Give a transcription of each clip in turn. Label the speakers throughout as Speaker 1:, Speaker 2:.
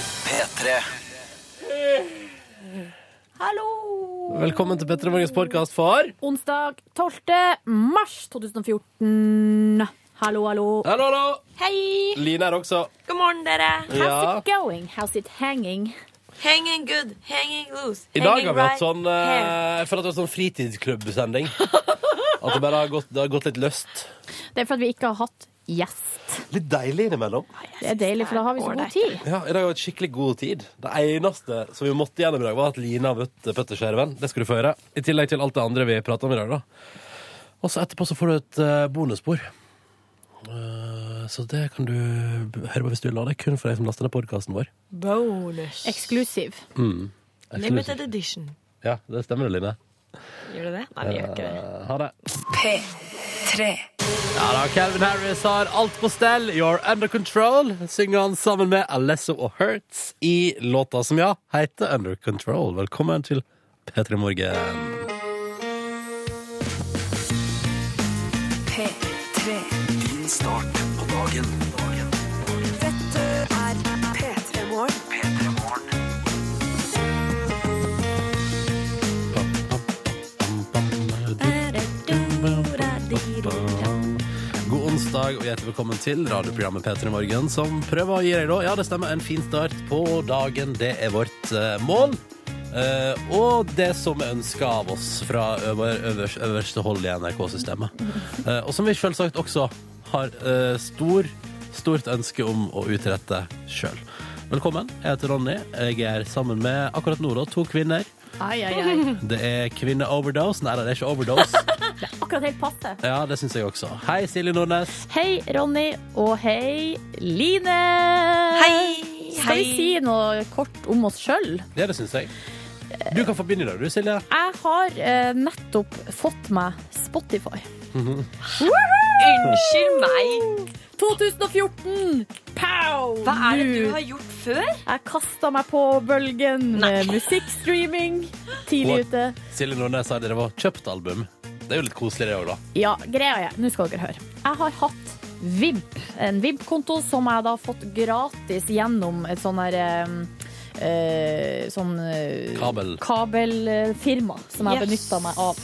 Speaker 1: P3.
Speaker 2: Hallo!
Speaker 3: Velkommen til Petter Morgens podkast for
Speaker 2: Onsdag 12. mars 2014. Hallo, hallo.
Speaker 3: Hallo, hallo!
Speaker 4: Hei!
Speaker 3: Line er også.
Speaker 4: God morgen, dere.
Speaker 2: How's it going? How's it hanging?
Speaker 4: Hanging good, hanging loose.
Speaker 3: I dag
Speaker 4: hanging
Speaker 3: har vi hatt
Speaker 4: right
Speaker 3: sånn
Speaker 4: here.
Speaker 3: eh, Jeg føler at det var sånn fritidsklubbsending. At det bare har gått, det har gått litt løst.
Speaker 2: Det er fordi vi ikke har hatt gjest.
Speaker 3: Litt deilig innimellom.
Speaker 2: Det er deilig, for da har vi så god tid.
Speaker 3: Ja, I dag har vi hatt skikkelig god tid. Det eneste som vi måtte gjennom i dag, var at Line har møtt Petter Skjerven. Det skal du få høre. I tillegg til alt det andre vi prata om i dag, da. Og så etterpå så får du et eh, bonusspor. Eh, så det kan du b- høre på hvis du vil ha det. Kun for deg som laster ned podkasten vår.
Speaker 4: Bonus.
Speaker 2: Eksklusiv.
Speaker 4: Mm. Limited edition.
Speaker 3: Ja, det stemmer det, Line.
Speaker 4: Gjør det det? Nei, vi gjør ikke det.
Speaker 3: Eh, Ha det. Ja da, Calvin Harris har alt på stell. You're under control, synger han sammen med Alesso og Hertz i låta som ja heter Under Control. Velkommen til P3 Morgen.
Speaker 1: Din start på dagen. dagen. Dette er P3 Morgen.
Speaker 3: God onsdag og hjertelig velkommen til radioprogrammet P3 Morgen, som prøver å gi deg da, ja det stemmer, en fin start på dagen. Det er vårt eh, mål. Eh, og det som er ønska av oss fra øver, øvers, øverste hold i NRK-systemet. Eh, og som vi selvsagt også har eh, stor, stort ønske om å utrette sjøl. Velkommen. Jeg heter Ronny. Jeg er sammen med akkurat nå da, to kvinner.
Speaker 2: Ai, ai, ai.
Speaker 3: Det er kvinne-overdose. Nei da, det er ikke overdose.
Speaker 2: Akkurat helt passe.
Speaker 3: Ja, det syns jeg også. Hei, Silje Nordnes.
Speaker 2: Hei, Ronny, og hei, Line.
Speaker 4: Hei!
Speaker 2: Skal vi si noe kort om oss sjøl?
Speaker 3: Ja, det syns jeg. Du kan få begynne i dag, du, Silje.
Speaker 2: Jeg har eh, nettopp fått meg Spotify.
Speaker 4: Unnskyld meg!
Speaker 2: 2014! Pow!
Speaker 4: Hva er det du har gjort før?
Speaker 2: Jeg kasta meg på bølgen med musikkstreaming tidlig ute.
Speaker 3: Silje Nordnes sa det var kjøpt album. Det er jo litt koselig, det òg, da.
Speaker 2: Ja, greia er, nå skal dere høre. Jeg har hatt Vib, en Vib-konto som jeg da har fått gratis gjennom et sånn her eh, eh, sånn eh,
Speaker 3: Kabel.
Speaker 2: kabelfirma som jeg
Speaker 4: Yes.
Speaker 2: benytta meg av.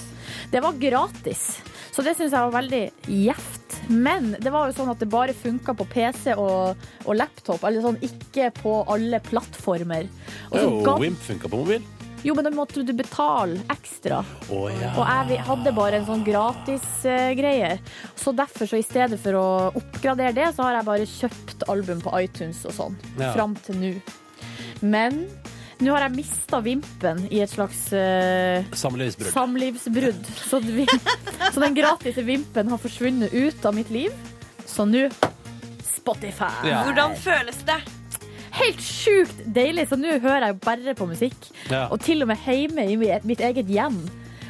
Speaker 2: Det var gratis, så det syns jeg var veldig gjevt. Men det var jo sånn at det bare funka på PC og, og laptop, eller sånn ikke på alle plattformer. Og så
Speaker 3: Det er jo
Speaker 2: ga-
Speaker 3: Wimp funka på mobil.
Speaker 2: jo, men da måtte du betale ekstra.
Speaker 3: Å ja.
Speaker 2: Og jeg vi- hadde bare en sånn gratis eh, greier. Så derfor, så i stedet for å oppgradere det, så har jeg bare kjøpt album på iTunes og sånn.
Speaker 3: Ja.
Speaker 2: Fram til nå. Men nå har jeg mista Vimpen i et slags eh,
Speaker 3: Samlivsbrudd.
Speaker 2: samlivsbrudd. Så, vi, så den gratise Vimpen har forsvunnet ut av mitt liv. Så nå Spotify.
Speaker 3: Ja.
Speaker 4: Hvordan føles det?
Speaker 2: Helt sjukt deilig, så nå hører jeg bare på musikk.
Speaker 3: Ja.
Speaker 2: Og til og med hjemme i mi- mitt eget hjem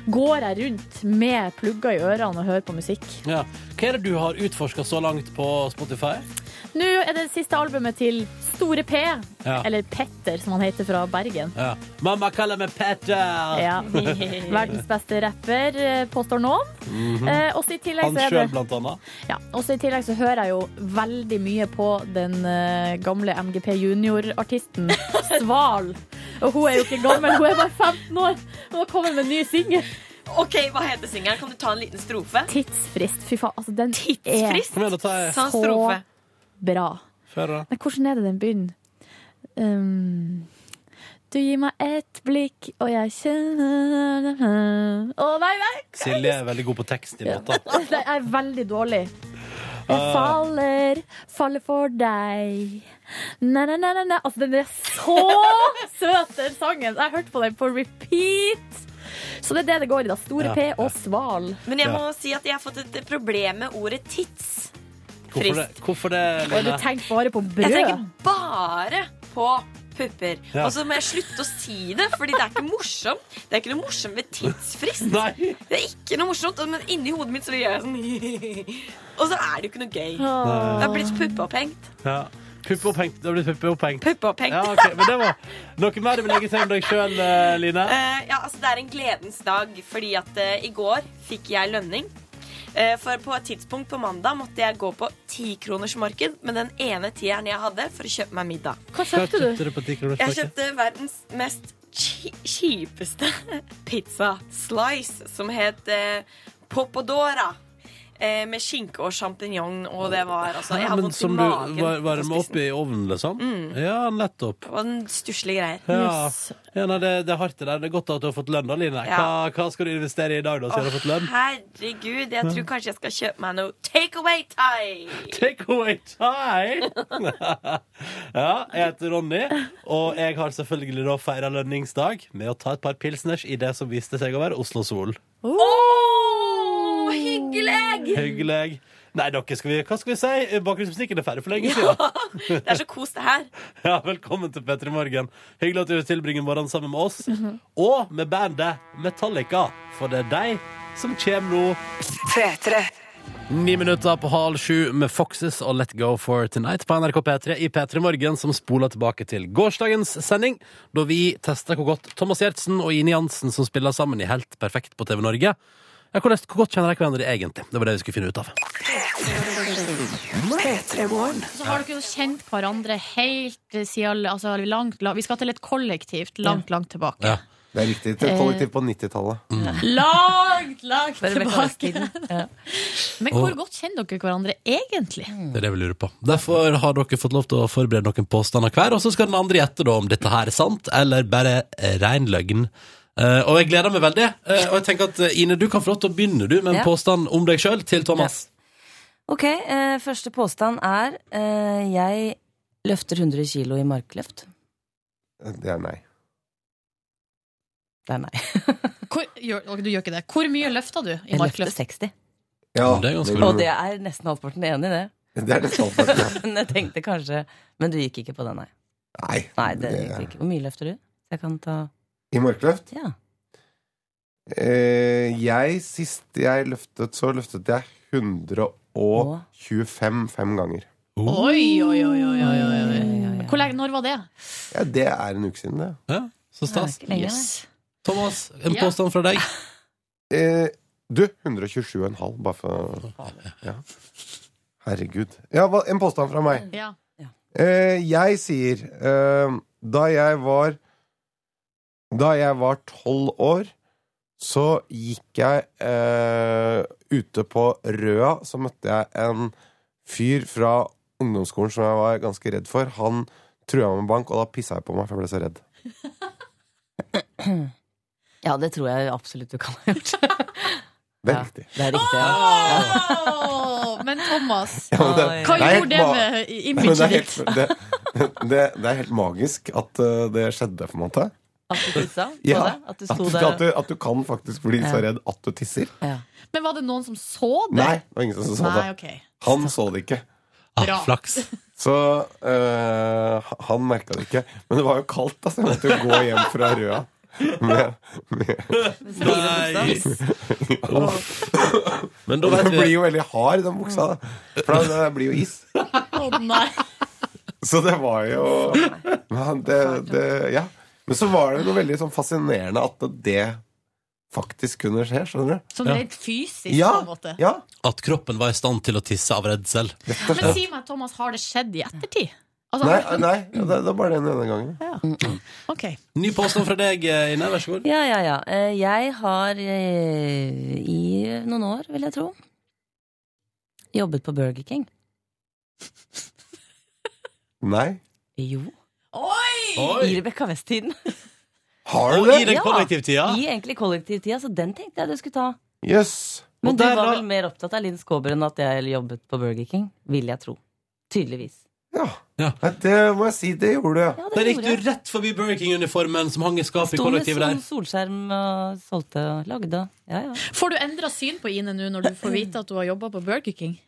Speaker 2: går jeg rundt med plugger i ørene og hører på musikk.
Speaker 3: Ja. Hva er det du har utforska så langt på Spotify?
Speaker 2: Nå er det siste albumet til Store P,
Speaker 3: Ja.
Speaker 2: eller Petter som han heter fra Bergen.
Speaker 3: Ja. Mamma kaller meg Petter!
Speaker 2: Ja. Verdens beste rapper, eh, påstår noen.
Speaker 3: Mhm.
Speaker 2: Eh, også i tillegg
Speaker 3: Han
Speaker 2: så er
Speaker 3: sjøl,
Speaker 2: det
Speaker 3: blant annet.
Speaker 2: Ja, også I tillegg så hører jeg jo veldig mye på den eh, gamle MGP Junior-artisten Sval. Og hun er jo ikke gammel, hun er bare 15 år. Hun har kommet med en ny singel.
Speaker 4: OK, hva heter singelen? Kan du ta en liten strofe?
Speaker 2: Tidsfrist. Fy faen, altså den
Speaker 4: Tidsfrist?
Speaker 3: Kom igjen, da tar jeg
Speaker 4: Ta en
Speaker 2: Så-
Speaker 4: strofe.
Speaker 2: er bra.
Speaker 3: før, da.
Speaker 2: Men hvordan er det den begynner? Um, du gir meg ett blikk, og jeg kjenner Å, nei, nei!
Speaker 3: Silje er veldig god på tekst i låta. Eh,
Speaker 2: Nei, Jeg er veldig dårlig.
Speaker 3: Ah.
Speaker 2: Jeg faller, faller for deg. Na-na-na-na. Altså, den er så søt, den sangen. Jeg hørte på den på repeat. Så det er det det går i, da. Store
Speaker 3: Ja,
Speaker 2: P og sval.
Speaker 4: Men jeg må si at jeg har fått et problem med ordet tids.
Speaker 3: Hvorfor det, hvorfor det
Speaker 2: Og du
Speaker 3: Line?
Speaker 2: tenker bare på
Speaker 4: Jeg
Speaker 2: brød.
Speaker 4: tenker bare på pupper.
Speaker 3: Ja.
Speaker 4: Og så må jeg slutte å si det, Fordi det er ikke morsomt. Det er ikke noe morsomt med tidsfrist.
Speaker 3: Nei!
Speaker 4: Det er ikke noe morsomt, men inni hodet mitt så gjør jeg sånn Og så er det jo ikke noe gøy. Det
Speaker 2: Åh.
Speaker 4: har blitt puppeopphengt.
Speaker 3: Ja. Puppeopphengt. Det har blitt puppeopphengt.
Speaker 4: Puppeopphengt.
Speaker 3: Ja,
Speaker 4: Ja.
Speaker 3: ok, Men det var noe mer du vil legge til om deg sjøl, Line?
Speaker 2: Eh,
Speaker 4: eh, ja, altså, det er en gledens dag, fordi at eh, i går fikk jeg lønning. Eh, For på et tidspunkt på mandag måtte jeg gå på tikronersmarked med den ene tieren jeg hadde, for å kjøpe meg middag.
Speaker 2: Hva
Speaker 3: Hva
Speaker 2: kjøpte du?
Speaker 3: du på ti kroners
Speaker 4: Jeg
Speaker 3: pakke?
Speaker 4: kjøpte verdens mest chi- kjipeste pizza slice, som het eh, Popodora. eh, Med skinke og sjampinjong, og det var altså Jeg
Speaker 3: Ja,
Speaker 4: hadde
Speaker 3: men
Speaker 4: vondt i
Speaker 3: som
Speaker 4: magen. Mm.
Speaker 3: du var- varmer
Speaker 4: på
Speaker 3: opp
Speaker 4: spissen.
Speaker 3: i ovnen, liksom? Ja, nettopp.
Speaker 4: Det var en stusslige greier.
Speaker 3: Ja.
Speaker 2: Yes.
Speaker 3: Ja, nei, det, det er hardt det der. Det er godt at du har fått lønn, da, Line. Hva,
Speaker 4: Ja.
Speaker 3: hva skal du investere i i dag, da, siden du har altså, fått lønn?
Speaker 4: herregud, jeg tror kanskje jeg skal kjøpe meg noe take away thai.
Speaker 3: Take away time! ja, jeg heter Ronny, og jeg har selvfølgelig da feira lønningsdag med å ta et par pilsners i det som viste seg å være Oslo Sol.
Speaker 2: Oh,
Speaker 4: Hyggelig!
Speaker 3: Hyggelig. Nei, dere, skal vi, hva skal vi si? Bakgrunnsmusikken er ferdig for lenge siden.
Speaker 4: Det er så kos, det her.
Speaker 3: Ja, velkommen til P3 Morgen. Hyggelig at du tilbringer morgenen sammen med oss. Og med bandet Metallica, for det er de som kommer nå. Ni minutter på halv sju med Foxes og Let Go for Tonight på NRK P3 i P3 Morgen, som spoler tilbake til gårsdagens sending, da vi testa hvor godt Thomas Giertsen og Ine Jansen, som spiller sammen i Helt perfekt på TV Norge ja, hvor, hvor godt kjenner de hverandre egentlig? Det var det vi skulle finne ut av.
Speaker 2: Så har dere jo kjent hverandre helt siden altså, langt, langt, Vi skal til et kollektivt langt, langt tilbake.
Speaker 3: Ja. Mm.
Speaker 5: Det er riktig.
Speaker 6: Eh,
Speaker 5: Til kollektiv på 90-tallet.
Speaker 2: Langt, langt
Speaker 4: Bare med
Speaker 2: tilbake! Men hvor
Speaker 3: Og-
Speaker 2: godt kjenner dere hverandre egentlig?
Speaker 5: Mm.
Speaker 3: Det er det vi lurer på. Derfor har dere fått lov til å forberede noen påstander hver, og så skal den andre gjette da om dette her er sant, eller bare eh, ren løgn. Eh, og jeg gleder meg veldig. Eh, og jeg tenker at eh, Ine, du kan få lov til å begynne du med en
Speaker 6: Ja.
Speaker 3: påstand om deg sjøl til Thomas.
Speaker 6: Ok, eh, første påstand er eh, Jeg løfter 100 kilo i markløft.
Speaker 5: Det er nei.
Speaker 6: Det er nei.
Speaker 2: Hvor, gjør, du gjør ikke det. Hvor mye løfta du i
Speaker 6: Jeg løfter
Speaker 2: markløft?
Speaker 6: 60.
Speaker 5: Ja,
Speaker 3: Det er ganske
Speaker 6: Og det er nesten halvparten enig i det.
Speaker 5: Det er det samme.
Speaker 6: Men jeg tenkte kanskje Men du gikk ikke på den, nei.
Speaker 5: Nei.
Speaker 6: Nei, det gikk du ikke. Hvor mye løfter du? Jeg kan ta
Speaker 5: I markløft?
Speaker 6: Ja.
Speaker 5: Eh, jeg, sist jeg løftet, så løftet jeg 125 fem ganger.
Speaker 2: Oi, oi, oi, oi, oi, oi, oi.
Speaker 5: Mm.
Speaker 6: ja.
Speaker 2: Hvor lenge, Når var det?
Speaker 5: Ja, det er en uke siden, det.
Speaker 3: Ja, så
Speaker 6: Det er
Speaker 3: stas.
Speaker 6: ikke lenge, nei.
Speaker 3: Thomas, en
Speaker 2: Ja.
Speaker 3: påstand fra deg.
Speaker 5: Eh, du, 127,5, bare for ja. Herregud. Ja, hva- en påstand fra meg.
Speaker 2: Ja.
Speaker 5: Eh, jeg sier eh, Da jeg var Da jeg var tolv år, så gikk jeg eh, ute på Røa, så møtte jeg en fyr fra ungdomsskolen som jeg var ganske redd for. Han trua med bank, og da pissa jeg på meg, for jeg ble så redd.
Speaker 6: Ja, det tror jeg absolutt du kan ha gjort.
Speaker 5: Det er
Speaker 6: Ja,
Speaker 5: riktig.
Speaker 6: Det er riktig. Ja.
Speaker 2: Åh, men Thomas,
Speaker 5: Ja, men det-
Speaker 6: Oi.
Speaker 2: hva
Speaker 5: det er helt
Speaker 2: gjorde det
Speaker 5: ma-
Speaker 2: med
Speaker 5: Nei, men det,
Speaker 2: imaget
Speaker 5: er
Speaker 2: ditt?
Speaker 5: helt, det, det, det er helt magisk at eh, det skjedde, på en måte.
Speaker 6: At du tissa på
Speaker 5: Ja,
Speaker 6: deg? At du
Speaker 5: At
Speaker 6: sto
Speaker 5: du,
Speaker 6: der
Speaker 5: at, du, at du kan faktisk bli så redd at du tisser.
Speaker 6: ja.
Speaker 2: Men var det noen som så det?
Speaker 5: Nei, det var ingen som så
Speaker 2: Nei,
Speaker 5: det.
Speaker 2: ok.
Speaker 5: Han så det ikke.
Speaker 3: Ah,
Speaker 2: Bra.
Speaker 3: flaks.
Speaker 5: Så øh, han merka det ikke. Men det var jo kaldt, da, så jeg måtte jo gå hjem fra Røa. Med, med.
Speaker 3: Nei. Uff. Men da vet
Speaker 5: Den blir
Speaker 3: vi
Speaker 5: jo veldig hard, den buksa. da. For da- det blir jo is.
Speaker 2: Å, nei.
Speaker 5: Så det var jo Men det, det, ja. Men så var det noe veldig sånn fascinerende at det faktisk kunne skje. Skjønner du?
Speaker 2: Sånn rent fysisk,
Speaker 5: Ja,
Speaker 2: på en måte.
Speaker 5: ja.
Speaker 3: at kroppen var i stand til å tisse av redsel.
Speaker 5: Rett og
Speaker 2: Men
Speaker 5: slett.
Speaker 2: si meg, Thomas, har det skjedd i ettertid? Altså,
Speaker 5: Nei,
Speaker 2: har-
Speaker 5: nei det, det var bare den ene gangen.
Speaker 2: ok.
Speaker 3: Ny påstand fra deg, eh, Ine. Vær så god.
Speaker 6: ja, ja, ja. Eh, Jeg har eh, i noen år, vil jeg tro, jobbet på Burger King.
Speaker 5: Nei.
Speaker 6: Jo.
Speaker 2: Oi!
Speaker 6: I
Speaker 3: Oi.
Speaker 6: Rebekka West-tiden.
Speaker 5: Har
Speaker 3: Og
Speaker 5: du
Speaker 3: i
Speaker 5: det?
Speaker 3: den
Speaker 6: Ja.
Speaker 3: kollektivtida.
Speaker 6: I egentlig kollektivtida, så den tenkte jeg du skulle ta.
Speaker 5: Jøss.
Speaker 6: Men
Speaker 3: Og
Speaker 6: du
Speaker 3: der
Speaker 6: var
Speaker 3: la-
Speaker 6: vel mer opptatt av Linn Skåber enn at jeg jobbet på Burger King, vil jeg tro. Tydeligvis.
Speaker 5: Ja.
Speaker 3: Ja.
Speaker 5: Nei, Det må jeg si. Det gjorde du, ja.
Speaker 6: Ja,
Speaker 3: Der gikk du rett forbi Burger King-uniformen som hang i skapet i
Speaker 6: Sto med
Speaker 3: kollektivet der.
Speaker 6: sol, solskjerm og solgte og lagde og Ja, ja.
Speaker 2: Får du endra syn på Ine nå når du får vite at du har jobba på Burger King?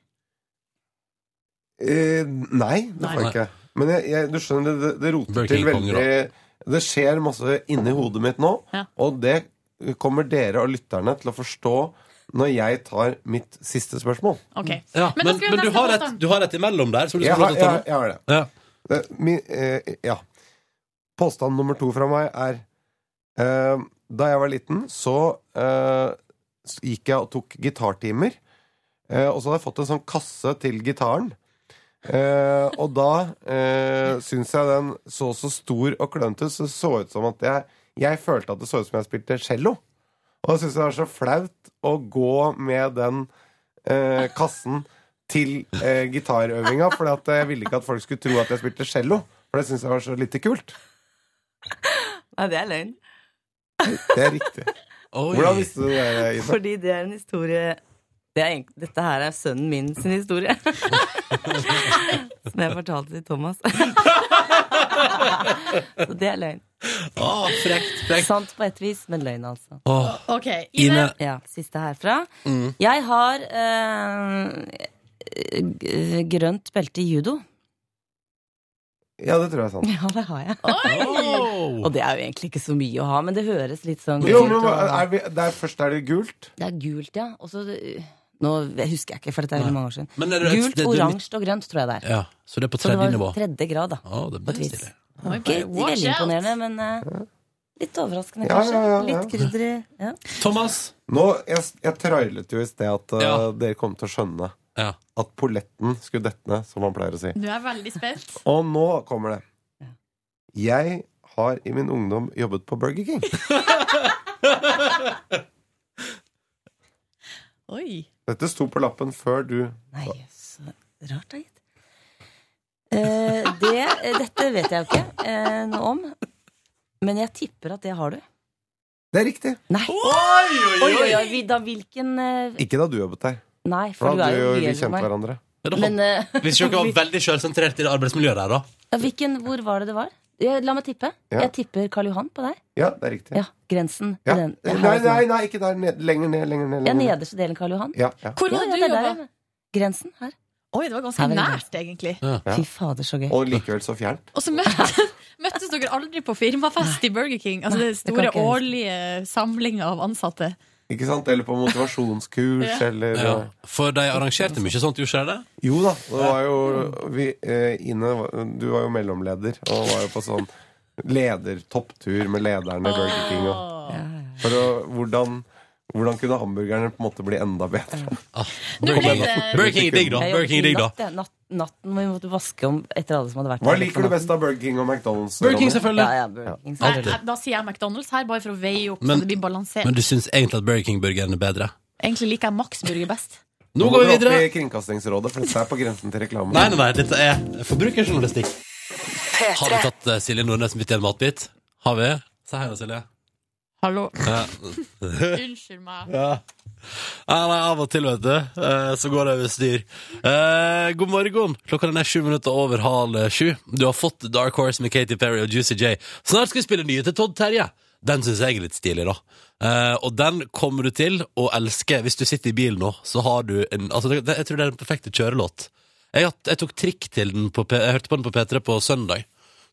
Speaker 5: Eh, nei, det
Speaker 2: Nei.
Speaker 5: får jeg ikke. Men jeg, jeg, du skjønner, det, det roter
Speaker 3: Burger
Speaker 5: til
Speaker 3: King konger,
Speaker 5: veldig Det skjer masse inni hodet mitt nå,
Speaker 2: Ja.
Speaker 5: og det kommer dere og lytterne til å forstå når jeg tar mitt siste spørsmål.
Speaker 2: Ok.
Speaker 3: Ja,
Speaker 2: Men
Speaker 3: men
Speaker 2: da
Speaker 3: men,
Speaker 2: skal vi
Speaker 3: du,
Speaker 2: neste
Speaker 3: har et,
Speaker 2: påstand.
Speaker 3: du har et imellom der. Som du
Speaker 5: Jeg
Speaker 3: skal få
Speaker 5: har,
Speaker 3: lov til
Speaker 5: jeg,
Speaker 3: å ta nå.
Speaker 5: jeg har det.
Speaker 3: Ja.
Speaker 5: det min, eh, ja. Påstand nummer to fra meg er eh, Da jeg var liten, så eh, s- gikk jeg og tok gitartimer. Eh, og så hadde jeg fått en sånn kasse til gitaren. Eh, og da eh, syns jeg den så så stor og klønete ut, så det så ut som at jeg Jeg følte at det så ut som jeg spilte cello. Og jeg syns det var så flaut å gå med den eh, kassen til eh, gitarøvinga, for jeg ville ikke at folk skulle tro at jeg spilte cello. For det syns jeg var så lite kult.
Speaker 6: Nei, det er løgn.
Speaker 5: Det er riktig.
Speaker 3: Oi.
Speaker 5: Hvordan visste du det, Ida?
Speaker 6: Fordi det er en historie det er, egentlig- Dette her er sønnen min sin historie. Som jeg fortalte til Thomas. Så det er løgn.
Speaker 3: Å, frekt, frekt.
Speaker 6: Sant på et vis, men løgn, altså.
Speaker 3: Åh,
Speaker 2: OK. Ine.
Speaker 3: Ine.
Speaker 6: Ja, Siste herfra.
Speaker 3: Mm.
Speaker 6: Jeg har eh, g- grønt belte i judo.
Speaker 5: Ja, det tror jeg er sant.
Speaker 6: Ja, det har jeg.
Speaker 3: Åh.
Speaker 6: Og det er jo egentlig ikke så mye å ha, men det høres litt sånn
Speaker 5: Jo,
Speaker 6: ut
Speaker 5: men
Speaker 6: å ha.
Speaker 5: er vi, der først er det gult.
Speaker 6: Det er gult, ja. Og så Nå husker jeg ikke, for dette er veldig mange år siden.
Speaker 3: Men er det-
Speaker 6: gult,
Speaker 3: det- det-
Speaker 6: oransje og grønt, tror jeg det er.
Speaker 3: Ja, så det er på
Speaker 6: Så det
Speaker 3: tredje nivå.
Speaker 6: var tredje grad, da.
Speaker 3: Å, det
Speaker 6: På et
Speaker 3: ble
Speaker 6: vis.
Speaker 3: stilig.
Speaker 6: Ikke
Speaker 2: Watch
Speaker 6: veldig
Speaker 2: out.
Speaker 6: imponerende, men eh, litt overraskende,
Speaker 5: Ja,
Speaker 6: kanskje.
Speaker 5: ja, ja, ja.
Speaker 6: Litt krydder i ja.
Speaker 3: Thomas.
Speaker 5: Nå, jeg, jeg trailet jo i sted at eh,
Speaker 3: Ja.
Speaker 5: dere kom til å skjønne
Speaker 3: Ja.
Speaker 5: at polletten skulle dette ned, som man pleier å si.
Speaker 2: Nå er jeg veldig spent.
Speaker 5: Og nå kommer det. Jeg har i min ungdom jobbet på Burger King.
Speaker 2: Oi.
Speaker 5: Dette sto på lappen før du
Speaker 6: Nei, så rart, da, gitt. Eh, det, eh, dette vet jeg jo ikke eh, noe om, men jeg tipper at det har du.
Speaker 5: Det er riktig.
Speaker 6: Nei!
Speaker 3: Oi,
Speaker 6: Oi, oi, oi, vi- da hvilken eh,
Speaker 5: Ikke da du jobbet der.
Speaker 6: Nei,
Speaker 5: For
Speaker 6: for du
Speaker 5: da
Speaker 6: er
Speaker 5: hadde
Speaker 6: jo mye
Speaker 5: jo vi
Speaker 6: eldre enn
Speaker 5: kjent
Speaker 6: meg.
Speaker 5: hverandre.
Speaker 6: Men eh,
Speaker 3: Hvis dere var veldig sjølsentrert i det arbeidsmiljøet der, da.
Speaker 6: ja, hvilken, hvor var det det var? Eh, La meg tippe.
Speaker 5: Ja.
Speaker 6: Jeg tipper Karl Johan på deg.
Speaker 5: Ja, det er riktig.
Speaker 6: Ja, grensen.
Speaker 5: Ja.
Speaker 6: Den,
Speaker 5: Nei,
Speaker 6: her er
Speaker 5: nei,
Speaker 6: den.
Speaker 5: nei, ikke der. Ned, lenger ned, lenger ned.
Speaker 6: Ja,
Speaker 5: Lenger ned.
Speaker 6: nederste delen Karl Johan.
Speaker 5: Ja, ja.
Speaker 2: Hvor
Speaker 6: Ja, ja,
Speaker 2: var
Speaker 6: det
Speaker 2: det du
Speaker 6: er der,
Speaker 2: jobba?
Speaker 6: ja. Grensen her.
Speaker 2: Oi, det var
Speaker 6: Ja,
Speaker 2: ganske
Speaker 6: veldig
Speaker 2: nært, egentlig.
Speaker 5: Ja.
Speaker 6: Fy fader, så gøy.
Speaker 5: Og likevel så fjernt.
Speaker 2: Og så møttes, møttes dere aldri på firmafest i Burger King. Altså den
Speaker 6: det kan
Speaker 2: store
Speaker 6: ikke jeg huske.
Speaker 2: årlige samlinga av ansatte.
Speaker 5: Ikke sant? Eller på motivasjonskurs,
Speaker 2: Ja.
Speaker 5: eller
Speaker 3: Ja. For de arrangerte mye sånt, gjorde de det?
Speaker 5: Jo da, det var jo vi, eh, Ine, var- du var jo mellomleder og var jo på sånn ledertopptur med lederne i Burger King. Og, for å, hvordan, hvordan kunne hamburgerne på en måte bli enda bedre?
Speaker 2: Nå ble det
Speaker 3: Ah.
Speaker 6: eh,
Speaker 3: Burger King er digg, da.
Speaker 6: Jeg
Speaker 3: Burger King er digg, da.
Speaker 6: jobbet i natt, jeg. natt, natten hvor vi måtte vaske om etter alle som hadde vært
Speaker 5: Hva
Speaker 6: der
Speaker 5: liker du best av Burger King og McDonald's?
Speaker 3: Burger King,
Speaker 5: Ronny?
Speaker 6: Ja,
Speaker 3: selvfølgelig.
Speaker 6: ja, Burger King,
Speaker 2: Nei,
Speaker 6: selvfølgelig.
Speaker 2: jeg- da sier jeg McDonald's her, bare for å veie opp,
Speaker 3: Men-
Speaker 2: så det blir balansert.
Speaker 3: Men du syns egentlig at Burger King-burgeren er bedre?
Speaker 2: Egentlig liker jeg Max Burger best.
Speaker 3: Nå går vi
Speaker 5: opp
Speaker 3: videre.
Speaker 5: i Kringkastingsrådet, for dette er på grensen til reklame.
Speaker 3: Nei, nei, nei, dette er forbrukerjournalistikk. Har vi tatt eh, Silje Nordnes midt i en matbit? Har vi? Eh. Se her da, Silje.
Speaker 2: Hallo.
Speaker 3: Ja.
Speaker 2: Unnskyld meg.
Speaker 3: Ja. Ja, nei, av og til, vet du, eh, så går det over styr. Eh, god morgen. Klokka den er sju minutter over halv sju. Du har fått Dark Horse med Katy Perry og Juicy J. Snart skal vi spille nye til Todd Terje. Den syns jeg er litt stilig, da. Eh, og den kommer du til å elske. Hvis du sitter i bil nå, så har du en altså, det, Jeg tror det er den perfekte kjørelåt. Jeg, hatt- jeg tok trikk til den på P, Jeg hørte på den på P3 på søndag,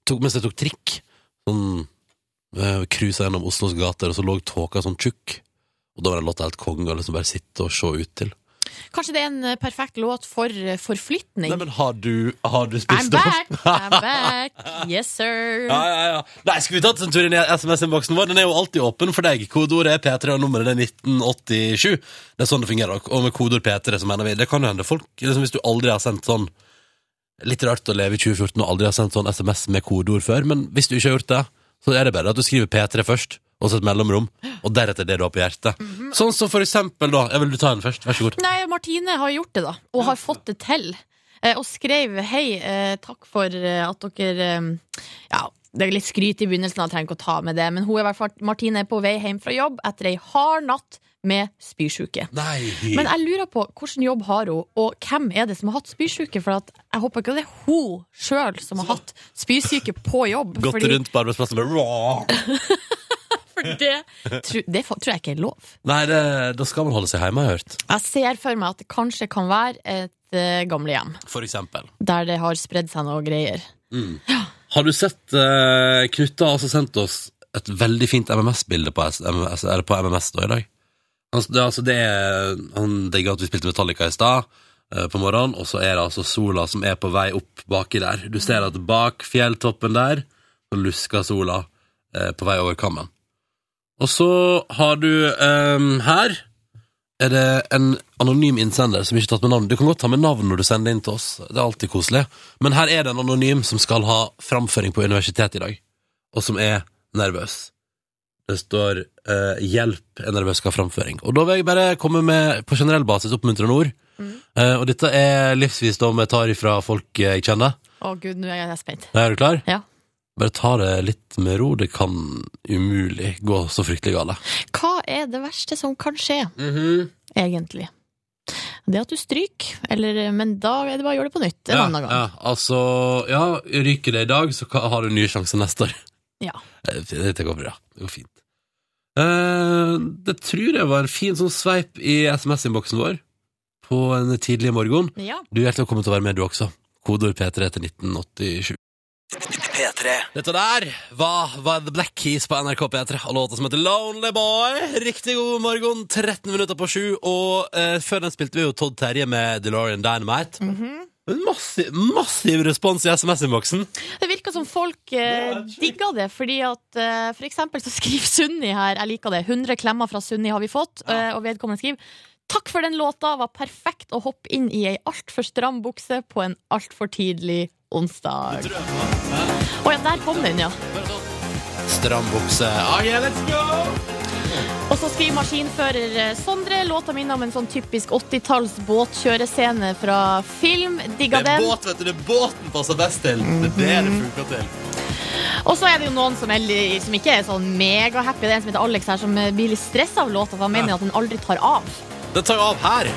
Speaker 3: tok, mens jeg tok trikk. Sånn eh, Cruisa gjennom Oslos gater, og så lå tåka sånn tjukk. Og da var det låta helt konge å liksom bare sitte og se ut til.
Speaker 2: Kanskje det er en eh, perfekt låt for eh, forflytning.
Speaker 3: Nei, men har du, har du
Speaker 2: I'm
Speaker 3: spist det
Speaker 2: back,
Speaker 3: opp?
Speaker 2: I'm back, yes sir.
Speaker 3: Ja, ja, ja. Nei, skulle vi tatt en tur inn i SMS-innboksen vår? Den er jo alltid åpen for deg. Kodeordet er P3, og nummeret er 1987. Det er sånn det fungerer. Og med kodeord P3 så mener vi Det kan jo hende folk liksom Hvis du aldri har sendt sånn Litt rart å leve i 2014 og aldri har sendt sånn SMS med kodeord før, men hvis du ikke har gjort det, så er det bedre at du skriver P3 først, og så et mellomrom, og deretter det du har på hjertet.
Speaker 2: Mhm.
Speaker 3: Sånn som for eksempel, da Jeg vil du ta den først? Vær så god.
Speaker 2: Nei, Martine har gjort det, da. Og har fått det til. Eh, Og skrev 'Hei, eh, takk for eh, at dere eh, Ja, det er litt skryt i begynnelsen, jeg trenger ikke å ta med det, men hun er i hvert fall, Martine er på vei hjem fra jobb etter ei hard natt med spysjuke.
Speaker 3: Nei.
Speaker 2: Men jeg lurer på hvilken jobb har hun, og hvem er det som har hatt spysjuke? For at jeg håper ikke det er hun sjøl som har hatt spysyke på jobb.
Speaker 3: Gått
Speaker 2: fordi-
Speaker 3: rundt på arbeidsplassen med «Råh!»
Speaker 2: For det, tro, det fa- tror jeg ikke er lov.
Speaker 3: Nei, det, da skal man holde seg hjemme, har jeg hørt.
Speaker 2: Jeg ser for meg at det kanskje kan være et eh, gamlehjem
Speaker 3: For eksempel.
Speaker 2: der det har spredd seg noe greier.
Speaker 3: Mm. Har du sett eh, Knut har altså sendt oss et veldig fint MMS-bilde på, S- MMS, er det på MMS da i dag? Altså, det, er altså det er, han digger at vi spilte Metallica i stad eh, på morgenen, og så er det altså sola som er på vei opp baki der. Du ser at bak fjelltoppen der, så lusker sola eh, på vei over kammen. Og så har du eh, ehm, her er det en anonym innsender som ikke har tatt med navn. Du kan godt ta med navn når du sender inn til oss. Det er alltid koselig. Men her er det en anonym som skal ha framføring på universitetet i dag, og som er nervøs. Det står eh, 'hjelp, en nervøs skal ha framføring'. Og da vil jeg bare komme med på generell basis oppmuntrende ord. Eh, og dette er livsvisdom jeg tar ifra folk jeg kjenner.
Speaker 2: Å gud, nå er jeg spent.
Speaker 3: Er du klar?
Speaker 2: Ja.
Speaker 3: Bare ta det litt med ro. Det kan umulig gå så fryktelig galt.
Speaker 2: Hva er det verste som kan skje,
Speaker 3: Mm
Speaker 2: egentlig? Det at du stryker, eller Men da er det bare å gjøre det på nytt en
Speaker 3: ja,
Speaker 2: annen gang.
Speaker 3: Ja, altså, ja, ryker det i dag, så ka- har du nye sjanser neste år.
Speaker 2: Ja.
Speaker 3: Eh, Dette går bra. Det går fint. Eh, det tror jeg var en fin sånn sveip i SMS-innboksen vår på en tidlig morgen.
Speaker 2: Ja.
Speaker 3: Du er hjertelig velkommen til å være med, du også. Kodord P3 til 1987.
Speaker 1: P3.
Speaker 3: Dette der var, var The Black Keys på NRK P3 og låta som heter Lonely Boy. Riktig god morgen, 13 minutter på sju. Og eh, før den spilte vi jo Todd Terje med DeLorean Dynamite. Men massiv, massiv respons i SMS-innboksen.
Speaker 2: Det virker som folk eh, digger det, fordi at eh, for eksempel så skriver Sunni her, jeg liker det, 100 klemmer fra Sunni har vi fått, eh, og vedkommende skriver Takk for den låta, var perfekt å hoppe inn i ei altfor stram bukse på en altfor tidlig onsdag. Å ja, der kom den, ja.
Speaker 3: Stram bukse. Ah, yeah, let's go!
Speaker 2: Og så skriver maskinfører eh, Sondre, låta minner om en sånn typisk 80-talls båtkjørescene fra film.
Speaker 3: Det
Speaker 2: Digga
Speaker 3: er
Speaker 2: den.
Speaker 3: båt, vet du. Det er båten passer best til. Det er det det funker til.
Speaker 2: Og så er det jo noen som, er, li- som ikke er sånn megahappy. Det er en som heter Alex her, som eh, blir litt stressa av låta, for han mener
Speaker 3: Ja.
Speaker 2: at den aldri tar av.
Speaker 3: Den tar av her.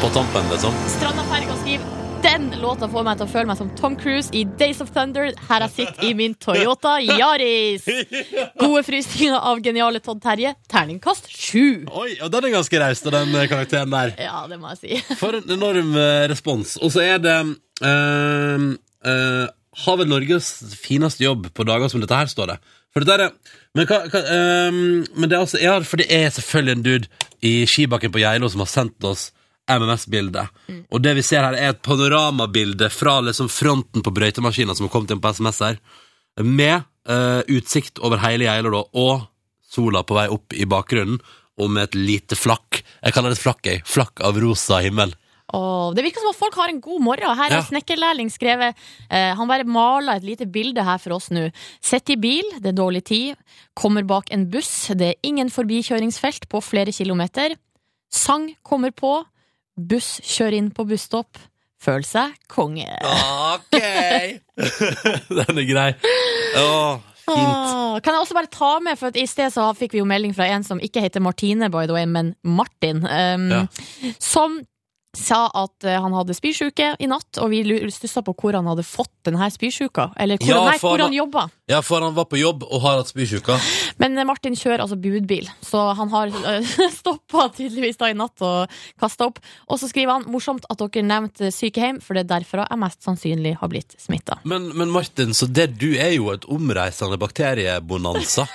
Speaker 3: På tampen, liksom.
Speaker 2: Strandaferga skriver den låta får meg til å føle meg som Tom Cruise i Days of Thunder. Her jeg sitter i min Toyota Yaris. Gode frysninger av geniale Todd Terje. Terningkast sju.
Speaker 3: Oi, og den er ganske raus, den eh, karakteren der.
Speaker 2: Ja, det må jeg si.
Speaker 3: For en enorm eh, respons. Og så er det eh, eh, Har vel Norges fineste jobb på dager som dette her, står det. For det der er, men, hva, hva, eh, men det er altså ja, For det er selvfølgelig en dude i skibakken på Geilo som har sendt oss MMS-bildet. Og det vi ser her, er et panoramabilde fra liksom fronten på brøytemaskina som har kommet inn på SMS her, med eh, utsikt over hele Geilo, da, og sola på vei opp i bakgrunnen, og med et lite flakk. Jeg kaller det et flakk, jeg. Flakk av rosa himmel.
Speaker 2: Og det virker som at folk har en god morgen. Her
Speaker 3: Ja.
Speaker 2: har snekkerlærling skrevet eh, Han bare maler et lite bilde her for oss nå. Sett i bil, det er dårlig tid. Kommer bak en buss, det er ingen forbikjøringsfelt på flere kilometer. Sang kommer på. Buss kjører inn på busstopp. Føl seg konge.
Speaker 3: Ok! Den er grei. Å, fint.
Speaker 2: Åh, Kan jeg også bare ta med, for at i sted så fikk vi jo melding fra en som ikke heter Martine, by the way, men Martin, um,
Speaker 3: Ja.
Speaker 2: som sa at eh, han hadde spysjuke i natt, og vi lu- stussa på hvor han hadde fått denne spysjuka, eller hvor,
Speaker 3: Ja,
Speaker 2: nei,
Speaker 3: for
Speaker 2: hvor
Speaker 3: han-
Speaker 2: han jobba.
Speaker 3: Ja, for han var på jobb og har hatt spysjuka.
Speaker 2: Men eh, Martin kjører altså budbil, så han har stoppa tydeligvis da i natt og kasta opp. Og så skriver han 'morsomt at dere nevnte sykehjem', for det er derfra jeg mest sannsynlig har blitt smitta.
Speaker 3: Men, men Martin, så det du er jo et omreisende bakteriebonanza.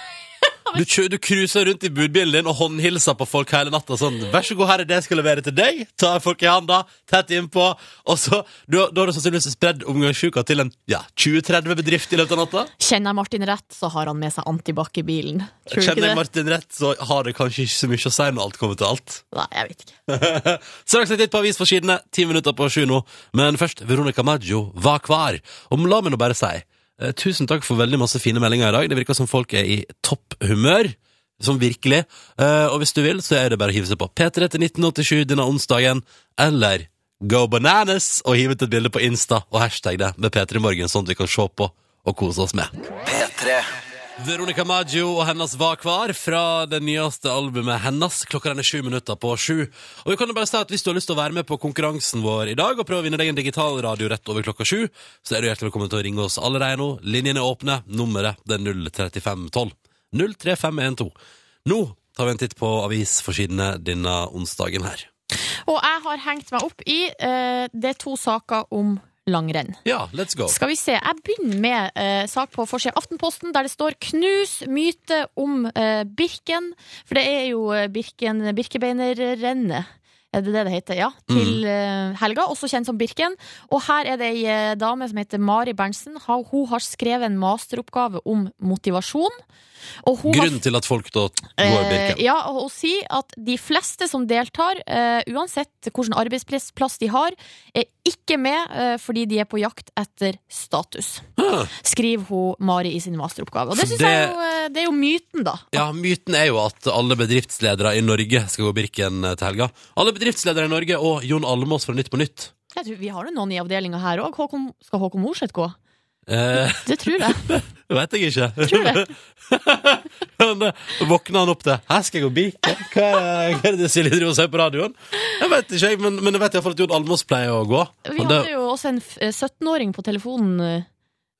Speaker 3: Du, kjø- du cruiser rundt i budbilen din og håndhilser på folk hele natta sånn 'Vær så god, her er det jeg skal levere til deg.' Tar folk i handa, tett innpå. Og så, du, Da har du sannsynligvis spredd omgangssjuka til en ja, 20-30 bedrift i løpet av natta.
Speaker 2: Kjenner jeg Martin rett, så har han med seg antibac i bilen. Tror du ikke
Speaker 3: Kjenner jeg
Speaker 2: det?
Speaker 3: Martin rett, så har det kanskje ikke så mye å si når alt kommer til alt.
Speaker 2: Nei, jeg vet ikke.
Speaker 3: Straks en titt på avisforsidene, ti minutter på sju nå. Men først, Veronica Maggio, hva kvar? Og la meg nå bare si, eh, tusen takk for veldig masse fine meldinger i dag. Det virker som folk er i topphumør. Som virkelig. Eh, og hvis du vil, så er det bare å hive seg på P3 til 1987 denne onsdagen, eller go bananas og hive ut et bilde på Insta og hashtag det med P3 Morgen, sånn at vi kan se på og kose oss med.
Speaker 1: P3.
Speaker 3: Veronica Maggio og hennes Hva kvar fra det nyeste albumet hennes. Klokka den er sju minutter på sju. Og vi kan jo bare si at Hvis du har lyst til å være med på konkurransen vår i dag og prøve å vinne deg en digital radio rett over klokka sju, så er du hjertelig velkommen til å ringe oss allerede nå. Linjene er åpne. Nummeret det er 03512. 03512. Nå tar vi en titt på avisforsidene denne onsdagen her.
Speaker 2: Og jeg har hengt meg opp i eh, Det er to saker om langrenn.
Speaker 3: Ja, let's go.
Speaker 2: Skal vi se. Jeg begynner med eh, sak på forsida av Aftenposten der det står 'Knus myte om eh, Birken'. For det er jo eh, Birken Birkebeinerrennet. Er det det det heter? Ja. Til eh, helga, også kjent som Birken. Og her er det ei eh, dame som heter Mari Berntsen. Ha- Hun har skrevet en masteroppgave om motivasjon. Og hun har
Speaker 3: Grunnen til at folk da går
Speaker 2: Eh,
Speaker 3: Birken.
Speaker 2: ja, og å si at de fleste som deltar, eh, uansett hvilken arbeidsplass de har, er ikke med eh, fordi de er på jakt etter status. Skriver hun Mari i sin masteroppgave. Og det,
Speaker 3: Så
Speaker 2: synes
Speaker 3: det-
Speaker 2: jeg er jo, eh, det er jo myten, da.
Speaker 3: Ja, myten er jo at alle bedriftsledere i Norge skal gå Birken eh, til helga. Alle bedriftsledere i Norge og Jon Almås fra Nytt på Nytt.
Speaker 2: Jeg tror, vi har jo noen i avdelinga her òg. Skal Håkon Morseth gå?
Speaker 3: Eh,
Speaker 2: Det tror jeg.
Speaker 3: det vet jeg ikke.
Speaker 2: Tror det.
Speaker 3: Men eh, våkna han opp til Her skal jeg gå Birken. Hva er hva er det Silje driver og sier på radioen? Jeg vet ikke, jeg, men, men jeg vet iallfall at Jon Almås pleier å gå.
Speaker 2: Vi
Speaker 3: Og det-
Speaker 2: hadde jo også en f- eh, 17-åring på telefonen. eh,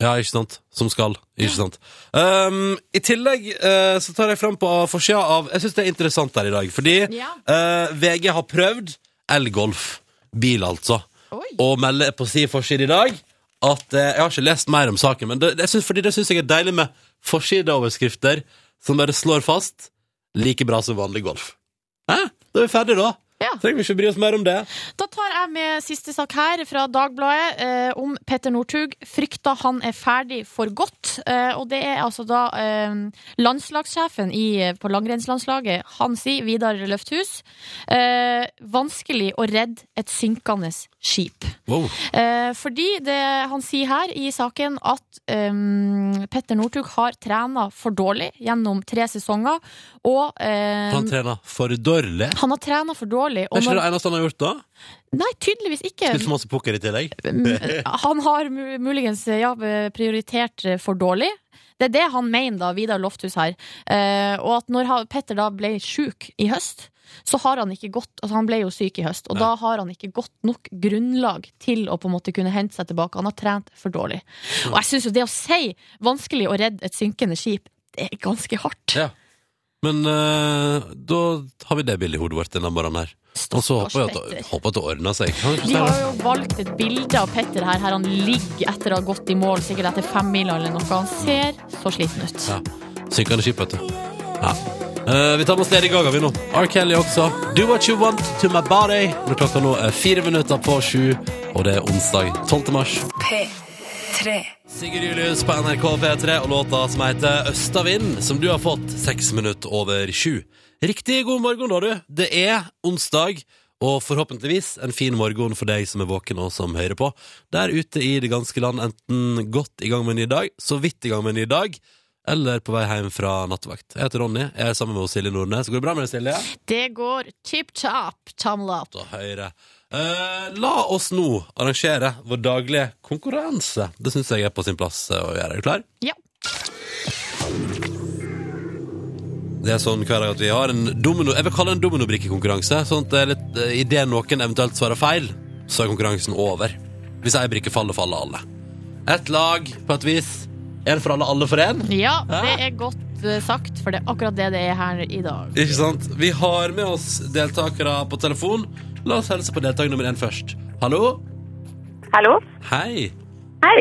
Speaker 3: Ja, ikke sant? Som skal, ikke sant? Um, I tillegg eh, så tar jeg frem på forsida av Jeg syns det er interessant her i dag, fordi
Speaker 2: Ja.
Speaker 3: eh, VG har prøvd elgolf. Bil, altså.
Speaker 2: Oi.
Speaker 3: Og melder på si forside i dag at eh, Jeg har ikke lest mer om saken, men det, det syns- fordi det syns jeg er deilig med forsideoverskrifter som bare slår fast like bra som vanlig golf. Hæ? Da er vi ferdige, da.
Speaker 2: Ja.
Speaker 3: Trenger vi ikke bry oss mer om det.
Speaker 2: Da tar jeg med siste sak her fra Dagbladet eh, om Petter Northug. Frykter han er ferdig for godt. Eh, og det er altså da eh, landslagssjefen i, eh, på langrennslandslaget, han sier, Vidar Løfthus, eh, vanskelig å redde et synkende skip.
Speaker 3: Wow.
Speaker 2: Eh, fordi det han sier her i saken at eh, Petter Northug har trena for dårlig gjennom tre sesonger, og eh,
Speaker 3: Han trener for dårlig.
Speaker 2: han har trena for dårlig.
Speaker 3: Det
Speaker 2: Og
Speaker 3: er ikke det
Speaker 2: når,
Speaker 3: eneste han har gjort, da?
Speaker 2: nei, tydeligvis ikke.
Speaker 3: Spilt så masse poker i tillegg.
Speaker 2: M- Han har mu- muligens ja, prioritert eh, for dårlig. Det er det han mener, da, Vidar Lofthus her. Eh, og at når han- Petter da ble sjuk i høst, så har han ikke gått altså Han ble jo syk i høst, og da har han ikke godt nok grunnlag til å på en måte kunne hente seg tilbake. Han har trent for dårlig. Og jeg syns jo det å si 'vanskelig å redde et synkende skip', det er ganske hardt.
Speaker 3: Ja. Men eh, da har vi det bildet i hodet vårt denne morgenen her. Og så håper jeg at,
Speaker 2: Petter.
Speaker 3: håper at det ordner seg. Kan
Speaker 2: De
Speaker 3: ikke
Speaker 2: har
Speaker 3: det?
Speaker 2: jo valgt et bilde av Petter her, her han ligger etter å ha gått i mål, sikkert etter femmila eller noe. Han ser så sliten ut.
Speaker 3: Ja. Synkende skip, vet du. Ja. Eh, vi tar med oss Lady Gaga, vi nå. R. Kelly også. Do what you want to my body. Når klokka nå er fire minutter på sju, og det er onsdag 12. mars.
Speaker 7: P3.
Speaker 3: Sigurd Julius på NRK P3 og låta som heter Østavind, som du har fått seks minutter over sju. Riktig god morgen, da, du. Det er onsdag, og forhåpentligvis en fin morgen for deg som er våken og som hører på. Der ute i det ganske land, enten godt i gang med en ny dag, så vidt i gang med en ny dag, eller på vei hjem fra nattevakt. Jeg heter Ronny, jeg er sammen med Silje Nordnes. Går det bra med deg, Silje?
Speaker 2: Det går chip chop, tamlap.
Speaker 3: og Høyre. Eh, la oss nå arrangere vår daglige konkurranse. Det syns jeg er på sin plass eh, å gjøre. Er du klar?
Speaker 2: Ja.
Speaker 3: Det er sånn hver dag at vi har en domino Jeg vil kalle det en dominobrikkekonkurranse. Sånn at det er litt eh, i det noen eventuelt svarer feil, så er konkurransen over. Hvis ei brikke faller, faller alle. Ett lag på et vis. Én for alle, alle for én.
Speaker 2: Ja, det er godt eh, sagt, for det er akkurat det det er her i dag.
Speaker 3: Ikke sant? Vi har med oss deltakere på telefon. La oss helse på deltaker nummer én først. Hallo?
Speaker 8: Hallo.
Speaker 3: Hei.
Speaker 8: Hei.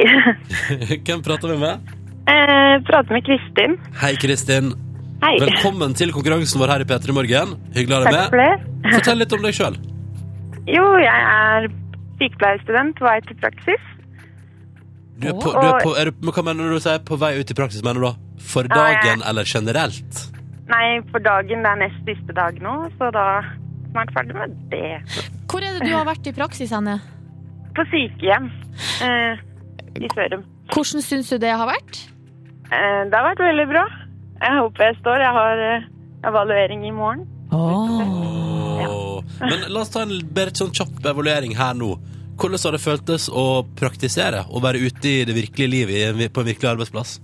Speaker 3: Hvem prater vi med?
Speaker 8: Eh, prater med Kristin.
Speaker 3: Hei, Kristin.
Speaker 8: Hei.
Speaker 3: Velkommen til konkurransen vår her i P3 Morgen. Hyggelig å ha deg
Speaker 8: Takk
Speaker 3: med.
Speaker 8: for det.
Speaker 3: Fortell litt om deg sjøl.
Speaker 8: Jo, jeg er sykepleierstudent på vei til praksis.
Speaker 3: Du er på, du er på, er du, men hva mener du sier på vei ut i praksis? Mener du da for
Speaker 8: Ja, jeg-
Speaker 3: dagen eller generelt?
Speaker 8: Nei, for dagen det er nest siste dag nå, så da snart ferdig med det.
Speaker 2: Hvor er det du har vært i praksis, Anne?
Speaker 8: På sykehjem eh, i Sørum.
Speaker 2: Hvordan syns du det har vært?
Speaker 8: Eh, det har vært veldig bra. Jeg håper jeg står. Jeg har eh, evaluering i morgen.
Speaker 3: Åh. Men la oss ta en bare sånn kjapp evaluering her nå. Hvordan har det føltes å praktisere og være ute i det virkelige livet i en- på en virkelig arbeidsplass?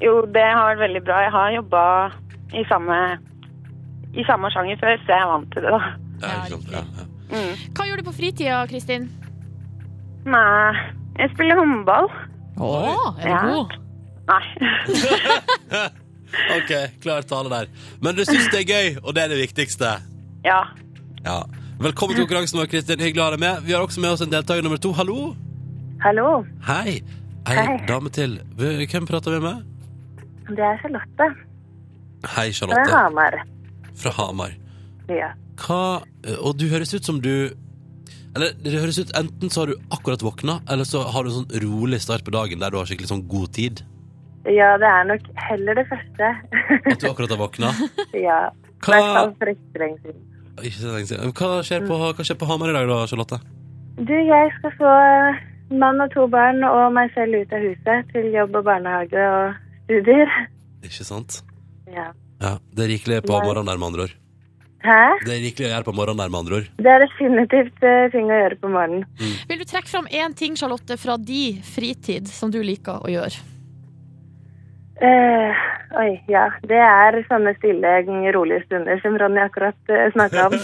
Speaker 8: Jo, det har vært veldig bra. Jeg har jobba i samme, i samme sjanger før, så jeg er vant til det, da.
Speaker 3: Ja, ikke sant? Ja, ja.
Speaker 2: Hva gjør du på fritida, Kristin?
Speaker 8: Nei, jeg spiller håndball.
Speaker 2: Å, er du
Speaker 8: Ja.
Speaker 2: god?
Speaker 8: Nei.
Speaker 3: OK, klar tale der. Men du syns det er gøy, og det er det viktigste.
Speaker 8: Ja.
Speaker 3: Ja. Velkommen til konkurransen vår, Kristin. Hyggelig å ha deg med. Vi har også med oss en deltaker nummer to. Hallo.
Speaker 8: Hallo,
Speaker 3: Hei. Ei
Speaker 8: Hei.
Speaker 3: dame til. V- Hvem prater vi med?
Speaker 8: det er Charlotte
Speaker 3: Hei,
Speaker 8: fra
Speaker 3: Charlotte.
Speaker 8: Hamar.
Speaker 3: Fra Hamar.
Speaker 8: Ja.
Speaker 3: Hva Og du høres ut som du Eller det høres ut enten så har du akkurat våkna, eller så har du en sånn rolig start på dagen der du har skikkelig sånn god tid.
Speaker 8: Ja, det er nok heller det første.
Speaker 3: At du akkurat har våkna.
Speaker 8: ja. I
Speaker 3: Hva,
Speaker 8: hvert fall for ikke så lenge siden.
Speaker 3: Ikke så lenge siden. hva, skjer på, hva skjer på Hamar i dag, da, Charlotte?
Speaker 8: Du, jeg skal få eh, mann og to barn og meg selv ut av huset til jobb og barnehage og studier.
Speaker 3: Ikke sant?
Speaker 8: Ja.
Speaker 3: Ja, Det er rikelig på morgenen der, med andre ord.
Speaker 8: Hæ?
Speaker 3: Det er rikelig å gjøre på morgenen der, med andre ord.
Speaker 8: Det er definitivt eh, ting å gjøre på morgenen.
Speaker 2: Vil du trekke fram én ting, Charlotte, fra di fritid som du liker å gjøre?
Speaker 8: Eh, oi, ja. Det er sånne stille, rolige stunder som Ronny akkurat uh, snakka om.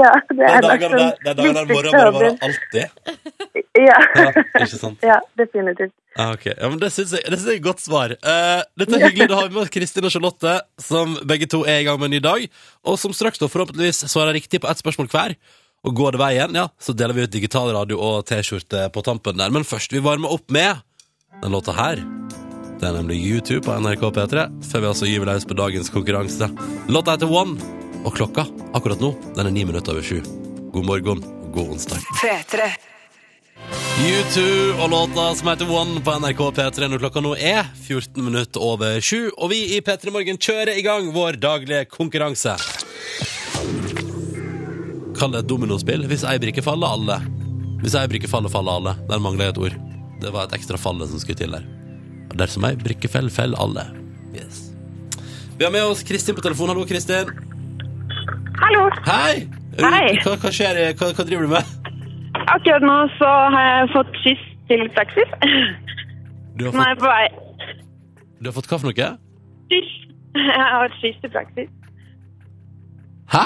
Speaker 8: ja, det
Speaker 3: De
Speaker 8: er nok sånn
Speaker 3: dagene der, de dagene der morgenen bare varer alltid.
Speaker 8: Ja.
Speaker 3: Ja, ikke sant?
Speaker 8: ja, definitivt.
Speaker 3: Ah, ok. ja, men Det syns jeg, det synes jeg er et godt svar. Eh, dette er hyggelig. Da har vi med oss Kristin og Charlotte, som begge to er i gang med en ny dag, og som straks da forhåpentligvis svarer riktig på ett spørsmål hver. Og går det veien, ja, så deler vi ut digital radio og T-skjorte på tampen der. Men først, vi varmer opp med den låta her. Det er nemlig YouTube på NRK P3, før vi altså gyver løs på dagens konkurranse. Låta heter One, og klokka akkurat nå, den er ni minutter over sju. God morgen og god onsdag. U2 og låta som heter One på NRK P3 når klokka nå er 14 minutter over sju. Og vi i P3 Morgen kjører i gang vår daglige konkurranse. Kall det et dominospill. Hvis ei brikke faller, alle. Hvis ei brikke faller, faller alle. Der mangler jeg et ord. Det var et ekstra falle som skulle til der. Og dersom ei brikke fell, fell alle. Yes. Vi har med oss Kristin på telefon. Hallo, Kristin.
Speaker 8: Hallo.
Speaker 3: Hei!
Speaker 8: Hei.
Speaker 3: Hva, hva skjer? Hva, hva driver du med?
Speaker 8: Akkurat nå så har jeg fått skyss til taxi.
Speaker 3: Du har
Speaker 8: Nå er
Speaker 3: fått,
Speaker 8: jeg på vei.
Speaker 3: du har fått hva for noe?
Speaker 8: Skyss. Jeg har et skyss til praksis.
Speaker 3: Hæ?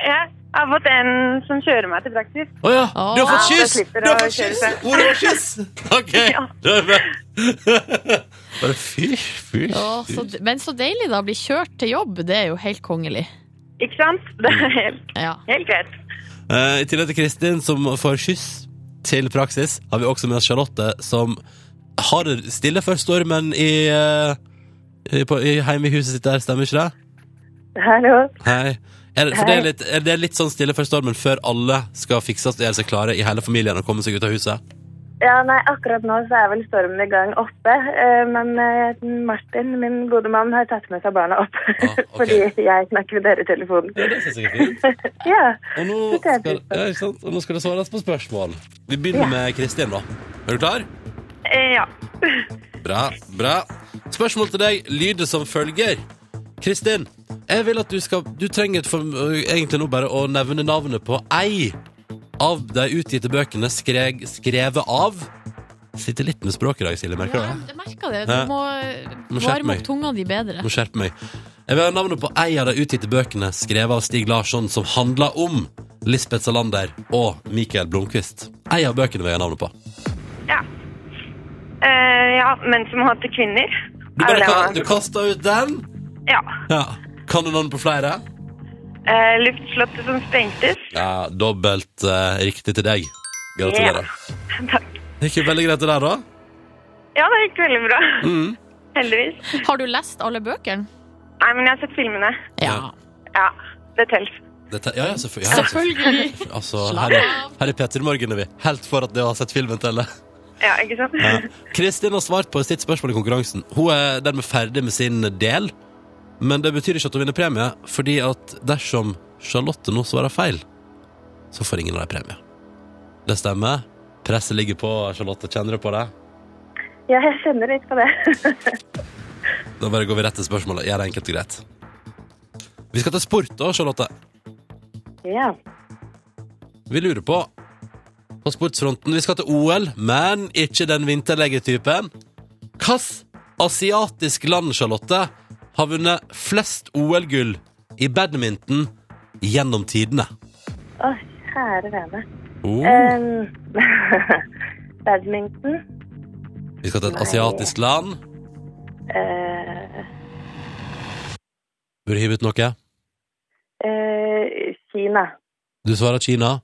Speaker 8: Jeg har fått en som kjører meg til praksis.
Speaker 3: Å ja.
Speaker 2: Å.
Speaker 3: Du har
Speaker 8: Ja,
Speaker 3: fått kyss!
Speaker 8: da slipper
Speaker 3: Du har
Speaker 8: å
Speaker 3: fått
Speaker 8: kjøre
Speaker 3: kyss!
Speaker 8: seg.
Speaker 3: Ordet var kyss! OK. Da er vi- Bare fy, fy.
Speaker 2: Ja, så, men så deilig, da. Bli kjørt til jobb, det er jo helt kongelig.
Speaker 8: Ikke sant? Det er helt,
Speaker 2: Ja.
Speaker 8: helt greit.
Speaker 3: Eh, I tillegg til Kristin, som får kyss til praksis, har vi også med oss Charlotte, som har det stille før stormen i, eh, i, på, i hjemme i huset sitt der, stemmer ikke det?
Speaker 8: Hallo.
Speaker 3: Hei. Er det, for det er, litt, er det litt sånn stille før stormen, før alle skal fikses og gjøre seg klare i hele familien og komme seg ut av huset?
Speaker 8: Ja, nei, akkurat nå så er vel stormen i gang oppe, eh, men eh, Martin, min gode mann, har tatt med seg barna opp.
Speaker 3: Ah, ok.
Speaker 8: Fordi jeg snakker med dere i telefonen.
Speaker 3: Ja, det synes jeg er fint.
Speaker 8: Ja.
Speaker 3: Og nå,
Speaker 8: Det er
Speaker 3: skal,
Speaker 8: fint.
Speaker 3: ja, ikke sant? og nå skal det svares på spørsmål. Vi begynner med Kristin, da. Er du klar?
Speaker 8: Eh, ja.
Speaker 3: Bra. bra Spørsmål til deg lyder som følger. Kristin, jeg vil at du skal Du trenger for, eh, egentlig nå bare å nevne navnet på ei av de utgitte bøkene skreg, skrevet av Sitter litt med språk i dag, Silje. Merker du det?
Speaker 2: Jeg merker det.
Speaker 3: Ja.
Speaker 2: Du må
Speaker 3: Må skjerpe
Speaker 2: varme
Speaker 3: meg.
Speaker 2: opp tunga di bedre.
Speaker 3: Må skjerpe meg. Jeg vil ha navnet på ei av de utgitte bøkene skrevet av Stig Larsson som handler om Lisbeth Salander og Mikael Blomkvist. Ei av bøkene vil jeg ha navnet på.
Speaker 8: Ja. Eh, ja, menn som hater kvinner.
Speaker 3: Du,
Speaker 8: Er
Speaker 3: bare,
Speaker 8: det
Speaker 3: ka-
Speaker 8: hva?
Speaker 3: du kasta ut den?
Speaker 8: Ja.
Speaker 3: Ja. Kan du navnet på flere?
Speaker 8: Eh, luftslottet som sprengtes.
Speaker 3: Ja, dobbelt eh, riktig til deg. Gratulerer.
Speaker 8: Takk.
Speaker 3: Det gikk jo veldig greit det der, da.
Speaker 8: Ja, det gikk veldig bra.
Speaker 3: Mm.
Speaker 8: Heldigvis.
Speaker 2: Har du lest alle bøkene?
Speaker 8: Nei, men jeg har sett filmene.
Speaker 3: Ja.
Speaker 8: Ja, det telt.
Speaker 3: Dette, ja, ja, selvfølgelig. Ja,
Speaker 2: Selvfølgelig.
Speaker 3: selvfølgelig. Altså, her er, her er Peter Morgen, er vi. Helt for at det har sett filmen teller.
Speaker 8: Ja, ikke sant?
Speaker 3: Ja. Kristin har svart på sitt spørsmål i konkurransen. Hun er dermed ferdig med sin del. Men det betyr ikke at hun vinner premie, fordi at dersom Charlotte nå svarer feil, så får ingen av dem premie. Det stemmer. Presset ligger på Charlotte. Kjenner du på det?
Speaker 8: Ja, jeg kjenner litt på det.
Speaker 3: Da bare går vi rett til spørsmålet. Gjør det enkelt og greit. Vi skal til sport da, Charlotte.
Speaker 8: ja.
Speaker 3: Vi lurer på på sportsfronten. Vi skal til OL, men ikke den vinterlegetypen. Hvilket asiatisk land, Charlotte, har vunnet flest OL-gull i badminton gjennom tidene?
Speaker 8: Å, kjære vene.
Speaker 3: Oh.
Speaker 9: Mm.
Speaker 8: Um, badminton.
Speaker 3: Vi skal til et asiatisk land.
Speaker 8: Eh,
Speaker 3: Vil du hive ut noe?
Speaker 8: eh, Kina.
Speaker 3: Du svarer Kina.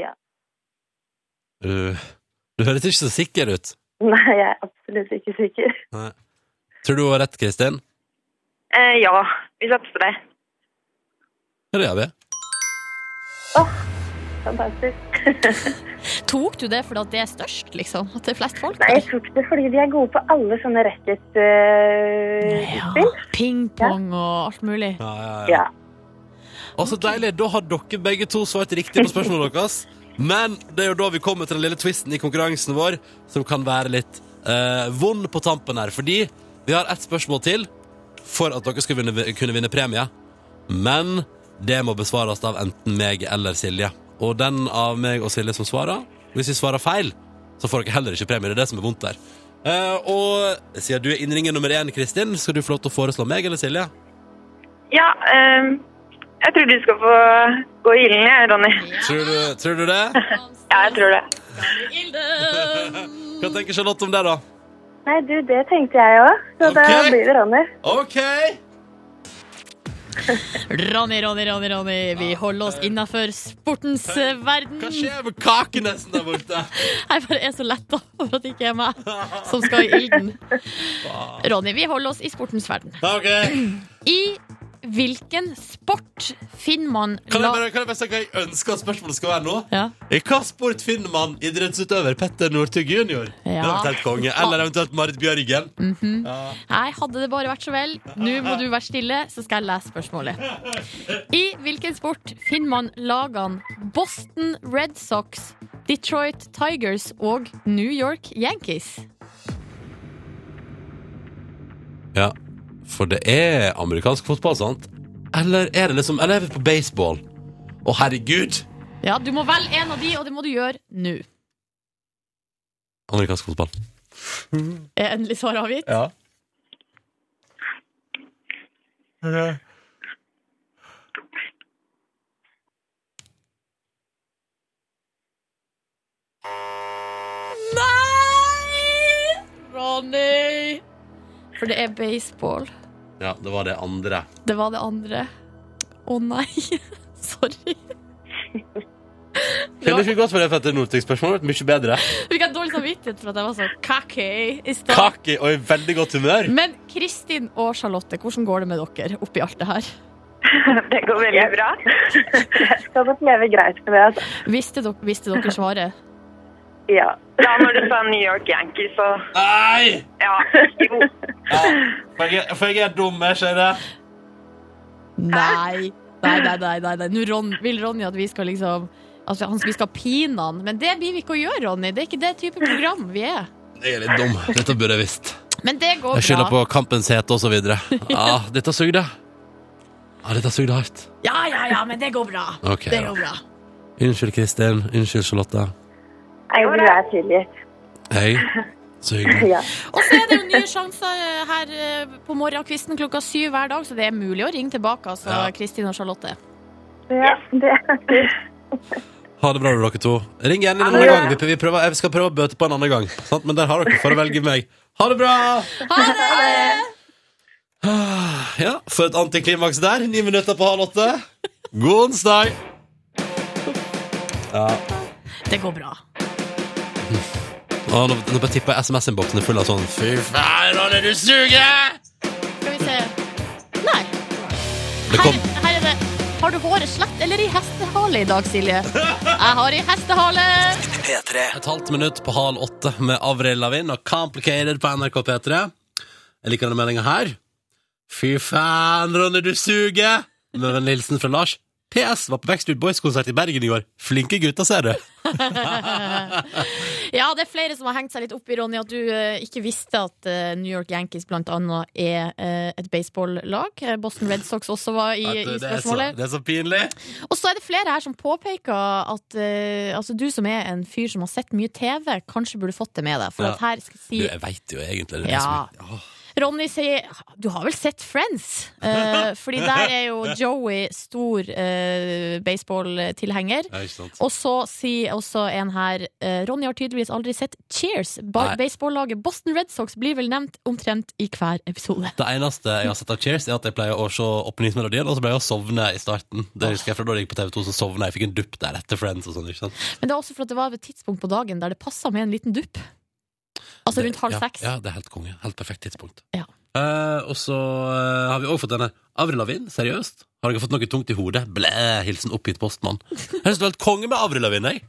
Speaker 8: Ja.
Speaker 3: Uh, du høres ikke så sikker ut.
Speaker 8: Nei, jeg er absolutt ikke sikker.
Speaker 3: Tror du hun har rett, Kristin?
Speaker 8: Eh, ja, vi satser på det.
Speaker 3: Ja, det gjør vi.
Speaker 8: Fantastisk.
Speaker 2: Tok du det fordi at det er størst, liksom? At det er flest folk
Speaker 8: Nei,
Speaker 2: der?
Speaker 8: jeg tok det fordi de er gode på alle sånne eh, racket-spill.
Speaker 2: Ja, Ping-pong og alt mulig.
Speaker 3: Ja, ja, ja.
Speaker 8: ja.
Speaker 3: Og så Altså, deilig, da har dere begge to svart riktig på spørsmålet deres. Men det er jo da vi kommer til den lille twisten i konkurransen vår, som kan være litt eh, vond på tampen her. Fordi vi har ett spørsmål til for at dere skal vinne, kunne vinne premie. Men det må besvares av enten meg eller Silje. Og den av meg og Silje som svarer, hvis vi svarer feil, så får dere heller ikke premie. Det er det som er vondt der. Eh, og siden du er innringer nummer én, Kristin, skal du få lov til å foreslå meg eller Silje?
Speaker 8: Ja, ehm, jeg tror du skal få gå i ilden, jeg, Ronny.
Speaker 3: Tror du, tror du det?
Speaker 8: Ja, jeg tror det.
Speaker 3: Hva tenker Charlotte om det, da?
Speaker 8: Nei, du, det tenkte jeg òg. Så
Speaker 3: Ok.
Speaker 8: da blir det Ronny.
Speaker 3: OK!
Speaker 2: Ronny, Ronny, Ronny, Ronny. Vi holder oss innafor sportens eh, verden.
Speaker 3: eh, Hva skjer med kakenesen der borte?
Speaker 2: Jeg bare er så letta over at det ikke er meg som skal i ilden. Ronny, vi holder oss i sportens verden.
Speaker 3: OK.
Speaker 2: I hvilken sport finner man
Speaker 3: Kan jeg
Speaker 2: la...
Speaker 3: bare, kan jeg bare si hva jeg ønsker at spørsmålet skal være nå?
Speaker 2: Ja.
Speaker 3: I hva sport finner man idrettsutøver Petter Northug jr.?
Speaker 2: Ja.
Speaker 3: Eller eventuelt konge? Eller eventuelt Marit Bjørgen?
Speaker 8: Mm.
Speaker 2: Nei, hadde det bare vært så vel. Nå må du være stille, så skal jeg lese spørsmålet. I hvilken sport finner man lagene Boston Red Sox, Detroit Tigers og New York Yankees?
Speaker 3: Ja, for det er amerikansk fotball, sant? Eller er det liksom Eller er vi på baseball? Å, herregud!
Speaker 2: Ja, du må velge en av de, og det må du gjøre nå.
Speaker 3: Amerikansk fotball.
Speaker 2: Er endelig svar avgitt?
Speaker 3: Ja.
Speaker 2: Nei! Ronny! For det er baseball.
Speaker 3: ja, det var det andre.
Speaker 2: Det var det andre. Å nei. Sorry.
Speaker 3: Kunne ikke gått for det Petter Northug-spørsmålet. vært Mye bedre.
Speaker 2: Fikk jeg dårlig samvittighet for at jeg var så cocky i stad.
Speaker 3: Kake og i veldig godt humør.
Speaker 2: Men Kristin og Charlotte, hvordan går det med dere oppi alt det her?
Speaker 8: Det går veldig bra. jeg skal nok leve greit med det. altså.
Speaker 2: Visste dere, visste dere svaret?
Speaker 8: Ja.
Speaker 10: Ja, når du sa New York Yankees, så
Speaker 3: Nei!
Speaker 10: ja. Jo.
Speaker 3: Ja, for jeg, for jeg er dum, jeg ser det.
Speaker 2: Nei. Nei, nei, nei. nei, nei. Nå Ron, vil Ronny at vi skal liksom at han- vi skal pine han. Men det blir vi ikke å gjøre, Ronny. Det er ikke det type program vi er.
Speaker 3: Jeg er litt dum. Dette burde jeg visst.
Speaker 2: Men det går
Speaker 3: Jeg
Speaker 2: bra.
Speaker 3: skylder på kampens hete og så videre. Ja, dette sugde. Ja, dette sugde hardt.
Speaker 2: Ja, ja, ja, men det går bra.
Speaker 3: Ok,
Speaker 2: Det
Speaker 3: da.
Speaker 2: går bra.
Speaker 3: Unnskyld, Kristin. Unnskyld, Charlotte.
Speaker 8: Jeg vil være tilgitt.
Speaker 3: Hei. Så hyggelig.
Speaker 8: Ja.
Speaker 2: Og så er det jo nye sjanser eh, her eh, på morgenkvisten klokka syv hver dag, så det er mulig å ringe tilbake, altså,
Speaker 3: Ja.
Speaker 2: Kristin og Charlotte.
Speaker 8: ja, det
Speaker 3: Ha det bra, dere to. Ring igjen en annen gang. Vi, vi prøver, jeg skal prøve å bøte på en annen gang. Sant? Men der har dere for å velge meg. Ha det bra!
Speaker 2: Ha det!
Speaker 3: Ja, for et antiklimaks der. Ni minutter på halv åtte. God onsdag!
Speaker 2: Det går bra.
Speaker 3: Å, nå, nå bare tipper jeg SMS-innboksen er full av sånn Fy faen, Ronny, du suger!
Speaker 2: Skal vi se. Nei. Her,
Speaker 3: Det kom.
Speaker 2: her er det. Har du håret slett eller i hestehale i dag, Silje? Jeg har i hestehale.
Speaker 11: P3.
Speaker 3: Et halvt minutt på halv åtte med Avril Lavigne og Complicated på NRK P3. Jeg liker denne meldinga her. Fy faen, Ronny, du suger! Med en hilsen fra Lars. PS var på Backstreet Boys-konsert i Bergen i går. Flinke gutter, ser du.
Speaker 2: Ja, det er flere som har hengt seg litt opp i, Ronny, at du eh, ikke visste at eh, New York Yankees blant annet er eh, et baseballag. Eh, Boston Red Sox også var i, i
Speaker 3: Vet du, det, er så,
Speaker 2: spørsmålet.
Speaker 3: det er så pinlig.
Speaker 2: Og så er det flere her som påpeker at eh, altså du som er en fyr som har sett mye TV, kanskje burde fått det med deg. For
Speaker 3: Ja.
Speaker 2: at her skal jeg
Speaker 3: Du,
Speaker 2: si
Speaker 3: jeg veit jo egentlig det. er
Speaker 2: Ja.
Speaker 3: det som- Åh.
Speaker 2: Ronny sier du har vel sett Friends? Uh, fordi der er jo Joey stor eh, baseballtilhenger.
Speaker 3: Ja, ikke sant.
Speaker 2: Og så sier også en her eh, Ronny har tydeligvis aldri sett Cheers. Ba
Speaker 3: Nei.
Speaker 2: Baseballaget Boston Red Sox blir vel nevnt omtrent i hver episode.
Speaker 3: Det eneste jeg har sett av Cheers, er at jeg pleier å se åpningsmelodien, og så pleier jeg å sovne i starten. Det husker jeg fra da jeg gikk på TV2, så sovna jeg. Fikk en dupp der etter Friends og sånn. ikke sant?
Speaker 2: Men det er også for at det var et tidspunkt på dagen der det passa med en liten dupp. Altså rundt halv
Speaker 3: ja,
Speaker 2: seks.
Speaker 3: Ja, det er helt konge. Helt perfekt tidspunkt.
Speaker 2: Ja.
Speaker 3: Eh, og så eh, har vi òg fått denne. Avril Lavigne, seriøst? Har dere fått noe tungt i hodet? Blæ, hilsen oppgitt postmann. Jeg synes det var helt konge med Avril Lavigne, jeg.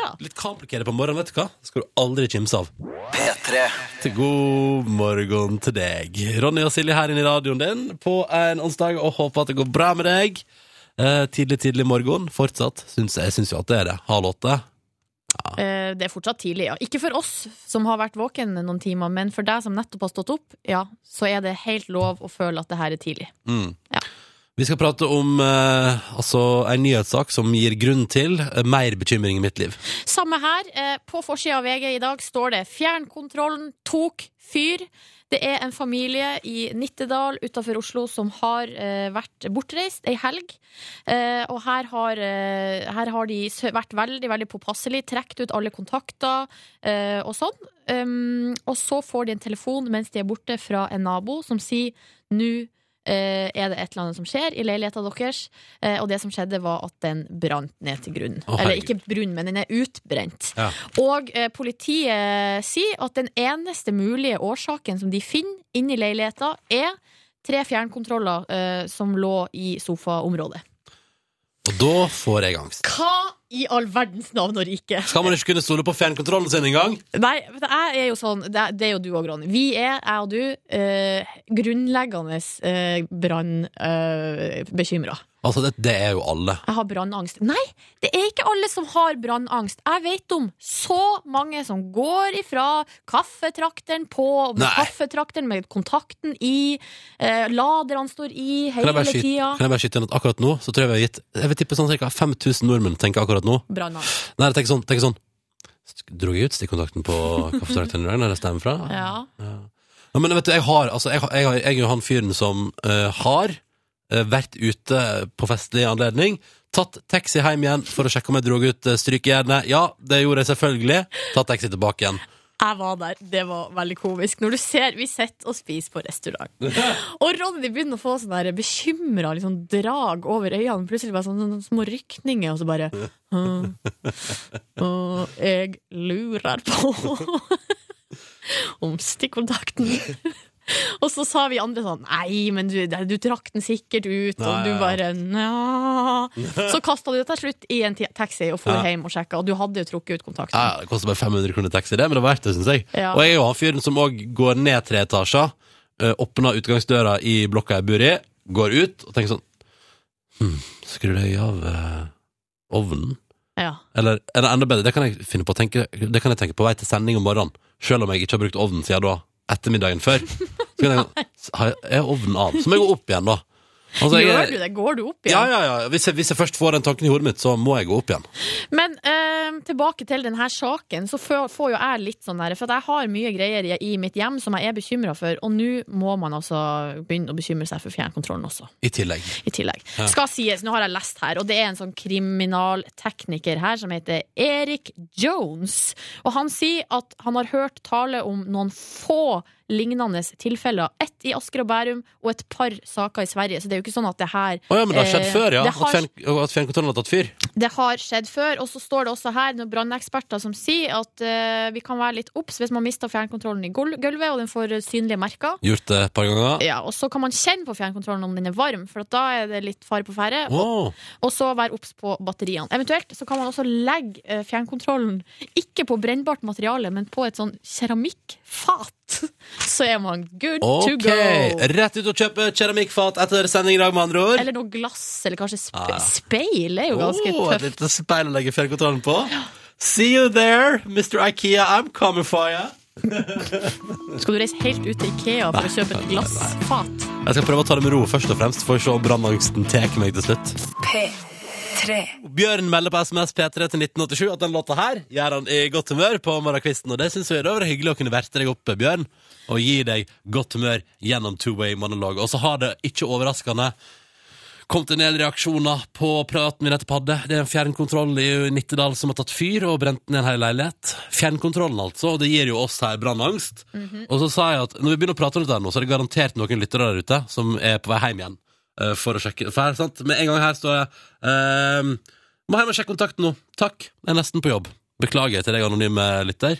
Speaker 2: Ja.
Speaker 3: Litt kamplikere på morgenen, vet du hva? Det skal du aldri kimse av.
Speaker 12: P3
Speaker 3: Til god morgen til deg. Ronny og Silje her inne i radioen din på en onsdag, og håper at det går bra med deg. Eh, tidlig, tidlig morgen fortsatt. Syns, jeg syns jo at det er det. Halv åtte.
Speaker 2: Eh, Det er fortsatt tidlig, ja. Ikke for oss som har vært våken noen timer, men for deg som nettopp har stått opp, ja, så er det helt lov å føle at det her er tidlig.
Speaker 3: Mm.
Speaker 2: Ja.
Speaker 3: Vi skal prate om eh, altså, en nyhetssak som gir grunn til eh, mer bekymring i mitt liv.
Speaker 2: Samme her. eh, På forsida av VG i dag står det 'Fjernkontrollen tok fyr'. Det er en familie i Nittedal utenfor Oslo som har eh, vært bortreist ei helg. Eh, og her har, eh, her har de sø- vært veldig veldig påpasselige, trukket ut alle kontakter eh, og sånn. Um, og så får de en telefon mens de er borte fra en nabo som sier 'nå eh, er det et eller annet som skjer i leiligheta deres'. Eh, Og det som skjedde var at den brant ned til grunnen.
Speaker 3: Å,
Speaker 2: Eller
Speaker 3: herregud.
Speaker 2: ikke brunn, men den er utbrent.
Speaker 3: Ja.
Speaker 2: Og eh, politiet eh, sier at den eneste mulige årsaken som de finner inni leiligheta, er tre fjernkontroller eh, som lå i sofaområdet.
Speaker 3: Og da får jeg angst.
Speaker 2: Hva i all verdens navn og rike?
Speaker 3: Skal man ikke kunne stole på fjernkontrollen sin engang?
Speaker 2: Nei, vet du, jeg er jo sånn, det er, det er jo du òg, Ronny. Vi er, jeg og du, eh, grunnleggende eh, brannbekymra.
Speaker 3: Altså, det, det er jo alle.
Speaker 2: Jeg har brannangst. Nei, det er ikke alle som har brannangst. Jeg vet om så mange som går ifra kaffetrakteren på, med
Speaker 3: Nei.
Speaker 2: kaffetrakteren med kontakten i, eh, laderne står i
Speaker 3: Kan jeg
Speaker 2: hele
Speaker 3: bare skyte,
Speaker 2: tida.
Speaker 3: kan jeg bare skyte inn at akkurat nå så tror jeg vi har gitt Jeg vil tippe sånn ca. 5000 nordmenn tenker akkurat nå.
Speaker 2: Brannangst.
Speaker 3: Nei, jeg tenker sånn, tenker sånn. Sk- Drog jeg ut stikkontakten på kaffetrakteren i dag, når det stemmer fra?
Speaker 2: Ja.
Speaker 3: Ja, men vet du, jeg har, altså, jeg, har- jeg, har, jeg er jo han fyren som eh, har eh, vært ute på festlig anledning, tatt taxi hjem igjen for å sjekke om jeg drog ut uh, strykejernet. Ja, det gjorde jeg selvfølgelig. Tatt taxi tilbake igjen.
Speaker 2: Jeg var der. Det var veldig komisk. Når du ser, Vi sitter og spiser på restaurant. Og Ronny begynner å få sånn bekymra liksom, drag over øynene. Plutselig bare sånne, sånne små rykninger, og så bare «Hm, hm, Jeg lurer på om stikkontakten. Og så sa vi andre sånn Nei, men du, du trakk den sikkert ut.
Speaker 3: Nei,
Speaker 2: og du
Speaker 3: ja, ja.
Speaker 2: bare Nja. Så kasta du det til slutt i en ti- taxi og for
Speaker 3: Ja.
Speaker 2: hjem og sjekka. Og du hadde jo trukket ut kontakten.
Speaker 3: Ja, det koster bare 500 kroner taxi, det, men det var verdt det, syns jeg.
Speaker 2: Ja.
Speaker 3: Og jeg er jo han fyren som òg går ned tre etasjer, eh, åpner utgangsdøra i blokka jeg bor i, går ut og tenker sånn hm, Skrur jeg av eh, ovnen?
Speaker 2: Ja.
Speaker 3: Eller, eller enda bedre, det kan jeg finne på å tenke Det kan jeg tenke på vei til sending om morgenen, selv om jeg ikke har brukt ovnen siden da, ettermiddagen før. Så kan jeg sånn, har jeg- Er ovnen av? Så må jeg gå opp igjen, da. Altså, jeg-
Speaker 2: Gjør du det? Går du opp igjen?
Speaker 3: Ja, ja, ja. Hvis jeg, hvis jeg først får den tanken i hodet mitt, så må jeg gå opp igjen.
Speaker 2: Men eh, tilbake til denne saken, så får, får jo jeg litt sånn der, for at jeg har mye greier i, i mitt hjem som jeg er bekymra for, og nå må man altså begynne å bekymre seg for fjernkontrollen også,
Speaker 3: I tillegg.
Speaker 2: i tillegg. Skal sies, nå har jeg lest her, og det er en sånn kriminaltekniker her som heter Erik Jones, og han sier at han har hørt tale om noen få lignende tilfeller, ett i Asker og Bærum og et par saker i Sverige, så det er jo ikke sånn at det her
Speaker 3: Å ja, men det har skjedd
Speaker 2: Eh,
Speaker 3: før, ja.
Speaker 2: det har-
Speaker 3: At, fjern, at fjernkontrollen har tatt fyr.
Speaker 2: det har skjedd før, og så står det også her noen branneksperter som sier at eh, vi kan være litt obs hvis man mister fjernkontrollen i gul- gulvet, og den får synlige merker.
Speaker 3: Gjort det et par ganger.
Speaker 2: Ja, og så kan man kjenne på fjernkontrollen om den er varm, for at da er det litt fare på ferde. Og,
Speaker 3: Åh,
Speaker 2: og så være obs på batteriene. Eventuelt så kan man også legge eh, fjernkontrollen ikke på brennbart materiale, men på et sånn keramikkfat. Så er man good
Speaker 3: ok,
Speaker 2: to go.
Speaker 3: Rett ut og kjøpe keramikkfat etter sending i dag, med andre ord.
Speaker 2: Eller noe glass, eller kanskje spe
Speaker 3: Ah, ja.
Speaker 2: speil er jo ganske
Speaker 3: Åh, et
Speaker 2: tøft.
Speaker 3: lite speil å legge fjernkontrollen på. See you there, Mr. Ikea. I'm coming for you.
Speaker 2: Skal du reise helt ut til Ikea for å kjøpe et glassfat?
Speaker 3: Jeg skal prøve å ta det med ro først og fremst, for å se om brannangsten tar meg til slutt. Bjørn melder på SMS P3 til 1987 at den låta her gjør han i godt humør på morgenkvisten. Og det syns vi er over hyggelig å kunne verte deg opp, Bjørn, og gi deg godt humør gjennom two-way-monolog. Og så har det ikke overraskende kommet en del reaksjoner på praten vi nettopp hadde. Det er en fjernkontroll i Nittedal som har tatt fyr og brent ned en hel leilighet. Fjernkontrollen, altså. Og det gir jo oss her brannangst. Og så sa jeg at når vi begynner å prate om dette her nå, så er det garantert noen lyttere der ute som er på vei hjem igjen eh, for å sjekke. For her, sant? Med en gang her står det ehm, Må hjem og sjekke kontakten nå. Takk. Jeg er nesten på jobb. Beklager til deg, anonyme lytter.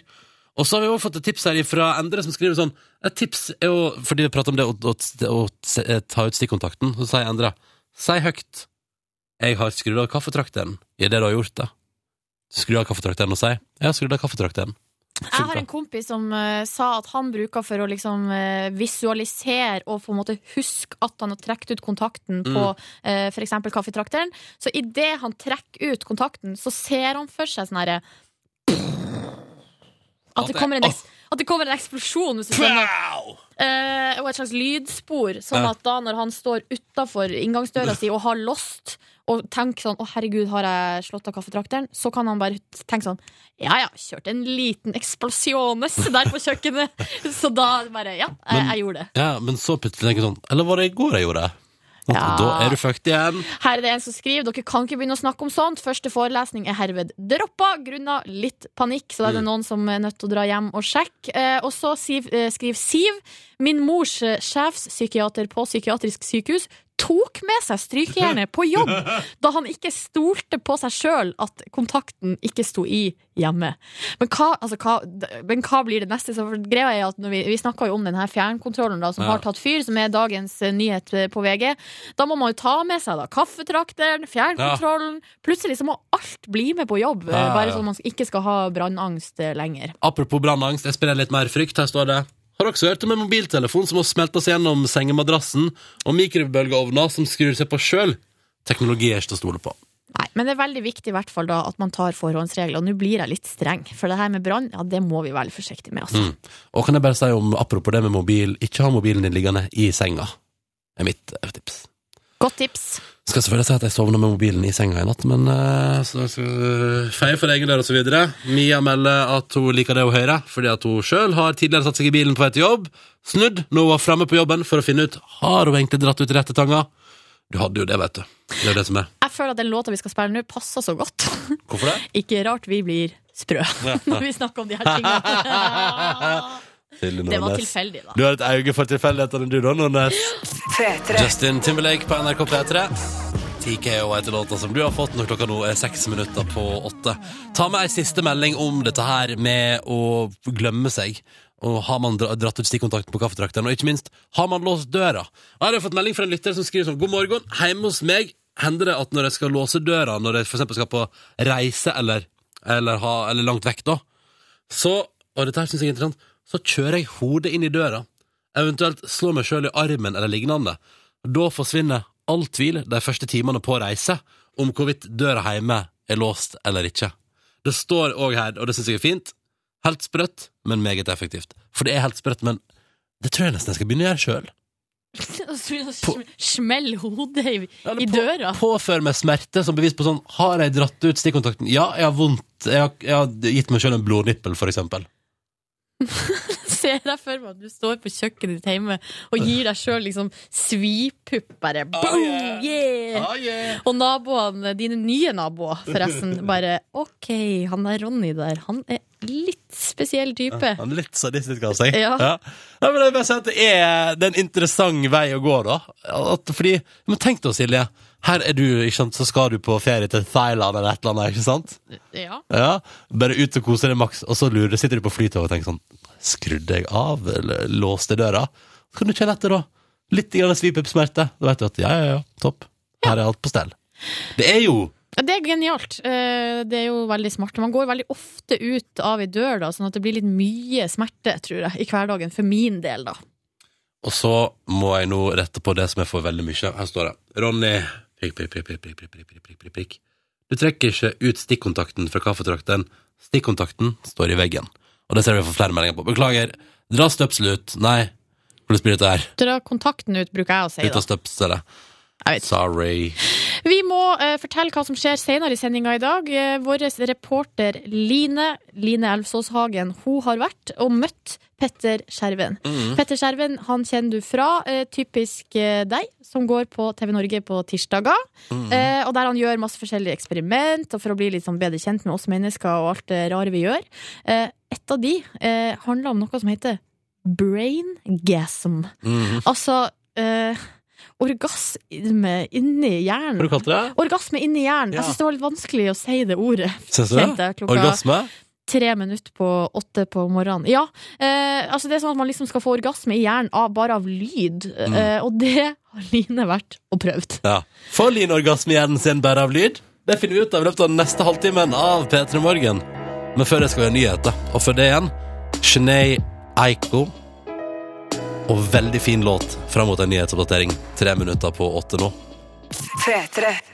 Speaker 3: Og så har vi også fått et tips her fra Endre, som skriver sånn Et tips er jo Fordi vi prater om det å, å, å, se- eh, ta ut stikkontakten, så sier Endre Si høyt 'Jeg har skrudd av kaffetrakteren' i det du har gjort, da. Skru av kaffetrakteren og si 'Jeg har skrudd av kaffetrakteren'.
Speaker 2: Jeg har en kompis som eh, sa at han bruker for å liksom eh, visualisere og på en måte huske at han har trukket ut kontakten på uh, f.eks. kaffetrakteren. Så idet han trekker ut kontakten, så ser han for seg sånn herre at, det kommer en eks- at det kommer en eksplosjon, hvis du skjønner.
Speaker 3: Pow!
Speaker 2: Eh, og et slags lydspor, sånn
Speaker 3: Ja.
Speaker 2: at da når han står utafor inngangsdøra si og har lost, og tenker sånn 'Å, herregud, har jeg slått av kaffetrakteren?' Så kan han bare tenke sånn 'Ja ja, kjørte en liten eksplosjones der på kjøkkenet'. Så da bare Ja, jeg,
Speaker 3: Men-
Speaker 2: jeg gjorde det.
Speaker 3: Ja, men så plutselig tenker jeg sånn Eller var det i går jeg gjorde det? Og
Speaker 2: Ja.
Speaker 3: Da er du fucked igjen.
Speaker 2: Her er det en som skriver Dere kan ikke begynne å snakke om sånt. Første forelesning er herved droppa grunna litt panikk. Så da er det noen som er nødt til å dra hjem og sjekke. Eh, og så siv, eh, skriver Siv. Min mors eh, sjefspsykiater på psykiatrisk sykehus tok med seg strykejernet på jobb da han ikke stolte på seg sjøl at kontakten ikke sto i hjemme. Men hva, altså, hva, d- men hva blir det neste? Så for greia er at når vi, vi snakka jo om den her fjernkontrollen da, som
Speaker 3: Ja.
Speaker 2: har tatt fyr, som er dagens eh, nyhet eh, på VG. Da må man jo ta med seg da kaffetrakteren, fjernkontrollen. Plutselig så må alt bli med på jobb, eh,
Speaker 3: Ja, ja,
Speaker 2: bare
Speaker 3: ja.
Speaker 2: så man ikke skal ha brannangst eh, lenger.
Speaker 3: Apropos brannangst, jeg spiller litt mer frykt. Her står det Har dere også hørt om en mobiltelefon som har smelta seg gjennom sengemadrassen, og mikrobølgeovner som skrur seg på sjøl? Teknologi er ikke til å stole på.
Speaker 2: Nei, Men det er veldig viktig i hvert fall da at man tar forhåndsregler. Og nå blir jeg litt streng, for det her med brann, ja, det må vi være litt forsiktige med. Altså.
Speaker 3: Mm. Og kan jeg bare si om apropos det med mobil, ikke ha mobilen din liggende i senga. er mitt eh, tips.
Speaker 2: Godt tips.
Speaker 3: Skal selvfølgelig si at jeg sovna med mobilen i senga i natt, men eh, så, så, feie for egen dør og så videre. Mia melder at hun liker det hun hører, fordi at hun sjøl har tidligere satt seg i bilen på vei til jobb, snudd når hun var framme på jobben for å finne ut har hun egentlig dratt ut rette tanga. Du hadde jo det, vet du. Det er jo det som er.
Speaker 2: Jeg føler at den låta vi skal spille nå, passer så godt.
Speaker 3: Hvorfor det?
Speaker 2: Ikke rart vi blir sprø når vi snakker om de her tingene. Det var tilfeldig, da.
Speaker 3: Du har et øye for tilfeldighetene, du da, Nordnes. Justin Timberlake på NRK P3. TKO heter låta som du har fått når klokka nå er seks minutter på åtte. Ta med ei siste melding om dette her med å glemme seg. Og Har man dra- dratt ut stikkontakten på kaffetrakteren? Og ikke minst, har man låst døra? Og Her har jeg fått melding fra en lytter som skriver sånn God morgen, hjemme hos meg hender det at når jeg skal låse døra, når jeg for eksempel skal på reise eller, eller, ha, eller langt vekk, da, så, og dette her synes jeg er interessant, så kjører jeg hodet inn i døra, eventuelt slår meg selv i armen eller lignende. Da forsvinner all tvil de første timene på reise om hvorvidt døra hjemme er låst eller ikke. Det står også her, og det synes jeg er fint, helt sprøtt, men meget effektivt. For det er helt sprøtt, men det tror jeg nesten jeg skal begynne å gjøre selv.
Speaker 2: Og så Smell hodet i,
Speaker 3: Eller
Speaker 2: i
Speaker 3: på-
Speaker 2: døra.
Speaker 3: Påfør meg smerte som bevis på sånn, har jeg dratt ut stikkontakten? Ja, jeg har vondt, jeg har, jeg har gitt meg selv en blodnippel, for eksempel.
Speaker 2: Ser jeg for meg at du står på kjøkkenet ditt hjemme og gir deg sjøl liksom svipupp, bare boom, Ah, yeah! Og naboene, dine nye naboer, forresten, bare OK, han der Ronny der, han er litt spesiell type.
Speaker 3: Han er litt sadistisk av seg.
Speaker 2: Ja.
Speaker 3: Nei, men jeg vil bare si at det er, det er en interessant vei å gå, da. At, fordi, men tenk deg, Silje. Her er du, ikke sant, så skal du på ferie til Thailand eller et eller annet, ikke sant?
Speaker 2: Ja.
Speaker 3: Ja, Bare ut og kose deg maks, og så lurer, sitter du på flytoget og tenker sånn Skrudde jeg av? Eller låste jeg døra? Så kan du kjenne etter, da. Litt grann svipup-smerte. Da vet du at ja, ja, ja, topp. Her er alt på stell. Det er jo
Speaker 2: Ja, Det er genialt. Eh, Det er jo veldig smart. Man går veldig ofte ut av ei dør, da, sånn at det blir litt mye smerte, tror jeg, i hverdagen. For min del, da.
Speaker 3: Og så må jeg nå rette på det som jeg får veldig mye. Her står det Ronny prikk, prikk, prikk, prikk, prikk, prikk, prikk, prikk, prikk, prikk, prikk. Du trekker ikke ut stikkontakten fra kaffetrakten. Stikkontakten står i veggen. Og det ser vi for flere meldinger på. Beklager. Dra støpselet ut. Nei. Hvordan blir dette her?
Speaker 2: Dra kontakten ut, bruker jeg å si.
Speaker 3: Ut
Speaker 2: da
Speaker 3: av støpselet.
Speaker 2: Jeg vet ikke.
Speaker 3: Sorry.
Speaker 2: Vi må eh, fortelle hva som skjer senere i sendinga i dag. Eh, Vår reporter Line Line Elvsås Hagen hun har vært og møtt Petter Skjerven. Petter Skjerven han kjenner du fra eh, typisk eh, deg, som går på TV Norge på tirsdager. Eh, og der han gjør masse forskjellige eksperiment og for å bli litt sånn bedre kjent med oss mennesker og alt det rare vi gjør. Eh, et av de eh, handler om noe som heter brain gasm.
Speaker 3: Mhm.
Speaker 2: Altså eh, orgasme inni hjernen.
Speaker 3: Hva har du kalt det?
Speaker 2: Orgasme inni hjernen.
Speaker 3: Ja.
Speaker 2: Jeg synes det var litt vanskelig å si det ordet.
Speaker 3: Syns du
Speaker 2: Kjente
Speaker 3: det?
Speaker 2: jeg klokka
Speaker 3: Orgasme?
Speaker 2: tre minutter på åtte på morgenen. Ja, eh, altså det er sånn at man liksom skal få orgasme i hjernen av, bare av lyd.
Speaker 3: Mm.
Speaker 2: Eh, og det har Line vært og prøvd.
Speaker 3: Ja. Får Line orgasme i hjernen sin bare av lyd? Det finner vi ut av i løpet av den neste halvtimen av P3 Morgen. Men før det skal vi ha nyheter. Og før det igjen, Sinead Eiko. Og veldig fin låt fram mot en nyhetsoppdatering. Tre minutter på åtte nå.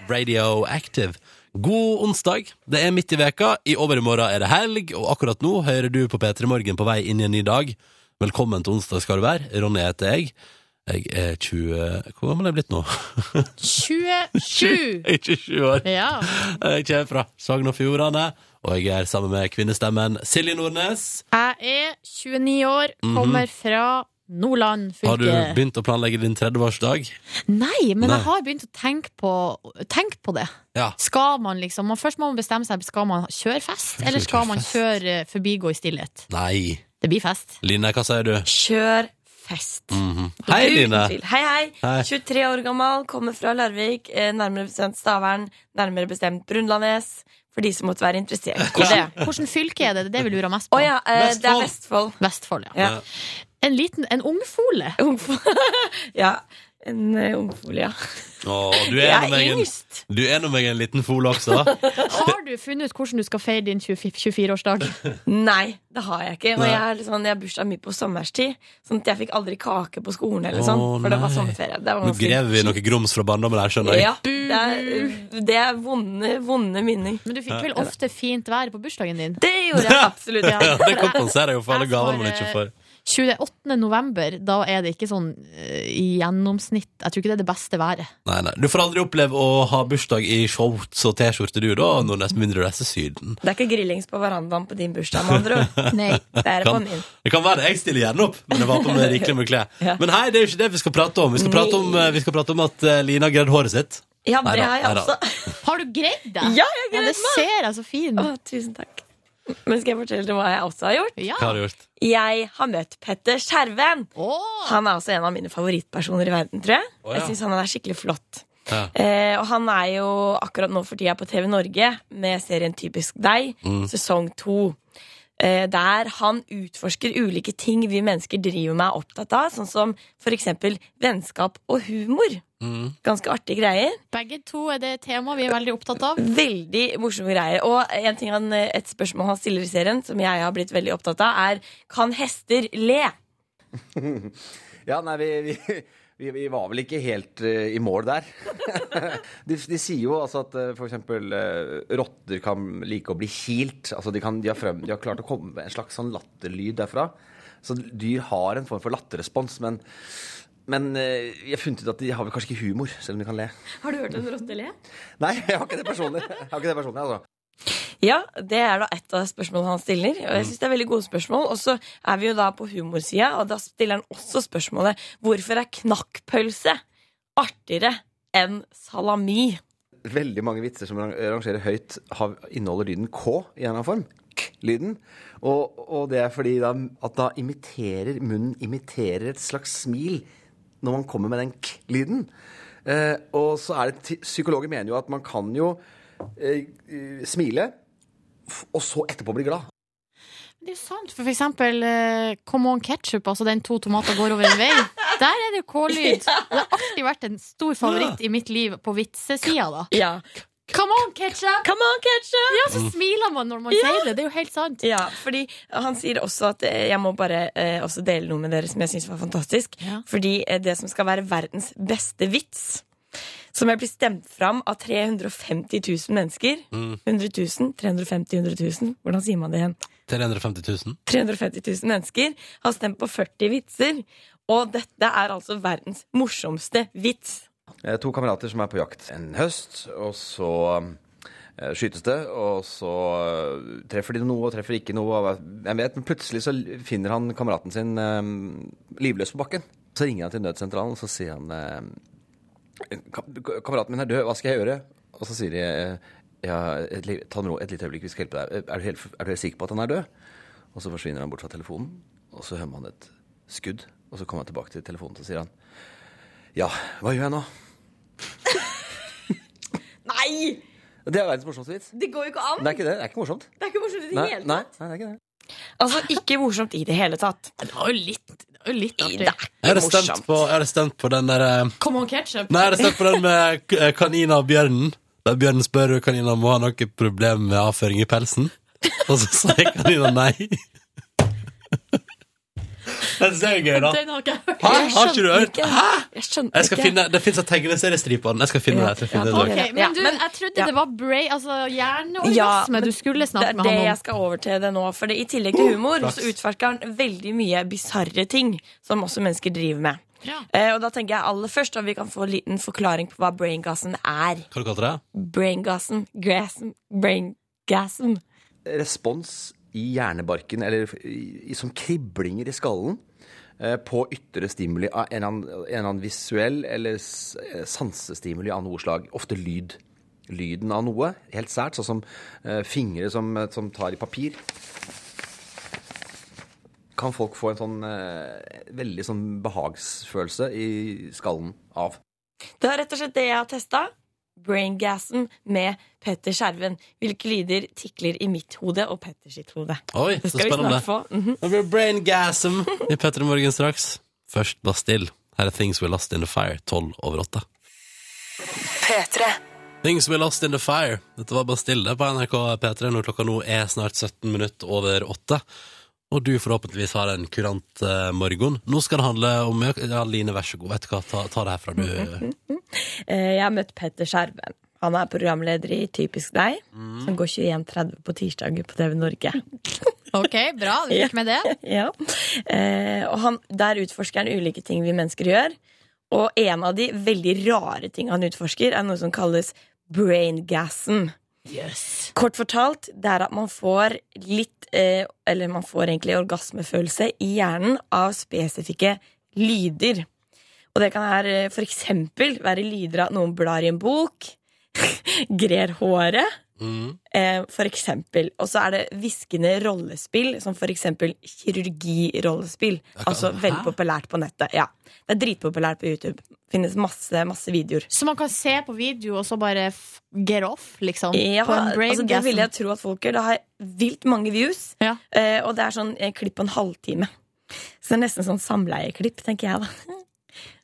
Speaker 3: Radioactive. God onsdag. Det er midt i veka. I overmorgen er det helg, og akkurat nå hører du på P3 Morgen på vei inn i en ny dag. Velkommen til onsdag skal du være. Ronny heter jeg. Jeg er 20 Hvor gammel er jeg blitt nå?
Speaker 2: 27!
Speaker 3: Jeg er 27 år.
Speaker 2: Ja.
Speaker 3: Jeg kommer fra Sogn og Fjordane, og jeg er sammen med kvinnestemmen Silje Nordnes.
Speaker 2: Jeg er 29 år, kommer fra Nordland fylke.
Speaker 3: Mhm. Har du begynt å planlegge din 30-årsdag?
Speaker 2: Nei, men
Speaker 3: Nei.
Speaker 2: jeg har begynt å tenke på, tenke på det.
Speaker 3: Ja.
Speaker 2: Skal man liksom man, Først må man bestemme seg. Skal man kjøre fest, eller
Speaker 3: kjøre
Speaker 2: skal man
Speaker 3: fest.
Speaker 2: kjøre eh, forbigå i stillhet?
Speaker 3: Nei.
Speaker 2: Det blir fest.
Speaker 3: Line, hva sier du?
Speaker 4: Kjør fest.
Speaker 3: Mhm. Hei, Line.
Speaker 4: Tvil. Hei, hei.
Speaker 3: Hei.
Speaker 4: 23 år gammel, kommer fra Larvik. eh, Nærmere bestemt Stavern. Nærmere bestemt Brunlandnes. For de som måtte være interessert i det.
Speaker 2: Hvilket fylke er det? Det er det vi lurer mest på.
Speaker 4: Å ja, eh, det er
Speaker 3: Vestfold.
Speaker 4: Vestfold.
Speaker 2: Vestfold, ja.
Speaker 4: Ja.
Speaker 2: En liten, en ungfole.
Speaker 4: ja. En eh, ungfole, ja.
Speaker 3: Å, du er
Speaker 4: Jeg
Speaker 3: gjennom
Speaker 4: er
Speaker 3: meg en,
Speaker 4: yngst.
Speaker 3: du er nå meg en liten fole også.
Speaker 2: Har du funnet ut hvordan du skal feire din 24-årsdag?
Speaker 4: Nei, det har jeg ikke. Og
Speaker 3: Nei.
Speaker 4: jeg har liksom, jeg har bursdag mye på sommerstid, sånn at jeg fikk aldri kake på skolen. eller
Speaker 3: Å,
Speaker 4: sånn For det var
Speaker 3: nei.
Speaker 4: sommerferie. Det var
Speaker 3: Nå
Speaker 4: ganske-
Speaker 3: grev vi noe grums fra barndommen her, skjønner jeg.
Speaker 4: Ja, det er, det er vonde, vonde minner.
Speaker 2: Men du fikk vel ofte fint vær på bursdagen din?
Speaker 4: Det gjorde jeg absolutt. Ja.
Speaker 3: Ja, det kompenserer jo for alle
Speaker 2: Jeg
Speaker 3: gavene man
Speaker 2: får,
Speaker 3: ikke
Speaker 2: eh,
Speaker 3: får.
Speaker 2: 28. november, da er det ikke sånn eh, i gjennomsnitt. Jeg tror ikke det er det beste været.
Speaker 3: Nei, nei. Du får aldri oppleve å ha bursdag i shorts og T-skjorte, du, da, Nordnes, med mindre du reiser Syden.
Speaker 4: Det er ikke grillings på verandaen på din bursdag, med andre ord.
Speaker 2: Nei.
Speaker 4: Det er på
Speaker 3: Kan,
Speaker 4: min.
Speaker 3: det kan være det. Jeg stiller gjerne opp, men jeg var på med rikelig med klær. Men hei, det er jo ikke det vi skal prate om. Vi skal prate om, eh, vi skal prate om at eh, Lina har greid håret sitt.
Speaker 4: Ja,
Speaker 3: Nei
Speaker 4: det
Speaker 3: da,
Speaker 4: har jeg
Speaker 3: nei da.
Speaker 4: også.
Speaker 2: Har du greid det?
Speaker 4: Ja, jeg
Speaker 2: Ja,
Speaker 4: gleder
Speaker 2: det
Speaker 4: meg!
Speaker 2: ser jeg så fin
Speaker 4: Å, tusen takk. Men skal jeg fortelle dere hva jeg også har gjort?
Speaker 2: Ja.
Speaker 3: Hva har du gjort?
Speaker 4: Jeg har møtt Petter Skjerven.
Speaker 2: Åh.
Speaker 4: Han er også en av mine favorittpersoner i verden, tror jeg.
Speaker 3: Å, ja.
Speaker 4: Jeg syns han er skikkelig flott.
Speaker 3: Ja.
Speaker 4: Eh, og han er jo akkurat nå for tida på TV Norge med serien Typisk deg, sesong to. Eh, der han utforsker ulike ting vi mennesker driver med og er opptatt av, sånn som f.eks. vennskap og humor.
Speaker 3: Mm.
Speaker 4: Ganske artige greier.
Speaker 2: Begge to er det et tema vi er veldig opptatt av.
Speaker 4: Veldig morsomme greier. Og en ting han, et spørsmål han stiller i serien, som jeg har blitt veldig opptatt av, er kan hester le?
Speaker 12: Ja, nei, vi, vi, vi, vi var vel ikke helt eh, i mål der. de, de sier jo altså at eh, for eksempel eh, rotter kan like å bli kilt. Altså de, kan, de, har frem, de har klart å komme med en slags sånn latterlyd derfra. Så dyr har en form for latterrespons, men, men eh, jeg har funnet ut at de har vel kanskje ikke humor, selv om de kan le.
Speaker 4: Har du hørt en rotte le?
Speaker 12: Nei, jeg har ikke det personlig. Jeg har ikke det personlig, altså.
Speaker 4: Ja, det er da et av spørsmålene han stiller. Og jeg synes det er veldig gode spørsmål. Og så er vi jo da på humorsida, og da stiller han også spørsmålet hvorfor er knakkpølse artigere enn salami?
Speaker 12: veldig mange vitser som rang- rangerer høyt, har, inneholder lyden K i en eller annen form. K-lyden. Og, og det er fordi da, at da imiterer munnen imiterer et slags smil når man kommer med den K-lyden. Eh, og så er det ti- Psykologer mener jo at man kan jo eh, eh, smile, f- og så etterpå bli glad.
Speaker 2: Det er jo sant, for for eksempel eh, Come on ketchup, altså den to tomater går over en vei. Der er det jo K-lyd. Det har alltid vært en stor favoritt i mitt liv på vitsesida, da.
Speaker 4: Ja.
Speaker 2: Come on ketchup!
Speaker 4: Come on, ketchup!
Speaker 2: Ja, så smiler man når man sier det. Det er jo helt sant.
Speaker 4: Ja, fordi han sier også at eh, jeg må bare eh, også dele noe med dere som jeg syns var fantastisk.
Speaker 2: Ja.
Speaker 4: Fordi eh, det som skal være verdens beste vits, som jeg blir stemt fram av 350 000 mennesker
Speaker 3: Mm.
Speaker 4: 100 000, 350 100 000, hvordan sier man det igjen?
Speaker 3: 350 000.
Speaker 4: 350 000 mennesker har stemt på 40 vitser. Og dette er altså verdens morsomste vits.
Speaker 12: Eh, To kamerater som er på jakt en høst, og så eh, skytes det, og så eh, treffer de noe og treffer ikke noe. og Jeg vet, men plutselig så finner han kameraten sin eh, livløs på bakken. Så ringer han til nødsentralen, og så sier han eh, «Kam- Kameraten min er død, hva skal jeg gjøre? Og så sier de eh, ja, et, li- ta det med ro, et lite øyeblikk, vi skal hjelpe deg. Er du, helt, er du helt sikker på at han er død? Og så forsvinner han bort fra telefonen, og så hører man et skudd. Og så kommer han tilbake til telefonen, så sier han Ja, hva gjør jeg nå?
Speaker 4: Nei!
Speaker 12: Det er verdens morsomste vits.
Speaker 4: Det går jo ikke an!
Speaker 12: Det er ikke det. Det er ikke morsomt.
Speaker 4: Det er ikke morsomt i det
Speaker 12: Nei,
Speaker 4: hele
Speaker 12: nei,
Speaker 4: tatt.
Speaker 12: nei, det er ikke det.
Speaker 4: Altså, ikke morsomt i det hele tatt.
Speaker 7: Det var jo litt, det var jo litt artig.
Speaker 4: Det
Speaker 3: Jeg
Speaker 4: er
Speaker 3: hadde
Speaker 4: ikke
Speaker 3: stemt
Speaker 4: morsomt.
Speaker 3: på, jeg hadde stemt på den der eh,
Speaker 7: Come on, ketchup.
Speaker 3: Nei, jeg hadde stemt på den med k- eh, kanina og bjørnen. Der bjørnen spør om kanina må ha noe problem med avføring i pelsen. Og så sier kanina nei. Det synes jeg er gøy, da.
Speaker 7: Den har ikke jeg hørt.
Speaker 3: Hæ? Har ikke du hørt? Hæ?
Speaker 4: Jeg skjønner
Speaker 3: Jeg skal
Speaker 4: ikke.
Speaker 3: finne, det fins en tegneseriestripe av den. Jeg skal finne det. Jeg skal finne det i dag.
Speaker 7: Ok,
Speaker 4: Ja,
Speaker 7: men du,
Speaker 4: men-
Speaker 7: jeg trodde
Speaker 4: ja.
Speaker 7: det var brain, altså
Speaker 4: Ja,
Speaker 7: hjerneorgasme
Speaker 4: men
Speaker 7: du skulle
Speaker 4: Det
Speaker 7: snakke
Speaker 4: er
Speaker 7: med
Speaker 4: det
Speaker 7: han
Speaker 4: jeg
Speaker 7: om.
Speaker 4: skal over til det nå. For det, i tillegg til humor så utforsker han veldig mye bisarre ting som også mennesker driver med.
Speaker 7: Ja.
Speaker 4: Eh, og da tenker jeg aller først at vi kan få en liten forklaring på hva braingassen er.
Speaker 3: Hva kalte du det?
Speaker 4: Braingassen, grassen, braingassen.
Speaker 12: Respons i hjernebarken, eller i, i, som kriblinger i skallen, eh, på ytre stimuli av en eller annen, en eller annen visuell eller s- eh, sansestimuli av noe slag. Ofte lyd. Lyden av noe, helt sært, sånn som eh, fingre som, som tar i papir. Kan folk få en sånn eh, veldig sånn behagsfølelse i skallen av.
Speaker 4: Det er rett og slett det jeg har testa. Braingassen med Petter Skjerven. Hvilke lyder tikler i mitt hode og Petter sitt hode?
Speaker 3: Oi,
Speaker 4: Det
Speaker 3: så
Speaker 4: skal vi
Speaker 3: spennende.
Speaker 4: snart få. Mhm.
Speaker 3: Det blir braingasm i Petter i morgen straks. Først Bastille. Her er Things We Lost In The Fire, 12 over 8. Things We Lost In The Fire. Dette var Bastille det er på NRK P3 når klokka nå er snart 17 minutter over 8. Og du forhåpentligvis har en kurant eh, morgen. Nå skal det handle om Ja, Line, vær så god. Vet du hva, ta, ta det herfra,
Speaker 4: Mhm.
Speaker 3: du.
Speaker 4: Eh, Jeg har møtt Petter Skjerven. Han er programleder i Typisk deg, som går 21.30 på tirsdager på TV Norge.
Speaker 7: Ok, bra, du fikk med det.
Speaker 4: ja. eh, og han, der utforsker han ulike ting vi mennesker gjør. Og en av de veldig rare ting han utforsker, er noe som kalles braingassen. Kort fortalt, det er at man får litt eh, Eller man får egentlig orgasmefølelse i hjernen av spesifikke lyder. Og det kan være eh, for eksempel være lyder av at noen blar i en bok, grer håret
Speaker 3: Mm.
Speaker 4: Eh, for eksempel. Og så er det hviskende rollespill, som for eksempel kirurgirollespill.
Speaker 3: kan-
Speaker 4: Altså veldig
Speaker 3: Hæ?
Speaker 4: populært på nettet. Ja. Det er dritpopulært på YouTube. Finnes masse, masse videoer.
Speaker 7: Så man kan se på video og så bare f- get off, liksom?
Speaker 4: Ja,
Speaker 7: på en
Speaker 4: altså Det
Speaker 7: braingasm.
Speaker 4: vil jeg tro at folk gjør. Det har vilt mange views.
Speaker 7: Ja.
Speaker 4: Eh, og det er sånn eh, klipp på en halvtime. Så det er nesten sånn samleieklipp, tenker jeg, da.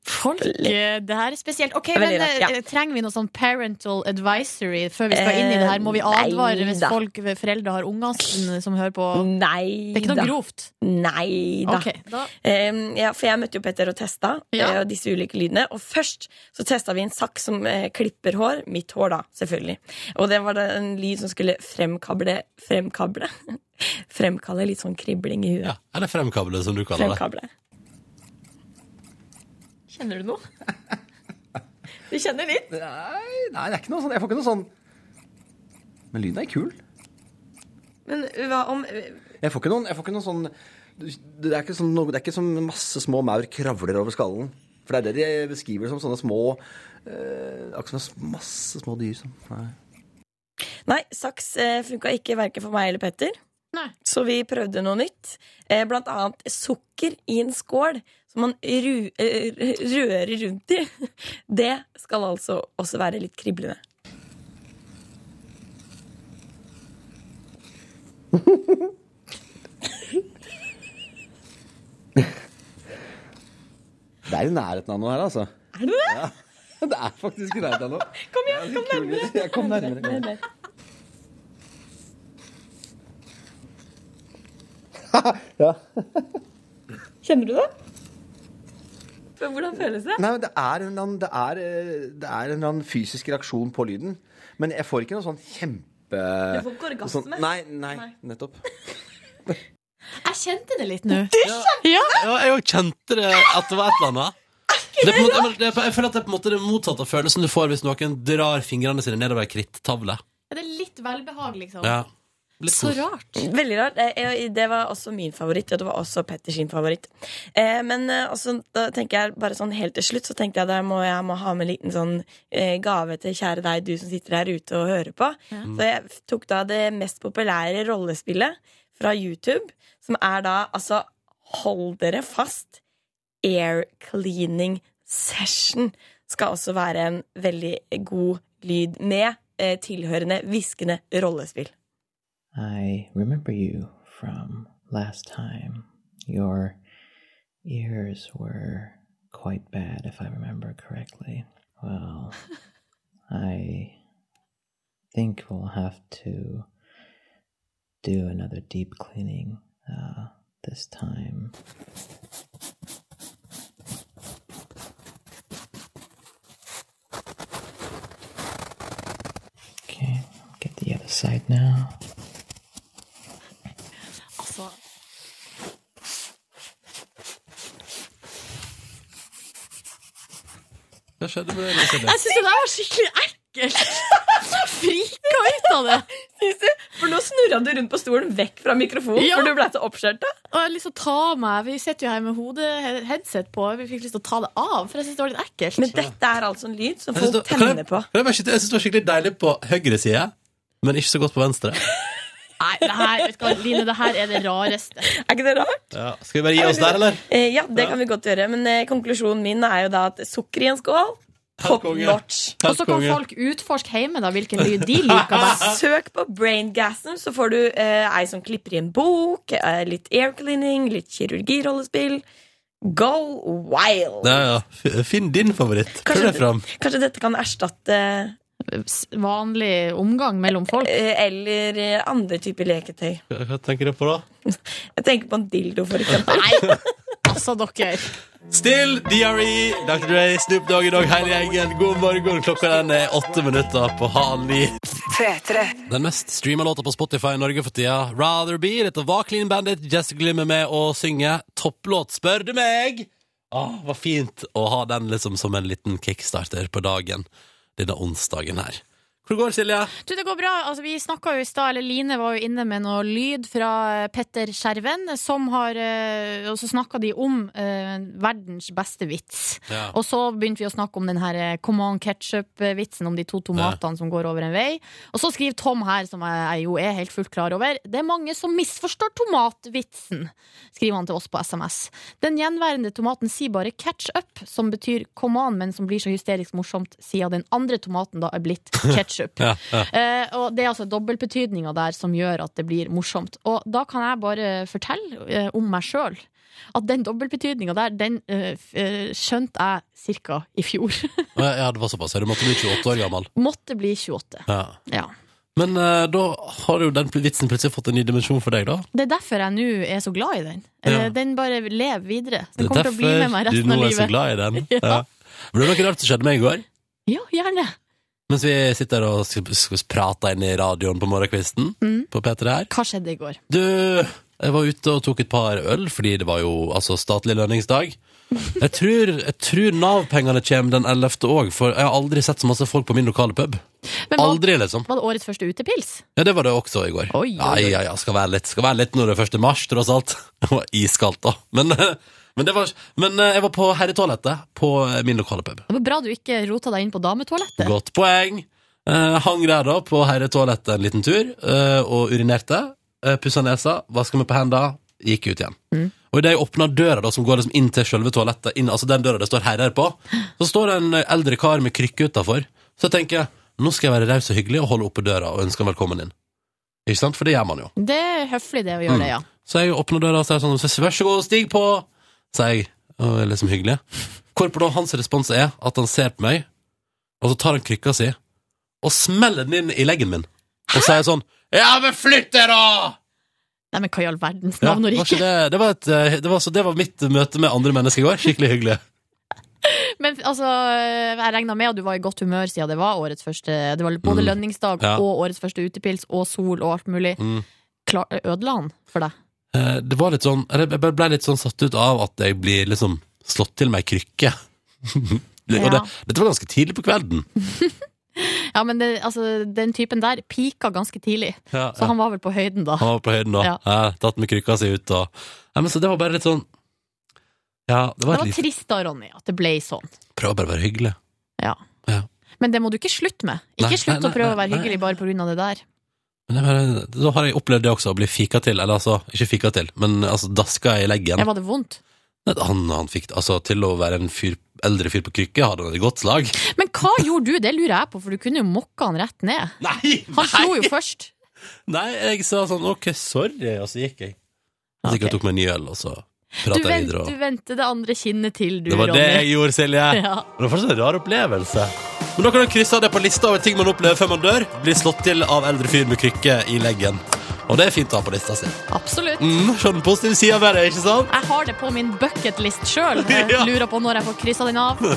Speaker 7: Folk, eh, det her er spesielt. Ok,
Speaker 4: er
Speaker 7: men
Speaker 4: veldig rart, ja.
Speaker 7: eh, Trenger vi noe sånn parental advisory før vi skal inn i
Speaker 4: Eh,
Speaker 7: det her? Må vi advare
Speaker 4: nei
Speaker 7: hvis
Speaker 4: da.
Speaker 7: folk, eh, foreldre har unger som- som hører på?
Speaker 4: Nei
Speaker 7: Det er ikke
Speaker 4: da.
Speaker 7: noe grovt.
Speaker 4: Nei da.
Speaker 7: Ok, da.
Speaker 4: Ehm, ja, for jeg møtte jo Petter og testa
Speaker 7: Ja.
Speaker 4: eh, og disse ulike lydene. Og først så testa vi en saks som eh, klipper hår. Mitt hår, da, selvfølgelig. Og det var da en lyd som skulle fremkable Fremkable? Fremkalle litt sånn kribling i huet.
Speaker 3: Ja, eller fremkable, som du kaller det.
Speaker 4: Fremkable. Kjenner du noe? Du kjenner litt?
Speaker 12: Nei, nei, det er ikke noe sånn. Jeg får ikke noe sånn Men lyden er kul.
Speaker 4: Men hva om
Speaker 12: Jeg får ikke noen, jeg får ikke noen sånn det er, ikke sånn noe, det er ikke som masse små maur kravler over skallen. For det er det de beskriver som sånne små eh, Akkurat som en masse små dyr som Nei.
Speaker 4: Nei, saks eh, funka ikke verken for meg eller Petter.
Speaker 7: Nei.
Speaker 4: Så vi prøvde noe nytt. Eh, blant annet sukker i en skål som man ru, eh, rører rundt i. Det skal altså også være litt kriblende.
Speaker 12: Det er i nærheten av noe her, altså.
Speaker 4: Er det det?
Speaker 12: Det er faktisk i nærheten av noe.
Speaker 4: Kom igjen,
Speaker 12: Det er
Speaker 4: kom
Speaker 12: kul
Speaker 4: nærmere!
Speaker 12: lyd. Jeg kom nærmere. kom. Ja.
Speaker 4: Kjenner du det? Men Hvordan føles det?
Speaker 12: Nei, men det er, en eller annen, det, er, eh, det er en eller annen fysisk reaksjon på lyden. Men jeg får ikke noe sånn kjempe
Speaker 4: Du får ikke orgasme.
Speaker 12: Sånn, nei, nei, nettopp.
Speaker 7: Jeg kjente det litt nå.
Speaker 3: Ja, jeg òg kjente det at det var et eller annet. Det er på en måte, men det er på- jeg føler at det er på en måte det motsatte av følelsen du får hvis noen drar fingrene sine nedover ei krittavle.
Speaker 7: Ja, det er litt velbehag, liksom.
Speaker 3: Ja. Litt
Speaker 7: Så
Speaker 3: kos.
Speaker 7: rart.
Speaker 4: Veldig rart. Eh, eh, Det var også min favoritt, og det var også Petter sin favoritt. Eh, men eh, også, da tenker jeg bare sånn helt til slutt, så tenkte jeg der må jeg må ha med en liten sånn eh, gave til kjære deg, du som sitter der ute og hører på.
Speaker 9: Mm.
Speaker 4: Så jeg f- tok da det mest populære rollespillet fra YouTube, som er da altså Hold dere fast. Air cleaning session skal også være en veldig god lyd med. eh, eh, tilhørende hviskende rollespill.
Speaker 13: I remember you from last time. Your ears were quite bad, if I remember correctly. Well, I think we'll have to do another deep cleaning uh, this time. Okay, get the other side now.
Speaker 2: Altså
Speaker 3: Hva skjedde med
Speaker 2: Jeg syns det der var skikkelig ekkelt! Frika ut av det!
Speaker 4: Syns du? For nå snurra du rundt på stolen vekk fra mikrofonen,
Speaker 2: Ja.
Speaker 4: for du ble så oppskjørta.
Speaker 2: Og jeg har lyst til å ta av meg Vi sitter jo her med hodet, headset på. Vi fikk lyst til å ta det av, for jeg syns det var litt ekkelt.
Speaker 4: Men dette er altså en lyd som
Speaker 3: Jeg synes
Speaker 4: folk
Speaker 3: det- kan
Speaker 4: tenner
Speaker 3: jeg-
Speaker 4: på.
Speaker 3: kan Jeg bare skyte- jeg synes det var skikkelig deilig på høyre side, men ikke så godt på venstre.
Speaker 2: Nei, det her, vet du hva, Line, det her er det rareste.
Speaker 4: Er ikke det rart?
Speaker 3: Ja. Skal vi bare gi oss der, eller?
Speaker 4: Eh, ja, det kan vi godt gjøre. Men eh, konklusjonen min er jo da at sukker i en skål Top
Speaker 3: konge.
Speaker 4: notch.
Speaker 3: Helt
Speaker 2: Og så kan
Speaker 3: konge.
Speaker 2: folk utforske hjemme da, hvilken lyd de liker best.
Speaker 4: Søk på braingasm, så får du eh, ei som klipper i en bok, eh, litt air cleaning, litt kirurgirollespill. Go wild!
Speaker 3: Ja, ja. F- Finn din favoritt. Prøv
Speaker 4: Kanskje
Speaker 3: deg fram.
Speaker 4: Kanskje dette kan erstatte
Speaker 2: Eh, S- Vanlig omgang mellom folk.
Speaker 4: eh, eller eh, andre typer leketøy.
Speaker 3: Hva hva tenker du på, da?
Speaker 4: Jeg tenker på en dildo, for eksempel.
Speaker 2: Nei, altså dere.
Speaker 3: Still, DRE, Dr. Dre, Snoop Dogg i dag, hele gjengen. God morgen. Klokka den er åtte minutter på halv ni. Den mest streama låta på Spotify i Norge for tida, Rather Be. Dette var Clean Bandit. Jessica Lim er med og synger. Topplåt, spør du meg! Ah, var fint å ha den liksom som en liten kickstarter på dagen. Denne onsdagen her. Hvor går det, Silje?
Speaker 2: Du, det går bra. Altså, vi snakka jo i stad, eller Line var jo inne med noe lyd fra eh, Petter Skjerven, som har eh, Og så snakka de om eh, verdens beste vits.
Speaker 3: Ja.
Speaker 2: Og så begynte vi å snakke om den her eh, come on ketchup-vitsen om de to tomatene som går over en vei. Og så skriver Tom her, som jeg, jeg jo er helt fullt klar over, det er mange som misforstår tomatvitsen, skriver han til oss på SMS. Den gjenværende tomaten sier bare catch up, som betyr come on, men som blir så hysterisk morsomt siden den andre tomaten da er blitt ketchup.
Speaker 3: Ja, ja.
Speaker 2: Eh, og det er altså dobbeltbetydninga der som gjør at det blir morsomt. Og da kan jeg bare fortelle eh, om meg sjøl at den dobbeltbetydninga der, den eh, f- eh, skjønte jeg ca. i fjor.
Speaker 3: Ja, ja, det var såpass. ja. Du måtte bli 28 år gammel.
Speaker 2: Måtte bli 28.
Speaker 3: Ja.
Speaker 2: Ja.
Speaker 3: Men eh, da har jo den pl- vitsen plutselig fått en ny dimensjon for deg, da.
Speaker 2: Det er derfor jeg nå er så glad i den.
Speaker 3: Ja.
Speaker 2: Eh, Den bare lever videre. Den
Speaker 3: det er
Speaker 2: kommer til å bli med meg
Speaker 3: derfor du
Speaker 2: resten
Speaker 3: nå
Speaker 2: av
Speaker 3: er så
Speaker 2: livet.
Speaker 3: glad i den.
Speaker 2: Ja.
Speaker 3: Ja. Men Det var noe rart som skjedde meg i går.
Speaker 2: Ja, gjerne.
Speaker 3: Mens vi sitter og sk- sk- prater inn i radioen på morgenkvisten
Speaker 2: Mm.
Speaker 3: på P3 her.
Speaker 2: Hva skjedde i går?
Speaker 3: Du, jeg var ute og tok et par øl, fordi det var jo altså, statlig lønningsdag. Jeg tror, jeg tror Nav-pengene kommer den 11. òg, for jeg har aldri sett så masse folk på min lokale pub.
Speaker 2: Men var,
Speaker 3: Aldri, liksom.
Speaker 2: var det årets første utepils?
Speaker 3: Ja, det var det også i går.
Speaker 2: Oi, oi,
Speaker 3: Ja,
Speaker 2: oi.
Speaker 3: ja, ja, skal være litt, skal være litt når det er 1. mars, tross alt. Det var iskaldt, da. Men, men, det var, men eh, jeg var på herretoalettet på eh, min lokale pub.
Speaker 2: Det var bra du ikke rota deg inn på dametoalettet.
Speaker 3: Godt poeng. Eh, hang der da på herretoalettet en liten tur eh, og urinerte. Uh, Pussa nesa, vaska meg på henda, gikk ut igjen.
Speaker 2: Mm.
Speaker 3: Og idet jeg åpna døra da, som går liksom inn til selve toalettet, inn, altså den døra det står herrer på, så står det en eldre kar med krykke utafor. Så jeg tenker jeg nå skal jeg være raus og hyggelig og holde oppe døra og ønske han velkommen inn. Ikke sant? For det gjør man jo.
Speaker 2: Det er høflig det å gjøre
Speaker 3: Mm.
Speaker 2: det, ja.
Speaker 3: Så jeg åpner døra og sier sånn «Så Vær så god, stig på! Sier jeg, og er liksom hyggelig. Hvorpå da hans respons er at han ser på meg, og så tar han krykka si og smeller den inn i leggen min. Og sier sånn Ja, men flytt deg, da!
Speaker 2: Nei, men hva i all verdens
Speaker 3: Ja,
Speaker 2: navn og
Speaker 3: var
Speaker 2: rike?
Speaker 3: ikke det, det, var et, eh, det, var, så, det var mitt møte med andre mennesker i går. Skikkelig hyggelig.
Speaker 2: Men altså, jeg regna med at du var i godt humør siden det var årets første Det var både
Speaker 3: Mm.
Speaker 2: lønningsdag
Speaker 3: Ja.
Speaker 2: og årets første utepils og sol og alt mulig.
Speaker 3: Mm.
Speaker 2: Klar, ødela han for deg?
Speaker 3: Eh, Det var litt sånn eller Jeg bare ble litt sånn satt ut av at jeg blir liksom slått til med ei krykke. Og det,
Speaker 2: Ja.
Speaker 3: dette var ganske tidlig på kvelden.
Speaker 2: Ja, men det, altså, den typen der pika ganske tidlig,
Speaker 3: Ja,
Speaker 2: så han var vel på høyden da.
Speaker 3: Han var på høyden da.
Speaker 2: Ja.
Speaker 3: Ja, tatt med krykka si ut og Nei, men Så det var bare litt sånn Ja, det
Speaker 2: Det
Speaker 3: var et
Speaker 2: var
Speaker 3: lite
Speaker 2: trist da, Ronny, at det ble sånn.
Speaker 3: Prøv å bare å være hyggelig.
Speaker 2: Men det må du ikke slutte med. Ikke
Speaker 3: Nei,
Speaker 2: slutt
Speaker 3: nei,
Speaker 2: å prøve
Speaker 3: nei,
Speaker 2: å være
Speaker 3: nei.
Speaker 2: hyggelig bare på grunn av det der.
Speaker 3: Men det var, da har jeg opplevd det også, å bli fika til. Eller altså, ikke fika til, men altså daska i leggen.
Speaker 2: Ja, var det vondt?
Speaker 3: Nei, Han, han fikk Altså, til å være en fyr, eldre fyr på krykke hadde han et godt slag.
Speaker 2: Men Hva gjorde du? Det lurer jeg på, for du kunne jo mokka han rett ned. han slo jo først.
Speaker 3: Nei, jeg sa sånn OK, sorry, og så gikk jeg. Så gikk jeg og tok meg en ny øl, og så
Speaker 2: Du,
Speaker 3: prata jeg
Speaker 2: vent,
Speaker 3: videre.
Speaker 2: du
Speaker 3: Og...
Speaker 2: vendte det andre kinnet til, du,
Speaker 3: Det var det jeg gjorde, Silje.
Speaker 2: Ja.
Speaker 3: Det var fortsatt en rar opplevelse. Men da kan du krysse av det på lista over ting man opplever før man dør. Blir slått til av eldre fyr med krykke i leggen. Og det er fint å ha på lista si.
Speaker 2: Absolutt.
Speaker 3: Mm, se den positive sida ved det, ikke sant?
Speaker 2: Jeg har det på min bucketlist sjøl.
Speaker 3: Ja.
Speaker 2: Lurer på når jeg får kryssa den av.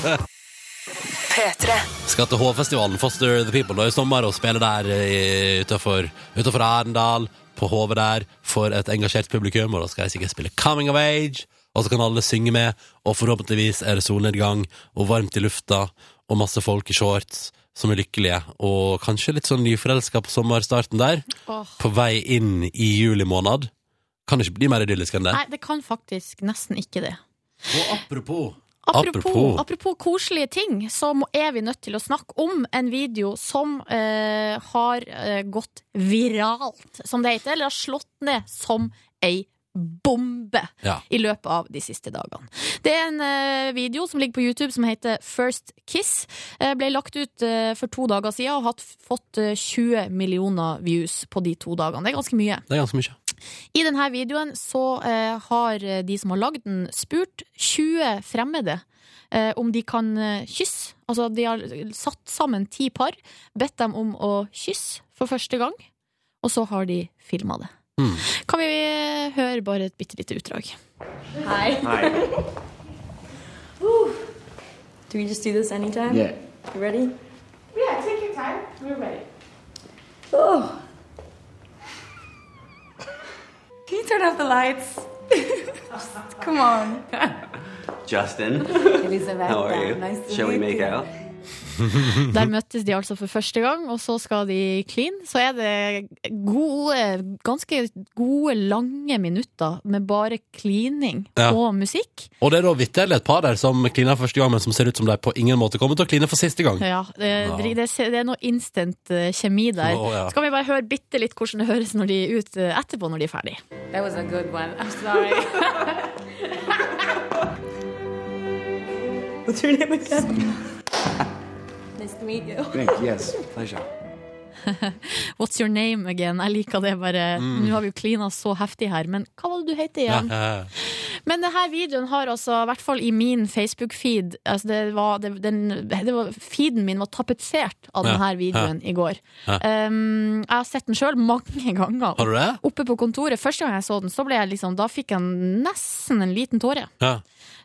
Speaker 3: Skal til H-festivalen Foster the People da i sommer og spille der eh, utenfor, utenfor Arendal, på HV der, for et engasjert publikum. Og da skal jeg sikkert spille Coming of Age, og så kan alle synge med. Og forhåpentligvis er det solnedgang og varmt i lufta og masse folk i shorts som er lykkelige. Og kanskje litt sånn nyforelska på sommerstarten der.
Speaker 2: Åh.
Speaker 3: På vei inn i juli måned. Kan det ikke bli mer idyllisk enn det.
Speaker 2: Nei, det kan faktisk nesten ikke det.
Speaker 3: Og apropos
Speaker 2: Apropos,
Speaker 3: Apropos.
Speaker 2: apropos koselige ting, så må- er vi nødt til å snakke om en video som eh, har eh, gått viralt, som det heter, eller har slått ned som ei bombe
Speaker 3: Ja.
Speaker 2: i løpet av de siste dagene. Det er en eh, video som ligger på YouTube som heter First Kiss. Eh, ble lagt ut eh, for to dager siden og har fått eh, 20 millioner views på de to dagene. Det er ganske mye.
Speaker 3: Det er ganske mye.
Speaker 2: I denne videoen så eh, har de som har lagd den, spurt 20 fremmede eh, om de kan eh, kysse. Altså, de har satt sammen ti par, bedt dem om å kysse for første gang, og så har de filma det.
Speaker 3: Mm.
Speaker 2: Kan vi eh, høre bare et bitte lite utdrag?
Speaker 9: Hi. Whew. do we just do this anytime?
Speaker 8: Yeah.
Speaker 9: You ready?
Speaker 10: Yeah, take your time. We're ready.
Speaker 9: Oh. Can you turn off the lights? Come on.
Speaker 8: Justin.
Speaker 9: Elizabeth,
Speaker 8: How are you?
Speaker 9: nice to
Speaker 8: Shall we
Speaker 9: meet
Speaker 8: make
Speaker 9: you.
Speaker 8: out?
Speaker 3: Mhm.
Speaker 2: Der møttes de altså for første gang, og så skal de clean. Så er det gode, ganske gode, lange minutter med bare cleaning
Speaker 3: Ja.
Speaker 2: og musikk.
Speaker 3: Og det er da vitterlig et par der som kliner første gang, men som ser ut som de på ingen måte kommer til å kline for siste gang.
Speaker 2: Ja, det,
Speaker 3: Ja.
Speaker 2: det, det er noe instant eh, kjemi der.
Speaker 3: Å, ja.
Speaker 2: Så kan vi bare høre bitte litt hvordan det høres når de er ut eh, etterpå, når de er ferdig.
Speaker 9: That was a good one. I'm sorry. What's your name again? nice to meet you.
Speaker 8: Yes, pleasure.
Speaker 2: What's your name again? Jeg liker det bare.
Speaker 8: Mm.
Speaker 2: Nå har vi jo klina så heftig her, men hva var det du het igjen? Men denne videoen har altså, i hvert fall i min Facebook-feed altså det var, det, den, det var, Feeden min var tapetsert av
Speaker 3: Ja,
Speaker 2: denne
Speaker 3: ja.
Speaker 2: videoen i går.
Speaker 3: Ja.
Speaker 2: Um, jeg har sett den sjøl mange ganger.
Speaker 3: Har du det?
Speaker 2: Oppe på kontoret. Første gang jeg så den, så ble jeg liksom, da fikk jeg nesten en liten tåre.
Speaker 3: Ja.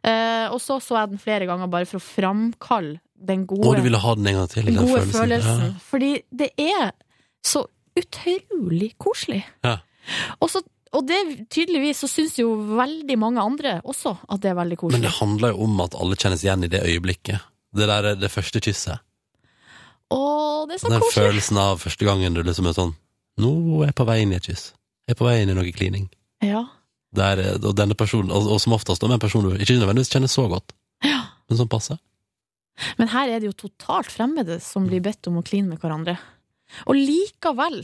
Speaker 2: Eh, og så så jeg den flere ganger bare for å framkalle den gode,
Speaker 3: Og du ville ha den en gang til?
Speaker 2: den
Speaker 3: den
Speaker 2: gode
Speaker 3: følelsen.
Speaker 2: følelsen. Fordi det er så utrolig koselig.
Speaker 3: Ja.
Speaker 2: Og, så, og det tydeligvis så syns jo veldig mange andre også at det er veldig
Speaker 3: Men
Speaker 2: koselig.
Speaker 3: det handler jo om at alle kjennes igjen i det øyeblikket. Det der er det første kysset.
Speaker 2: Å, det er så
Speaker 3: Den
Speaker 2: koselig!
Speaker 3: følelsen av første gangen du liksom er sånn Nå er jeg på vei inn i et kyss. Jeg er på vei inn i noe klining.
Speaker 2: Ja.
Speaker 3: Der, eh, og denne personen, og, og som oftest da med en person du ikke nødvendigvis kjenner så godt, men som passer.
Speaker 2: Men her er det jo totalt fremmede som blir bedt om å kline med hverandre. Og likevel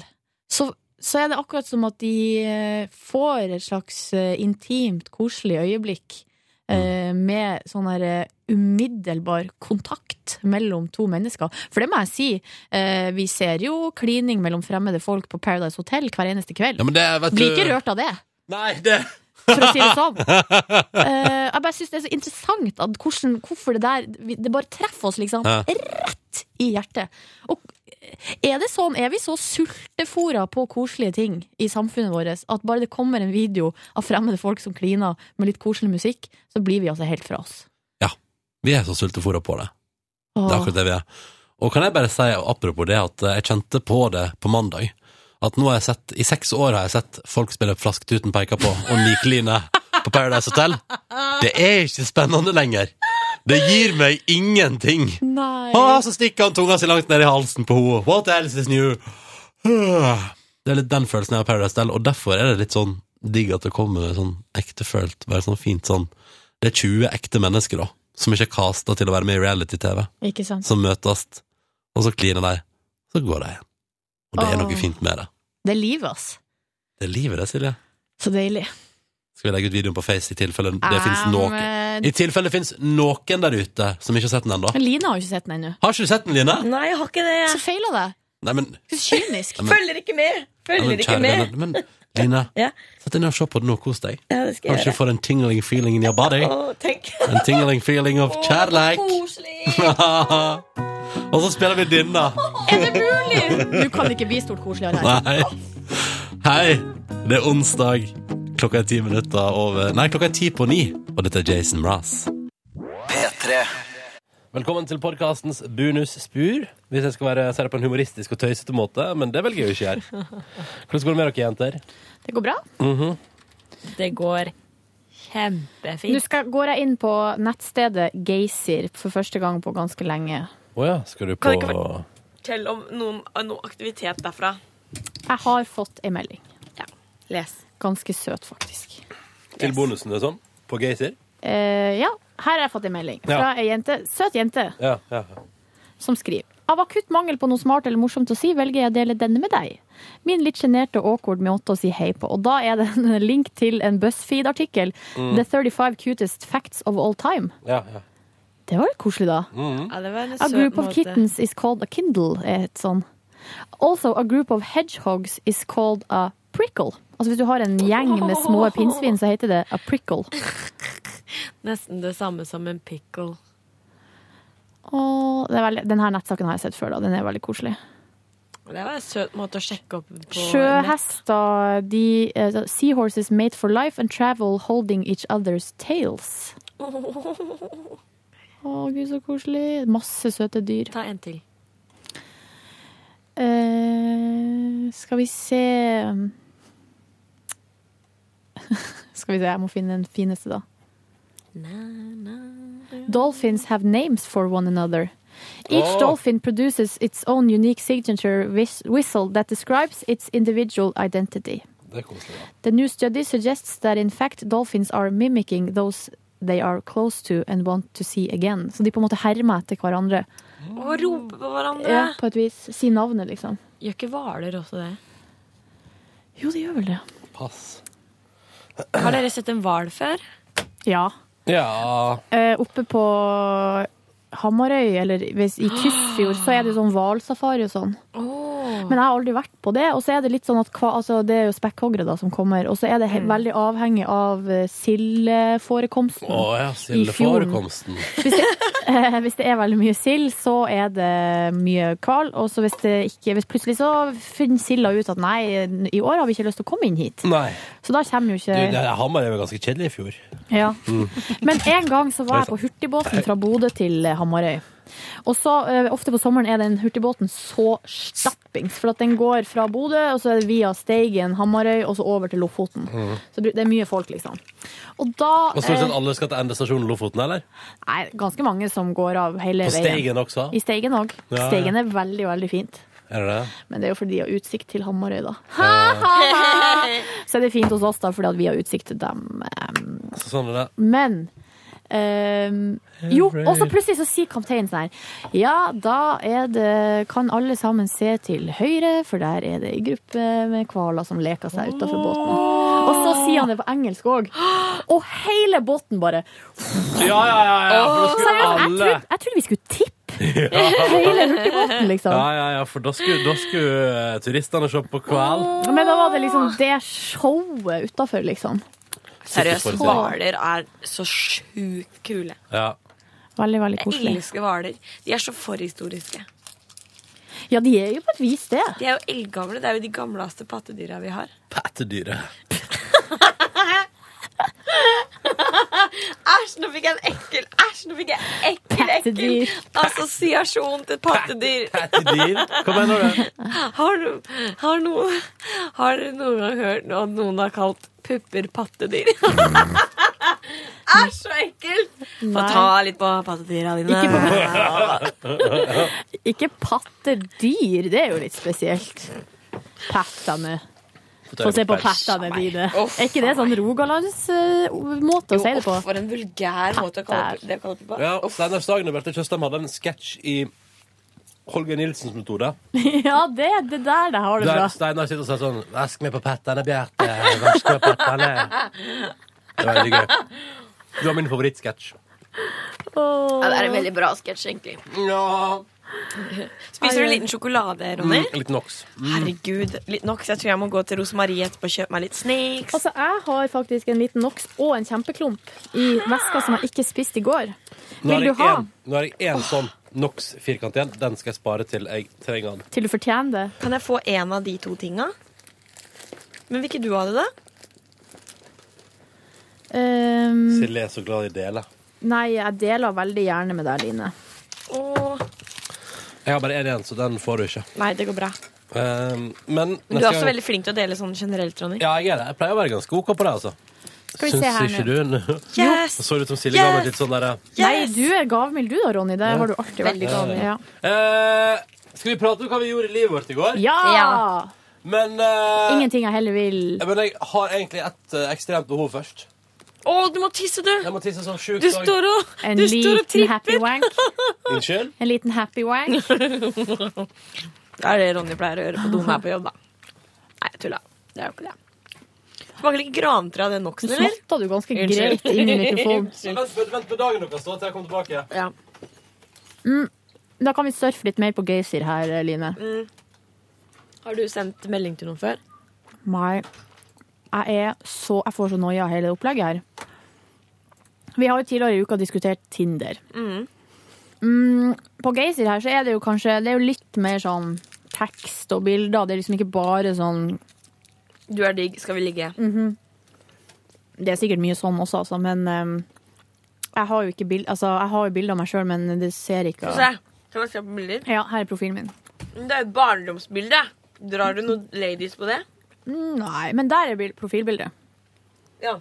Speaker 2: så, så er det akkurat som at de eh, får et slags eh, intimt, koselig øyeblikk eh,
Speaker 3: Mm.
Speaker 2: med sånn her eh, umiddelbar kontakt mellom to mennesker. For det må jeg si, eh, vi ser jo klining mellom fremmede folk på Paradise Hotel hver eneste kveld.
Speaker 3: Ja, men det vet
Speaker 2: Blir
Speaker 3: du-
Speaker 2: ikke rørt av det.
Speaker 3: Nei, det
Speaker 2: For å si det sånn. Eh, jeg bare syns det er så interessant at hvordan, hvorfor det der vi- Det bare treffer oss, liksom.
Speaker 3: Ja.
Speaker 2: Rett i hjertet. Og er det sånn, er vi så sultefora på koselige ting i samfunnet vårt at bare det kommer en video av fremmede folk som kliner med litt koselig musikk, så blir vi altså helt fra oss.
Speaker 3: Vi er så sultefòra på det. Det er
Speaker 2: Åh.
Speaker 3: akkurat det vi er. Og kan jeg bare si, og apropos det, at eh, jeg kjente på det på mandag. At nå har jeg sett, i seks år har jeg sett folk spille Flasketuten peker på og nikline på Paradise Hotel. Det er ikke spennende lenger. Det gir meg ingenting.
Speaker 2: Nei.
Speaker 3: Å, så stikker han tunga si langt ned i halsen på henne. What else is new? Det er litt den følelsen jeg har av Paradise Hotel, og derfor er det litt sånn digg at det kommer sånn ektefølt, bare sånn fint sånn Det er 20 ekte mennesker, da, som ikke er casta til å være med i reality-TV
Speaker 2: Ikke sant?
Speaker 3: som møtes, og så kliner de, så går de igjen. Og det er
Speaker 2: Åh.
Speaker 3: noe fint med det.
Speaker 2: Det er livet, ass.
Speaker 3: Det er livet det, Silje.
Speaker 2: Så deilig.
Speaker 4: Um,
Speaker 3: Skal vi legge ut videoen på Face i tilfelle det finnes noe?
Speaker 2: Eh, eh,
Speaker 3: I tilfelle det fins noen der ute som ikke har sett den ennå.
Speaker 2: Line har jo ikke sett den ennå.
Speaker 3: Har ikke du sett den, Line?
Speaker 4: Nei, jeg har ikke det.
Speaker 2: Så feila det.
Speaker 3: Nei, men,
Speaker 2: Kynisk.
Speaker 3: Ja, men-
Speaker 4: Følger ikke med.
Speaker 3: ja,
Speaker 4: Følger
Speaker 3: men
Speaker 4: ikke
Speaker 3: kjære
Speaker 4: med.
Speaker 3: venner. Men Line,
Speaker 4: Ja.
Speaker 3: sett deg ned og se på den og kos deg.
Speaker 4: Ja, det skal jeg
Speaker 3: Kanskje du får en tingling feeling in your body.
Speaker 4: Å, tenk.
Speaker 3: En tingling feeling of kjærleik. og så spiller vi denne.
Speaker 2: Er det mulig?! Du kan ikke bli stort koseligere her.
Speaker 3: Nei. Hei, det er onsdag. Klokka er ti minutter over Nei, klokka er ti på ni, og dette er Jason Mraz.
Speaker 12: P3.
Speaker 3: Velkommen til podkastens bonusspor. Hvis jeg skal være, si det på en humoristisk og tøysete måte, men det velger jeg jo ikke her. Hvordan går det med dere, jenter?
Speaker 2: Det går bra.
Speaker 3: Mhm.
Speaker 4: Det går
Speaker 2: Nå
Speaker 4: kjempefint.
Speaker 2: skal, går jeg inn på nettstedet Geysir for første gang på ganske lenge.
Speaker 3: Å ja, skal du på
Speaker 4: Kan det ikke være- Fortell om noen, noe aktivitet derfra.
Speaker 2: Jeg har fått ei melding.
Speaker 4: Les.
Speaker 2: Ganske søt, faktisk.
Speaker 3: Til bonusen, det er sånn? På Geysir?
Speaker 2: Eh, ja, her har jeg fått en melding fra
Speaker 3: Ja.
Speaker 2: ei jente, søt jente
Speaker 3: Ja, ja.
Speaker 2: som skriver Av akutt mangel på noe smart eller morsomt å si, velger jeg å dele denne med deg. Min litt sjenerte awkward måte å si hei på. Og da er det en link til en BuzzFeed-artikkel.
Speaker 3: Mm.
Speaker 2: The 35 cutest facts of all time.
Speaker 3: ja, ja.
Speaker 2: Det var litt koselig, da.
Speaker 3: Mhm.
Speaker 4: Ja, det var en
Speaker 2: A
Speaker 4: søt
Speaker 2: group of
Speaker 4: måte.
Speaker 2: kittens is called a kindle, er et sånn. Also, a group of hedgehogs is called a prickle. Altså Hvis du har en gjeng med små pinnsvin, så heter det a prickle.
Speaker 9: Nesten det samme som en pickle.
Speaker 2: Og det er veldig, denne nettsaken har jeg sett før, da. Den er veldig koselig.
Speaker 4: Det var en søt måte å sjekke opp på
Speaker 2: Sjøhester, de eh, Seahorses mate for life and travel holding each other's tails. Å, gud, så koselig. Masse søte dyr.
Speaker 9: Ta en til.
Speaker 2: Eh, skal vi se Skal vi se, jeg må finne den fineste, da. Dolphins have names for one another. Each
Speaker 9: Oh.
Speaker 2: dolphin produces its own unique signature whis- whistle that describes its individual identity.
Speaker 3: Det er koselig, da.
Speaker 2: The new study suggests that in fact dolphins are mimicking those they are close to and want to see again. Så de på en måte hermer etter hverandre.
Speaker 4: Og rope på hverandre.
Speaker 2: Ja, på et vis. Si navnet, liksom.
Speaker 9: Gjør ikke hvaler også det?
Speaker 2: Jo, de gjør vel det.
Speaker 3: Pass.
Speaker 9: Har dere sett en hval før?
Speaker 2: Ja.
Speaker 3: Ja
Speaker 2: Eh, oppe på Hamarøy, eller hvis, i Tysfjord, så er det sånn hvalsafari og sånn. Men jeg har aldri vært på det. Og så er det litt sånn at hva, altså, det er jo spekkhoggere da som kommer, og så er det
Speaker 9: Mm.
Speaker 2: he- veldig avhengig av eh, sildeforekomsten
Speaker 3: Å ja,
Speaker 2: i fjorden.
Speaker 3: sildeforekomsten.
Speaker 2: Eh, hvis det er veldig mye sild, så er det mye hval. Og så hvis det ikke Hvis plutselig så finner silda ut at nei, i år har vi ikke lyst til å komme inn hit.
Speaker 3: Nei.
Speaker 2: Så da kommer jo
Speaker 3: Du,
Speaker 2: ikke
Speaker 3: det- Hamar er jo ganske kjedelig i fjor.
Speaker 2: ja.
Speaker 3: Mm.
Speaker 2: Men en gang så var jeg på hurtigbåten fra Bodø til eh, Hamarøy. Og så eh, ofte på sommeren er den hurtigbåten så stappings, for at den går fra Bodø, og så er det via Steigen, Hamarøy, og så over til Lofoten.
Speaker 3: Mm.
Speaker 2: Så det er mye folk, liksom. Og da
Speaker 3: Og stort sett
Speaker 2: eh,
Speaker 3: alle skal til endestasjonen Lofoten, eller?
Speaker 2: Nei, ganske mange som går av hele
Speaker 3: På
Speaker 2: veien.
Speaker 3: Steigen også?
Speaker 2: I Steigen òg.
Speaker 3: Ja, ja.
Speaker 2: Steigen er veldig, veldig fint.
Speaker 3: Er det det?
Speaker 2: Men det er jo fordi de har utsikt til Hamarøy, da. Ha, ha, ha. Så er det fint hos oss, da, fordi at vi har utsikt til dem. em,
Speaker 3: Så sånn er det.
Speaker 2: Men ehm, Jo, og så plutselig så sier kapteinen sånn her Ja, da er det Kan alle sammen se til høyre, for der er det ei gruppe med hvaler som leker seg utafor båten. Og så sier han det på engelsk òg. Og hele båten bare
Speaker 3: Ja, ja, ja, ja for da
Speaker 2: Seriøst,
Speaker 3: skulle
Speaker 2: jeg
Speaker 3: alle
Speaker 2: trodde, jeg trodde vi skulle tippe
Speaker 3: Ja.
Speaker 2: hele hurtigbåten, liksom.
Speaker 3: Ja, ja, ja, for da skulle, da skulle eh, turistene se på hval.
Speaker 2: Men da var det liksom det showet utafor, liksom.
Speaker 4: Seriøst,
Speaker 3: Superforskjell.
Speaker 4: hvaler er så sjukt kule.
Speaker 3: Ja.
Speaker 2: Veldig, veldig
Speaker 4: Jeg
Speaker 2: koselig.
Speaker 4: elsker hvaler. De er så forhistoriske.
Speaker 2: Ja, de er jo på et vis det.
Speaker 4: De er jo eldgamle. Det er jo de gamleste pattedyra vi har.
Speaker 3: Pattedyret.
Speaker 4: Æsj, nå fikk jeg en ekkel Æsj, nå fikk jeg en ekkel, ekkel assosiasjon til pattedyr.
Speaker 3: Pattedyr? Hva mener du?
Speaker 4: Har, du- har, noen, har du noen gang hørt at noen har kalt pupper pattedyr? Æsj, så ekkelt! Få
Speaker 2: Nei.
Speaker 4: ta litt på pattedyra dine.
Speaker 2: Ikke Ikke pattedyr, det er jo litt spesielt. Pattene. Få se på pattene dine. Er ikke det sånn
Speaker 4: eh,
Speaker 2: Rogalands-måte å si det på?
Speaker 4: For en vulgær måte å kalle det på.
Speaker 3: Ja, Steinar Sagen og Bjarte Tjøstheim hadde en sketsj i Holger Nilsens metode.
Speaker 2: Ja, det er det der det har det
Speaker 3: Der
Speaker 2: bra.
Speaker 3: Steinar sitter og sier sånn Vask meg på pattene, Bjarte. Vask meg på pattene. Det var veldig gøy. Du har min favorittsketsj.
Speaker 14: Ja, det er en veldig bra sketsj, egentlig.
Speaker 4: Spiser du en liten sjokolade, Ronny?
Speaker 3: Mm, litt Nox.
Speaker 4: Herregud, litt Nox. Jeg tror jeg må gå til Rosemarie etterpå og kjøpe meg litt snacks.
Speaker 2: Altså, jeg har faktisk en liten NOx og en kjempeklump i veska som jeg ikke spiste i går.
Speaker 3: Nå har
Speaker 2: Vil du
Speaker 3: jeg
Speaker 2: ha?
Speaker 3: en- nå har jeg én sånn Nox-firkant igjen. Den skal jeg spare til jeg trenger den.
Speaker 2: Til du fortjener det.
Speaker 4: Kan jeg få en av de to tinga? Men vil ikke du ha det, da?
Speaker 2: Ehm,
Speaker 3: Silje er så glad i dele.
Speaker 2: nei, jeg deler veldig gjerne med deg, Line.
Speaker 3: Jeg har bare én igjen, så den får du ikke.
Speaker 4: Nei, det går bra.
Speaker 3: Um, men
Speaker 4: Men du er også veldig flink til å dele sånn generelt, Ronny.
Speaker 3: Ja, jeg er det. Jeg pleier å være ganske OK på det, altså.
Speaker 2: Skal vi se her
Speaker 3: ikke
Speaker 2: nå.
Speaker 3: du nå?
Speaker 2: Yes!
Speaker 3: Det så ut som Silje ga
Speaker 2: Yes!
Speaker 3: meg litt sånn derre
Speaker 2: Nei, du er gavmild du da, Ronny. Det har du alltid vært.
Speaker 3: Ja, ja.
Speaker 2: Ja.
Speaker 3: Eh, skal vi prate om hva vi gjorde i livet vårt i går?
Speaker 2: Ja! Ja.
Speaker 3: Men, eh,
Speaker 2: Ingenting jeg heller vil.
Speaker 3: men jeg har egentlig et eh, ekstremt behov først.
Speaker 4: Å, du må tisse, du!
Speaker 3: Jeg må tisse sånn sjukt.
Speaker 4: Du står og,
Speaker 2: En
Speaker 4: du står og
Speaker 2: liten happy
Speaker 4: tripper.
Speaker 2: wank.
Speaker 3: Unnskyld?
Speaker 2: En liten happy wank.
Speaker 4: Det er det Ronny pleier å gjøre på do når jeg er på jobb, da. Nei, jeg tulla. Det er jo ikke det. Smaker litt grantre av den noxen, eller?
Speaker 2: Smatta du ganske
Speaker 4: Unnskyld.
Speaker 2: greit inn i mikrofonen.
Speaker 3: Vent, vent, vent på dagen deres, da, til jeg kommer tilbake.
Speaker 4: Ja.
Speaker 2: Mm. Da kan vi surfe litt mer på Geysir her, Line.
Speaker 4: Mm.
Speaker 14: Har du sendt melding til noen før?
Speaker 2: Nei. Jeg er så Jeg får så noia av hele opplegget her. Vi har jo tidligere i uka diskutert Tinder. Mm, på Geysir her så er det jo kanskje Det er jo litt mer sånn tekst og bilder. Det er liksom ikke bare sånn
Speaker 14: Du er digg, skal vi ligge?
Speaker 2: Mhm. Det er sikkert mye sånn også, altså, men ehm, jeg har jo ikke bild, altså, jeg har jo bilder av meg sjøl, men det ser ikke
Speaker 4: Få se. Kan jeg se på bilder?
Speaker 2: Ja, her er profilen min.
Speaker 4: Det er jo et barndomsbilde. Drar du noen ladies på det?
Speaker 2: Mm, Nei, men der er bil- profilbildet.
Speaker 4: Ja.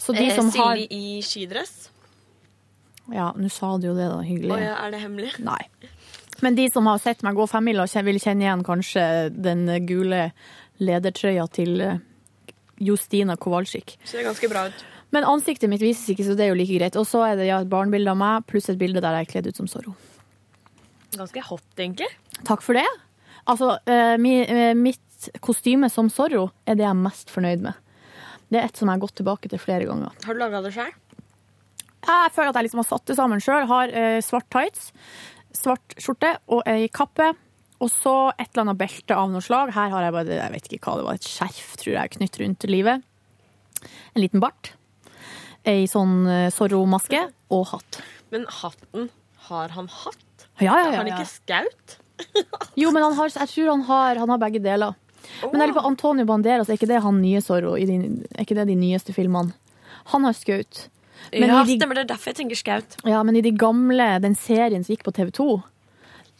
Speaker 2: Så
Speaker 14: Eh,
Speaker 2: de som
Speaker 4: Silje
Speaker 2: har
Speaker 4: i skidress?
Speaker 2: Ja, nå sa du jo det, da. Hyggelig.
Speaker 4: Å ja, er det hemmelig?
Speaker 2: Nei. Men de som har sett meg gå femmila, kjen- vil kjenne igjen kanskje den gule ledertrøya til eh, Justina Kowalczyk.
Speaker 4: Ser ganske bra ut.
Speaker 2: Men ansiktet mitt vises ikke, så det er jo like greit. Og så er det ja, et barnebilde av meg, pluss et bilde der jeg er kledd ut som Zorro.
Speaker 14: Ganske hot, egentlig.
Speaker 2: Takk for det. Altså, eh, mi, eh, mitt kostyme som Zorro er det jeg er mest fornøyd med. Det er et som jeg har gått tilbake til flere ganger.
Speaker 4: Har du laga det sjøl?
Speaker 2: Jeg føler at jeg liksom har satt det sammen sjøl. Har eh, svart tights, svart skjorte og ei kappe. Og så et eller annet belte av noe slag. Her har jeg bare, jeg vet ikke hva det var, et skjerf tror jeg knytt rundt livet. En liten bart. Ei sånn eh, Zorro-maske og hatt.
Speaker 14: Men hatten, har han hatt?
Speaker 2: Ja, ja, ja,
Speaker 14: Har han
Speaker 2: ja.
Speaker 14: ikke skaut?
Speaker 2: Jo, men han har, jeg tror han har, han har begge deler. Men jeg lurer på Antonio Banderas, er ikke det han nye Zorro? i de- Er ikke det de nyeste filmene? Han har skutt. Men
Speaker 4: Ja,
Speaker 2: i de
Speaker 4: stemmer. Det er derfor jeg tenker skaut.
Speaker 2: Ja, men i de gamle, den serien som gikk på TV 2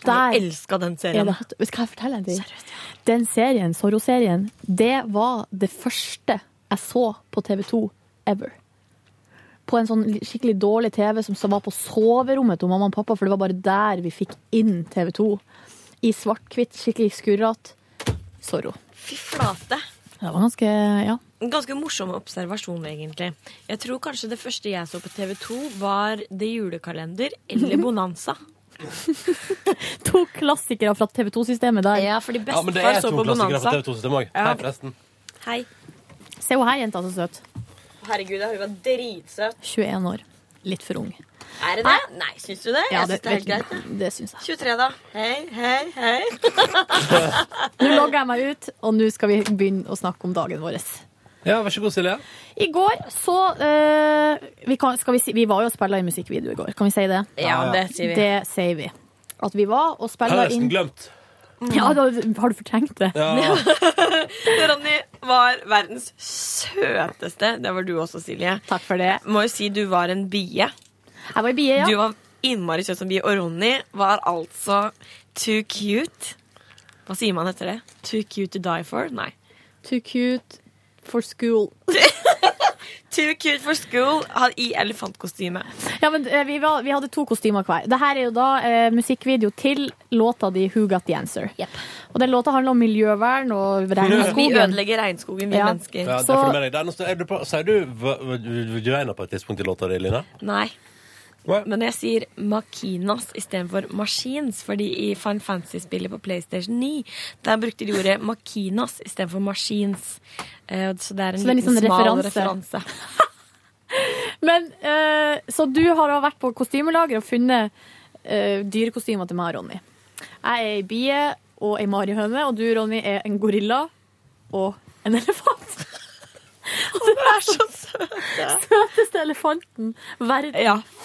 Speaker 2: der
Speaker 4: Jeg elska den serien.
Speaker 2: er det hatt- Skal jeg fortelle deg det? Den serien, Zorro-serien, det var det første jeg så på TV 2 ever. På en sånn skikkelig dårlig TV som var på soverommet til mamma og pappa, for det var bare der vi fikk inn TV 2. I svart-hvitt, skikkelig skurrete. Zorro.
Speaker 4: Fy flate.
Speaker 2: Det var ganske Ja.
Speaker 14: En ganske morsom observasjon, egentlig. Jeg tror kanskje det første jeg så på TV 2, var Det julekalender eller Bonanza.
Speaker 2: To klassikere fra TV 2-systemet der.
Speaker 14: Ja, fordi
Speaker 3: Ja, men det er to klassikere fra TV2-systemet òg.
Speaker 2: Ja.
Speaker 3: Hei, forresten.
Speaker 4: Hei.
Speaker 2: Se henne her, jenta, så søt.
Speaker 4: Herregud, hun var dritsøt.
Speaker 2: 21 år. Litt for ung.
Speaker 4: Er det det? Nei, syns du det?
Speaker 2: Ja,
Speaker 4: jeg syns det er helt
Speaker 2: vet
Speaker 4: greit.
Speaker 2: du,
Speaker 4: jeg.
Speaker 2: det syns jeg.
Speaker 4: 23, da. Hei, hei, hei.
Speaker 2: Nå logger jeg meg ut, og nå skal vi begynne å snakke om dagen vår.
Speaker 3: Ja, vær så god, Silje.
Speaker 2: I går så eh, vi, kan, skal vi, si, vi var jo og spilla i musikkvideo i går, kan vi si det?
Speaker 4: Ja, det sier vi.
Speaker 2: Det sier vi. At vi var og
Speaker 3: Jeg har
Speaker 2: spilla
Speaker 3: nesten
Speaker 2: inn
Speaker 3: glemt.
Speaker 2: Ja, da, Har du fortrengt det?
Speaker 3: Ja.
Speaker 4: Ronny var verdens søteste. Det var du også, Silje.
Speaker 2: Takk for det.
Speaker 4: Må jo si du var en bie.
Speaker 2: Jeg var bie, ja.
Speaker 4: Du var innmari søt som bie. Og Ronny var altså too cute. Hva sier man etter det? Too cute to die for? Nei.
Speaker 2: Too cute for school.
Speaker 4: Too cute for school han i elefantkostyme.
Speaker 2: Ja, men eh, vi, var, vi hadde to kostymer hver. Dette er jo da eh, musikkvideo til låta di 'Who Got The Answer'. Og den låta handler om miljøvern og
Speaker 4: Vi
Speaker 2: regnskogen.
Speaker 4: ødelegger regnskogen, vi
Speaker 2: Ja.
Speaker 4: mennesker.
Speaker 3: Ja, det får du med deg. Der, nå står- er du på- Sier du v- v- v- Vagina på et tidspunkt i låta di, Line?
Speaker 4: Nei.
Speaker 3: Hva?
Speaker 4: Men jeg sier Makinas istedenfor Machines, fordi i Fine Fantasy-spillet på PlayStation 9 der brukte de ordet Makinas istedenfor Machines. Eh, Så det er en
Speaker 2: Så det er
Speaker 4: liten
Speaker 2: liksom
Speaker 4: smal
Speaker 2: referanse.
Speaker 4: referanse.
Speaker 2: Men, eh, så du har da vært på kostymelager og funnet eh, dyrekostymer til meg og Ronny. Jeg er ei bie og ei marihøne, og du, Ronny, er en gorilla og en elefant. Og du er så søt! Søteste elefanten verden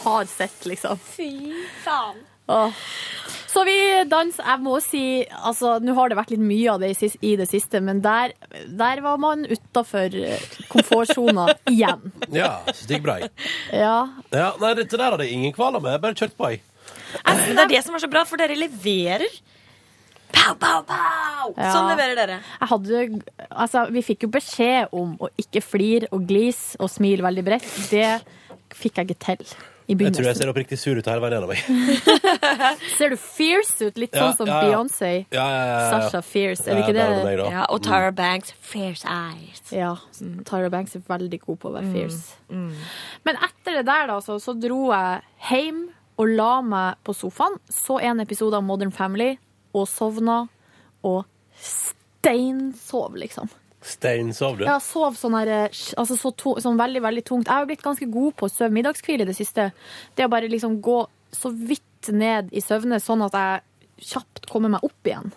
Speaker 2: har sett, liksom.
Speaker 14: Faen.
Speaker 2: Åh. Så vi dans, jeg må si altså, Nå har det vært litt mye av det i, sis- i det siste, men der, der var man utafor eh, komfortsona igjen.
Speaker 3: Ja, stig brei.
Speaker 2: Ja.
Speaker 3: Ja, nei, dette der hadde jeg ingen kvaler med. Jeg Bare kjørt på, jeg.
Speaker 14: Men det er det som er så bra, for dere leverer. Pow, pow, pow!
Speaker 2: Ja.
Speaker 14: Sånn leverer dere.
Speaker 2: Jeg hadde, altså, vi fikk jo beskjed om å ikke flire og glise og smile veldig bredt. Det fikk jeg ikke til i
Speaker 3: Jeg tror jeg
Speaker 2: begynnelsen.
Speaker 3: ser oppriktig sur ut hele veien gjennom. jeg.
Speaker 2: Ser du fierce ut? Litt
Speaker 3: Ja,
Speaker 2: sånn som
Speaker 3: ja, ja.
Speaker 2: Beyoncé.
Speaker 3: Ja, ja, ja, ja.
Speaker 2: Sasha Fierce, er
Speaker 3: Ja,
Speaker 2: det ikke det?
Speaker 3: der var det meg da. Ja, og Tyra Mm.
Speaker 2: Banks, fierce eyes. Ja, Tyra Banks er veldig god på
Speaker 4: Mm,
Speaker 2: å være fierce. Men etter det der, da, så, så dro jeg hjem og la meg på sofaen, så en episode av Modern Family, og sovna, og steinsov, liksom.
Speaker 3: Steinsov, du.
Speaker 2: Ja, sov sånn her eh, sj- altså så to, sånn veldig, veldig tungt. Jeg har jo blitt ganske god på å sove middagskvile i det siste. Det å bare liksom gå så vidt ned i søvne, sånn at jeg kjapt kommer meg opp igjen.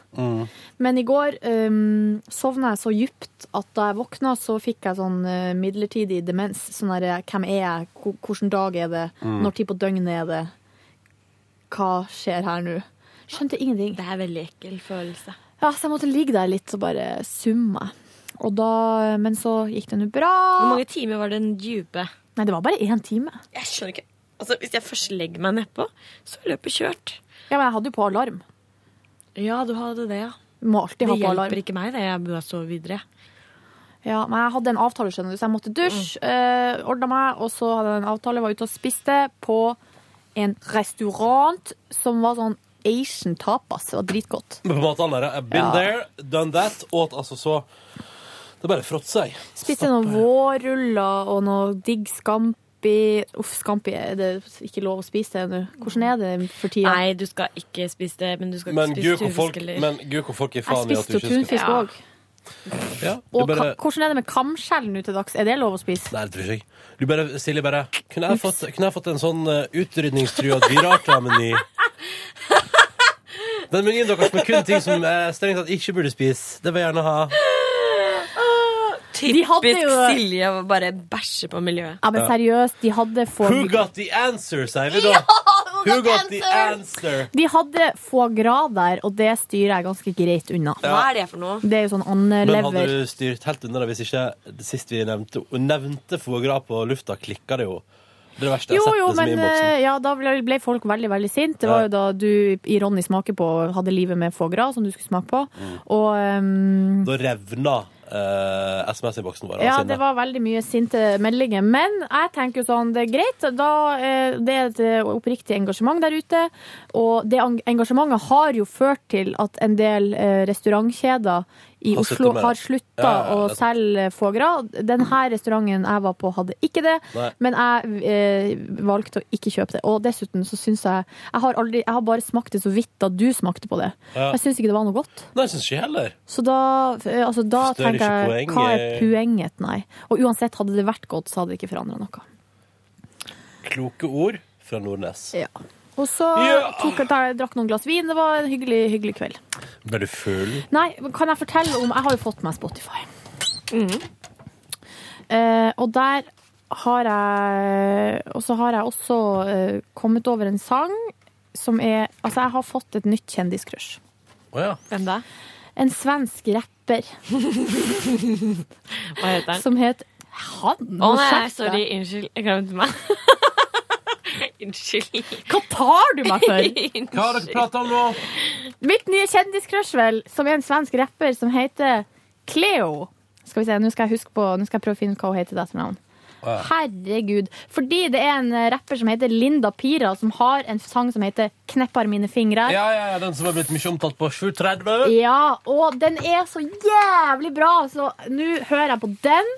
Speaker 2: Men i går um, sovna jeg så djupt at da jeg våkna, så fikk jeg sånn eh, midlertidig demens. Sånn her eh, hvem er jeg, Hvor- hvilken dag er det,
Speaker 14: Mm.
Speaker 2: når tid på døgnet er det, hva skjer her nå? Skjønte ingenting. Det er veldig
Speaker 14: Ekkel følelse.
Speaker 2: ja, så jeg måtte ligge der litt og bare summe. Og da, øh, men så gikk det nå bra.
Speaker 14: Hvor mange timer var den dype?
Speaker 2: Nei, det var bare én time.
Speaker 14: Jeg skjønner ikke. Altså, Hvis jeg først legger meg nedpå, så er løpet kjørt.
Speaker 2: Ja, men jeg hadde jo på alarm.
Speaker 14: Ja, du hadde det, ja.
Speaker 2: Må alltid
Speaker 14: det
Speaker 2: ha på
Speaker 14: hjelper
Speaker 2: alarm.
Speaker 14: ikke meg, det. Jeg bør sove videre.
Speaker 2: Ja, men jeg hadde en avtale, skjønner du, så jeg måtte dusje,
Speaker 14: Mm.
Speaker 2: eh, ordna meg, og så hadde jeg en avtale, var ute og spiste på en restaurant som var sånn Asian tapas. Det var dritgodt.
Speaker 3: Men på mathandelen der, I've been
Speaker 2: Ja.
Speaker 3: there, done that, og at altså så Det bare fråtser, jeg.
Speaker 2: Spiste noen vårruller og noe digg scampi. Uff, scampi er det ikke lov å spise det nå. Hvordan er det for tida?
Speaker 14: Nei, du skal ikke spise det, men du skal ikke
Speaker 3: Men
Speaker 14: spise
Speaker 3: gud, hvor folk, men gud, hvor folk gir faen i
Speaker 2: Jeg
Speaker 3: at du
Speaker 2: spiste jo
Speaker 3: ikke
Speaker 2: tunfisk
Speaker 3: skal
Speaker 2: òg.
Speaker 3: ja, du
Speaker 2: Og
Speaker 3: bare,
Speaker 2: ka- hvordan er det med kamskjell nå til dags? Er det lov å spise?
Speaker 3: Nei, det tror ikke jeg. Du bare, Silje, bare Kunne jeg fått, kunne jeg fått en sånn uh, utrydningstrua dyrearter-meny? Den menyen deres med kun ting som jeg strengt tatt ikke burde spise, det vil jeg gjerne ha.
Speaker 2: De hadde
Speaker 14: Typisk
Speaker 2: jo-
Speaker 14: Silje å bare bæsje på miljøet.
Speaker 2: Ja, men seriøst, de hadde
Speaker 3: Who
Speaker 2: foie
Speaker 3: got the answer, sier vi da. Who got the answer?
Speaker 2: de hadde foie gras der, og det styrer jeg ganske greit unna.
Speaker 3: Ja. Hva er
Speaker 14: det for noe?
Speaker 2: Det er jo sånn
Speaker 3: Men hadde
Speaker 2: andelever.
Speaker 3: du styrt helt unna det hvis ikke det sist vi nevnte og nevnte foie gras på lufta, klikka det jo. Det er det verste jeg
Speaker 2: Jo,
Speaker 3: har sett
Speaker 2: jo,
Speaker 3: det som
Speaker 2: men
Speaker 3: i innboksen.
Speaker 2: eh, ja, da ble ble folk veldig veldig sint. Det
Speaker 3: Ja.
Speaker 2: var jo da du i Ronny smaker på hadde livet med foie gras, som du skulle smake på.
Speaker 3: Mm.
Speaker 2: Og ehm,
Speaker 3: Da revna eh, SMS-innboksen vår. av
Speaker 2: Ja,
Speaker 3: sinne.
Speaker 2: det var veldig mye sinte meldinger. Men jeg tenker jo sånn, det er greit. Da, eh, det er et eh, oppriktig engasjement der ute. Og det en- engasjementet har jo ført til at en del eh, restaurantkjeder i
Speaker 14: Har
Speaker 2: Oslo
Speaker 14: sluttet med det.
Speaker 2: har slutta
Speaker 14: Ja, ja, ja,
Speaker 2: å
Speaker 14: det er sant.
Speaker 2: selge foie gras. Denne restauranten jeg var på, hadde ikke det.
Speaker 14: Nei.
Speaker 2: Men jeg eh, valgte å ikke kjøpe det. Og dessuten så syns jeg jeg har, aldri, jeg har bare smakt det så vidt da du smakte på det.
Speaker 3: Ja.
Speaker 2: Jeg syns ikke det var noe godt.
Speaker 3: Nei, jeg syns ikke heller.
Speaker 2: Så da, eh, altså, da
Speaker 3: Forstår
Speaker 2: tenker jeg,
Speaker 3: ikke
Speaker 2: hva er
Speaker 3: poenget.
Speaker 2: poenget? Nei. Og uansett, hadde det vært godt, så hadde det ikke forandra noe.
Speaker 3: Kloke ord fra Nordnes.
Speaker 2: Ja. Og så
Speaker 3: Ja.
Speaker 2: tok jeg, da jeg drakk noen glass vin. Det var en hyggelig, hyggelig kveld.
Speaker 3: Ble du full?
Speaker 2: Nei, men kan jeg fortelle om Jeg har jo fått meg Spotify. Eh, og der har jeg Og så har jeg også eh, kommet over en sang som er Altså, jeg har fått et nytt kjendiscrush.
Speaker 3: Å ja.
Speaker 14: Hvem da?
Speaker 2: En svensk rapper.
Speaker 14: Hva heter den?
Speaker 2: Som het Han.
Speaker 14: Å nei,
Speaker 2: skjerp deg.
Speaker 14: sorry. Unnskyld. Jeg glemte meg. Unnskyld.
Speaker 2: Hva tar du meg for?
Speaker 14: Hva
Speaker 3: har dere prata om nå?
Speaker 2: Mitt nye kjendiscrush, vel, som er en svensk rapper som heter Cleo. Skal vi se, nå skal jeg huske på Nå skal jeg prøve å finne ut hva hun heter til etternavn. Herregud. Fordi det er en eh, rapper som heter Linda Pira, som har en sang som heter 'Kneppar mine fingrar'.
Speaker 3: Ja, ja, ja, den som har blitt mye omtalt på 7.30.
Speaker 2: Ja, og den er så jævlig bra, så nå hører jeg på den.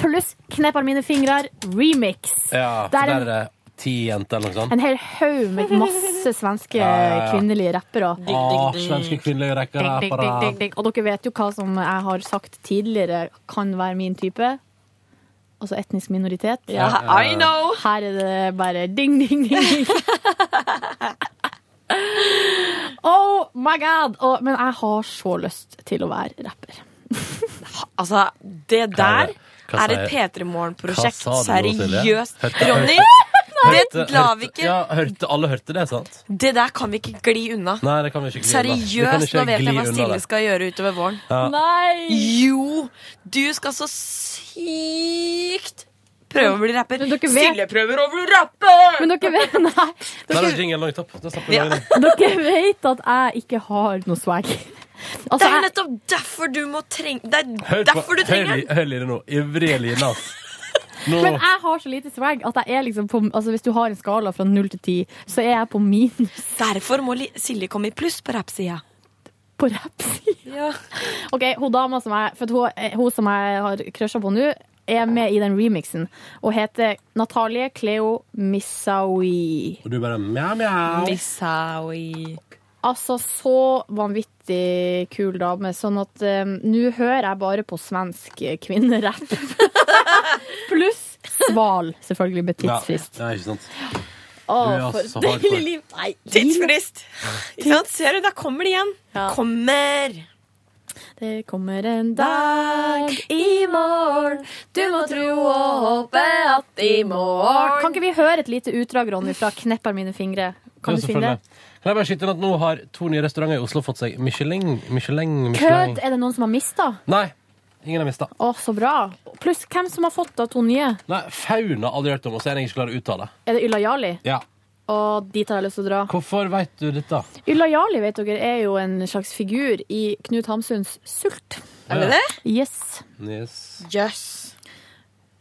Speaker 2: Pluss 'Kneppar mine fingrar' remix.
Speaker 3: Ja,
Speaker 2: Det er
Speaker 3: for
Speaker 2: en-
Speaker 3: der er det ti jenter eller noe
Speaker 2: En
Speaker 3: sånt.
Speaker 2: hel haug med masse svenske
Speaker 3: Ja, ja, ja.
Speaker 2: kvinnelige rappere.
Speaker 3: Å, svenske kvinnelige
Speaker 2: Ding,
Speaker 3: rekkere.
Speaker 2: ding, ding, ding, ding. Og dere vet jo hva som jeg har sagt tidligere kan være min type. altså etnisk minoritet.
Speaker 4: Ja, I know!
Speaker 2: Her er det bare ding, ding, ding. ding. oh my god! Og, men jeg har så lyst til å være rapper.
Speaker 4: altså, det
Speaker 3: Hva er
Speaker 4: der
Speaker 3: det? Hva
Speaker 4: er et
Speaker 3: sier-
Speaker 4: P3 Morgen-prosjekt.
Speaker 3: Hva sa du nå, Silje?
Speaker 4: Seriøst.
Speaker 3: Hørte- hørte-
Speaker 4: Ronny, det lar vi ikke
Speaker 3: Ja, hørte, alle hørte det, sant?
Speaker 4: Det der kan vi ikke gli unna.
Speaker 3: Nei, det kan vi ikke gli unna. Vi kan
Speaker 4: Seriøst,
Speaker 3: ikke
Speaker 4: nå vet
Speaker 3: gli
Speaker 4: jeg hva
Speaker 3: unna
Speaker 4: Silje
Speaker 3: det.
Speaker 4: skal gjøre utover våren.
Speaker 3: Ja.
Speaker 2: Nei!
Speaker 4: Jo! Du skal så sykt prøve å bli rapper. Silje prøver å bli rapper!
Speaker 2: Men dere vet, nei,
Speaker 3: Der er jingelen langt opp. Der slapp vi
Speaker 4: Ja.
Speaker 3: den.
Speaker 2: dere vet at jeg ikke har noe swag. Altså,
Speaker 4: det er jo
Speaker 2: jeg-
Speaker 4: nettopp derfor du må trenge Det er
Speaker 3: Hør på-
Speaker 4: derfor du trenger
Speaker 3: hør-
Speaker 4: den!
Speaker 3: Hør Line nå. Ivrige Line, ass. Nå.
Speaker 2: Men jeg har så lite swag at jeg er liksom på, altså hvis du har en skala fra null til ti, så er jeg på minus.
Speaker 4: Derfor må Li- Silje komme i pluss på rappsida.
Speaker 2: På rappsida? OK, hun dama som jeg For at hun, hun som jeg har crusha på nå, er med i den remixen og heter Natalie Cleo Missaoui.
Speaker 3: Og du bare mjau, mjau.
Speaker 2: Missaoui. Altså, så vanvittig kul dame. Sånn at eh, nå hører jeg bare på svensk kvinnerapp. Pluss Sval, selvfølgelig, med
Speaker 3: Ja,
Speaker 2: tidsfrist.
Speaker 3: Ja, ikke sant.
Speaker 2: Å,
Speaker 3: Du er altså
Speaker 2: for
Speaker 3: hardcore.
Speaker 2: deilig liv. Nei, Tidsfrist.
Speaker 4: Ikke sant? Ser du, da kommer det igjen. Kommer!
Speaker 2: Det kommer en dag i morgen, du må tro og håpe at i morgen Kan ikke vi høre et lite utdrag, Ronny, fra 'Knepper mine fingre'? Kan
Speaker 3: Jo,
Speaker 2: du finne
Speaker 3: selvfølgelig. Kan jeg bare skyte inn at nå har to nye restauranter i Oslo fått seg Michelin. Michelin, Michelin.
Speaker 2: Kødd! Er det noen som har mista?
Speaker 3: Nei, ingen har mista.
Speaker 2: Å, så bra. Pluss hvem som har fått da to nye?
Speaker 3: Nei, Fauna har aldri hørt om, og så er jeg ikke klar til å uttale.
Speaker 2: Er det Ylla Jarli?
Speaker 3: Ja.
Speaker 2: Og dit har jeg lyst til å dra.
Speaker 3: Hvorfor veit du dette?
Speaker 2: Ylla Jarli vet dere, er jo en slags figur i Knut Hamsuns Sult.
Speaker 3: Er det det?
Speaker 2: Yes.
Speaker 3: Yes.
Speaker 2: Yes.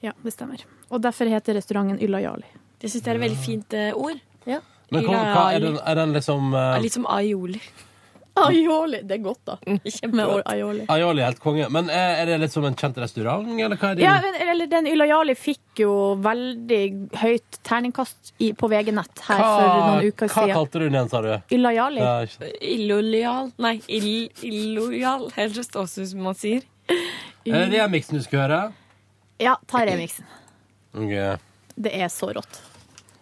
Speaker 2: Ja, det stemmer. Og derfor heter restauranten Ylla Jarli.
Speaker 14: Det syns jeg er et veldig fint eh, ord.
Speaker 2: Ja.
Speaker 3: Men hvor, hva er den, er den liksom eh,
Speaker 14: Litt som aioli. Mm.
Speaker 2: Aioli. Det er godt, da. Med or- aioli.
Speaker 3: Aioli er helt konge. Men eh, er det litt som en kjent restaurant, eller hva er din?
Speaker 2: Ja, men, eller den Ylla Jarli fikk jo veldig høyt terningkast i, på VG-nett her
Speaker 3: hva,
Speaker 2: for noen uker
Speaker 3: hva
Speaker 2: siden.
Speaker 3: kalte du den igjen, sa du?
Speaker 2: Ylla Jarli.
Speaker 3: Ja, ikke sant.
Speaker 14: Illojal. Nei, ill, illojal. Helst også, som man sier.
Speaker 3: Er Eh, det remixen du skulle høre?
Speaker 2: Ja, ta remixen.
Speaker 3: Ok,
Speaker 2: Det er så rått.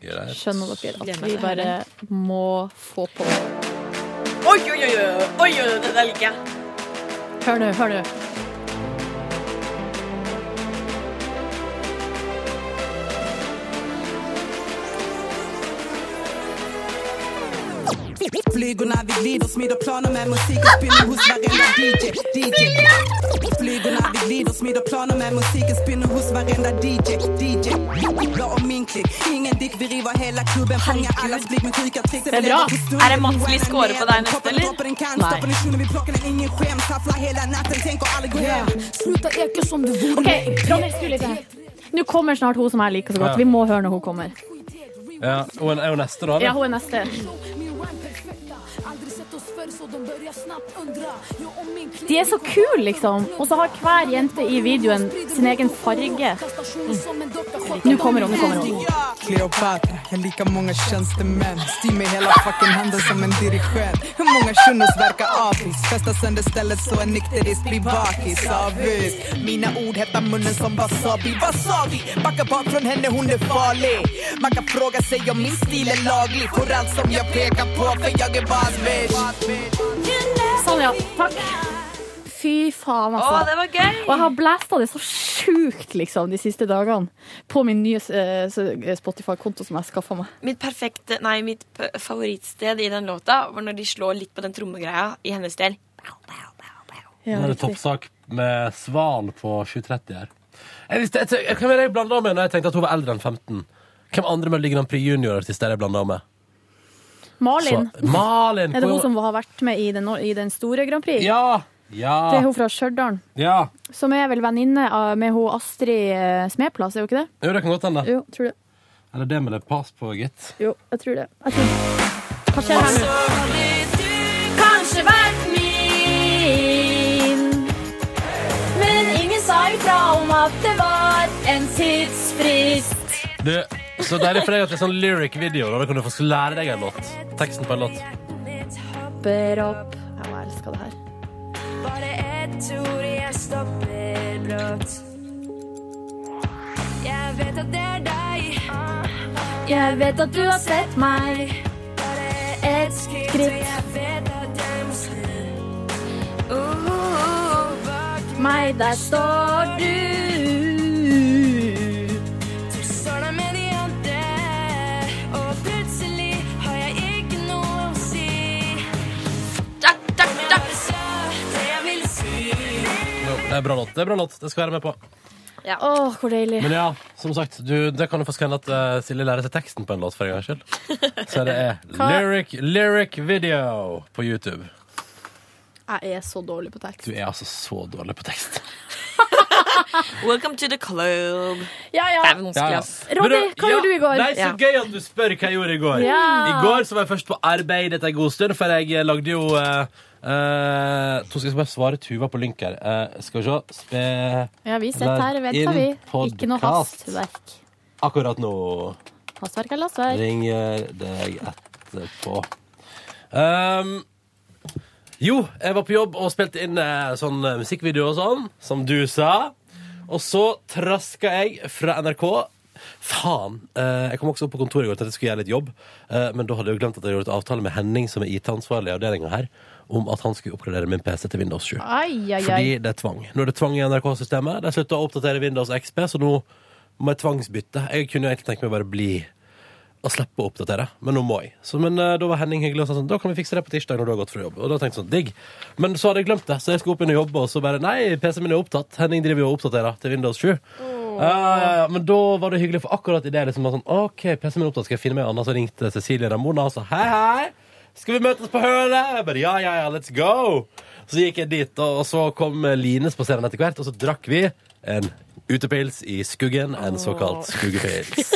Speaker 3: greit.
Speaker 2: Skjønner dere at
Speaker 14: Gleder meg til
Speaker 2: vi
Speaker 14: å høre
Speaker 2: bare
Speaker 14: den.
Speaker 2: må få på.
Speaker 4: Oi, oi, oi, oi, oi, oi, det der liker jeg.
Speaker 2: Hør nå, hør nå.
Speaker 9: Flygorna vi glider, smider planer med musik och spinner hos varenda DJ. DJ. Flygorna vi glider, smider planer med musik och spinner hos varenda DJ. DJ. Jag och min klick, ingen dick, vi river hela klubben, fångar allas blick med sjuka tricks.
Speaker 4: Det är bra. Är det Mats Liss skåre på dig nästa, eller?
Speaker 9: Nej. Ingen skäms, tafflar hela natten, tänk och aldrig gå hem. Sluta eka som du vore
Speaker 2: Ok, Ronny, skru litt her. Nå kommer snart hun som jeg liker så godt.
Speaker 3: Ja.
Speaker 2: Vi må høre når hun kommer.
Speaker 3: Ja, og en er jo neste, da? eller?
Speaker 2: Ja, hun er neste. De er så kule, liksom. Og så har hver jente i videoen sin egen farge.
Speaker 14: Mm.
Speaker 2: Nå kommer hun, nå kommer hun.
Speaker 9: Kleopatra, jag har lika många tjänstemän Styr med hela fucking handen som en dirigent Hur många shunos verkar avis? Festa sönder stället så en nykterist blir bakis Avis Mina ord hettar munnen som wasabi Wasabi! Backa bak från henne, hon är farlig Man kan fråga sig om min stil är laglig Får allt som jag pekar på för jeg er boss bitch
Speaker 2: Sånn, ja. Takk. Fy faen, altså.
Speaker 9: Å, det var gøy!
Speaker 2: Og jeg har blæsta det så sjukt, liksom, de siste dagene. På min nye eh, Spotify-konto som jeg skaffa meg.
Speaker 4: Mitt perfekte, nei, mitt p- favorittsted i den låta var når de slår litt på den trommegreia i hennes del.
Speaker 3: Nå er det toppsak med Sval på 7.30 her. Jeg visste, jeg, tenk- hvem er det jeg blanda med når jeg tenkte at hun var eldre enn 15? Hvem andre Melodi Grand Prix junior-artister er jeg blanda med?
Speaker 2: Malin.
Speaker 3: Så- Malin,
Speaker 2: Er det hun
Speaker 3: hvor-
Speaker 2: som har vært med i den, i den store Grand Prix?
Speaker 3: Ja! Ja!
Speaker 2: Det er hun fra Stjørdal.
Speaker 3: ja.
Speaker 2: Som er vel venninne av- med hun Astrid eh, Smeplass, er hun ikke det?
Speaker 3: Jo, det kan godt hende.
Speaker 2: Jo, tror det.
Speaker 3: Eller det med det pass på, gitt.
Speaker 2: Jo, jeg tror det. Jeg tror... Hva skjer her nå?
Speaker 14: Kanskje vært min, men ingen sa ifra om at det var en tidsfrist.
Speaker 3: Du, så deilig for deg at det er sånn lyric-video. Da Da kan du få lære deg en låt. Teksten på en låt.
Speaker 2: Hopper opp. Ja, jeg elsker det her.
Speaker 15: Bare ett ord jeg stopper brått.
Speaker 2: Jeg vet at du har sett meg. Et skritt. Meg, der står du.
Speaker 3: Jo, det er bra låt. Det er bra låt. Det skal jeg være med på.
Speaker 2: Ja. Åh, hvor deilig.
Speaker 3: Men ja, som sagt, du, det kan jo faktisk hende at eh, Silje lærer seg teksten på en låt for en gangs skyld. Så det er
Speaker 2: Hva?
Speaker 3: lyric, lyric video på YouTube.
Speaker 2: Jeg er så dårlig på tekst.
Speaker 3: Du er altså så dårlig på tekst.
Speaker 4: Welcome to the club.
Speaker 2: Ja, ja.
Speaker 4: Det er vanskelig,
Speaker 3: Ja, ja.
Speaker 4: ass.
Speaker 3: Men
Speaker 2: Ronny, hva gjorde du i går?
Speaker 3: Nei, så
Speaker 2: Sånn Ja.
Speaker 3: gøy at du spør hva jeg gjorde i går.
Speaker 2: Ja.
Speaker 3: I går så var jeg først på arbeid etter en god stund, for jeg eh, lagde jo eh, eh, to skal jeg bare svare Tuva på link her. Eh, skal vi se Spe...
Speaker 7: Ja, vi sitter her, venter vi. Ikke noe hastverk.
Speaker 3: Akkurat nå.
Speaker 7: Hastverk eller hastverk?
Speaker 3: Ringer deg etterpå. Um, jo, jeg var på jobb og spilte inn eh, sånn eh, musikkvideo og sånn, som du sa. Og så traska jeg fra NRK. Faen! eh, jeg kom også opp på kontoret i går til at jeg skulle gjøre litt jobb, eh, men da hadde jeg jo glemt at jeg gjorde et avtale med Henning, som er IT-ansvarlig i avdelinga her, om at han skulle oppgradere min PC til Windows 7.
Speaker 7: Ai, ai, ai.
Speaker 3: Fordi det er tvang. Nå er det tvang i NRK-systemet. De slutta å oppdatere Windows XP, så nå må jeg tvangsbytte. Jeg kunne jo egentlig tenkt meg bare bli og slippe å oppdatere, men nå må jeg. Så, men eh, da var Henning hyggelig og sa sånn, da kan vi fikse det på tirsdag når du har gått fra jobb. Og da tenkte jeg sånn, digg. Men så hadde jeg glemt det, så jeg skulle opp inn og jobbe, og så bare nei, PC-en min er opptatt. Henning driver jo og oppdaterer til Windows 7. Ja, ja, ja. Men da var det hyggelig, for akkurat i det liksom var sånn, ok, PC-en min er opptatt, skal jeg finne meg en annen? Så ringte Cecilie Ramona og sa hei, hei. Skal vi møtes på hølet? Jeg bare, ja, ja, ja, let's go. Så gikk jeg dit, og så kom Line spaserende etter hvert, og så drakk vi en utepils i skuggen, en såkalt skuggepils.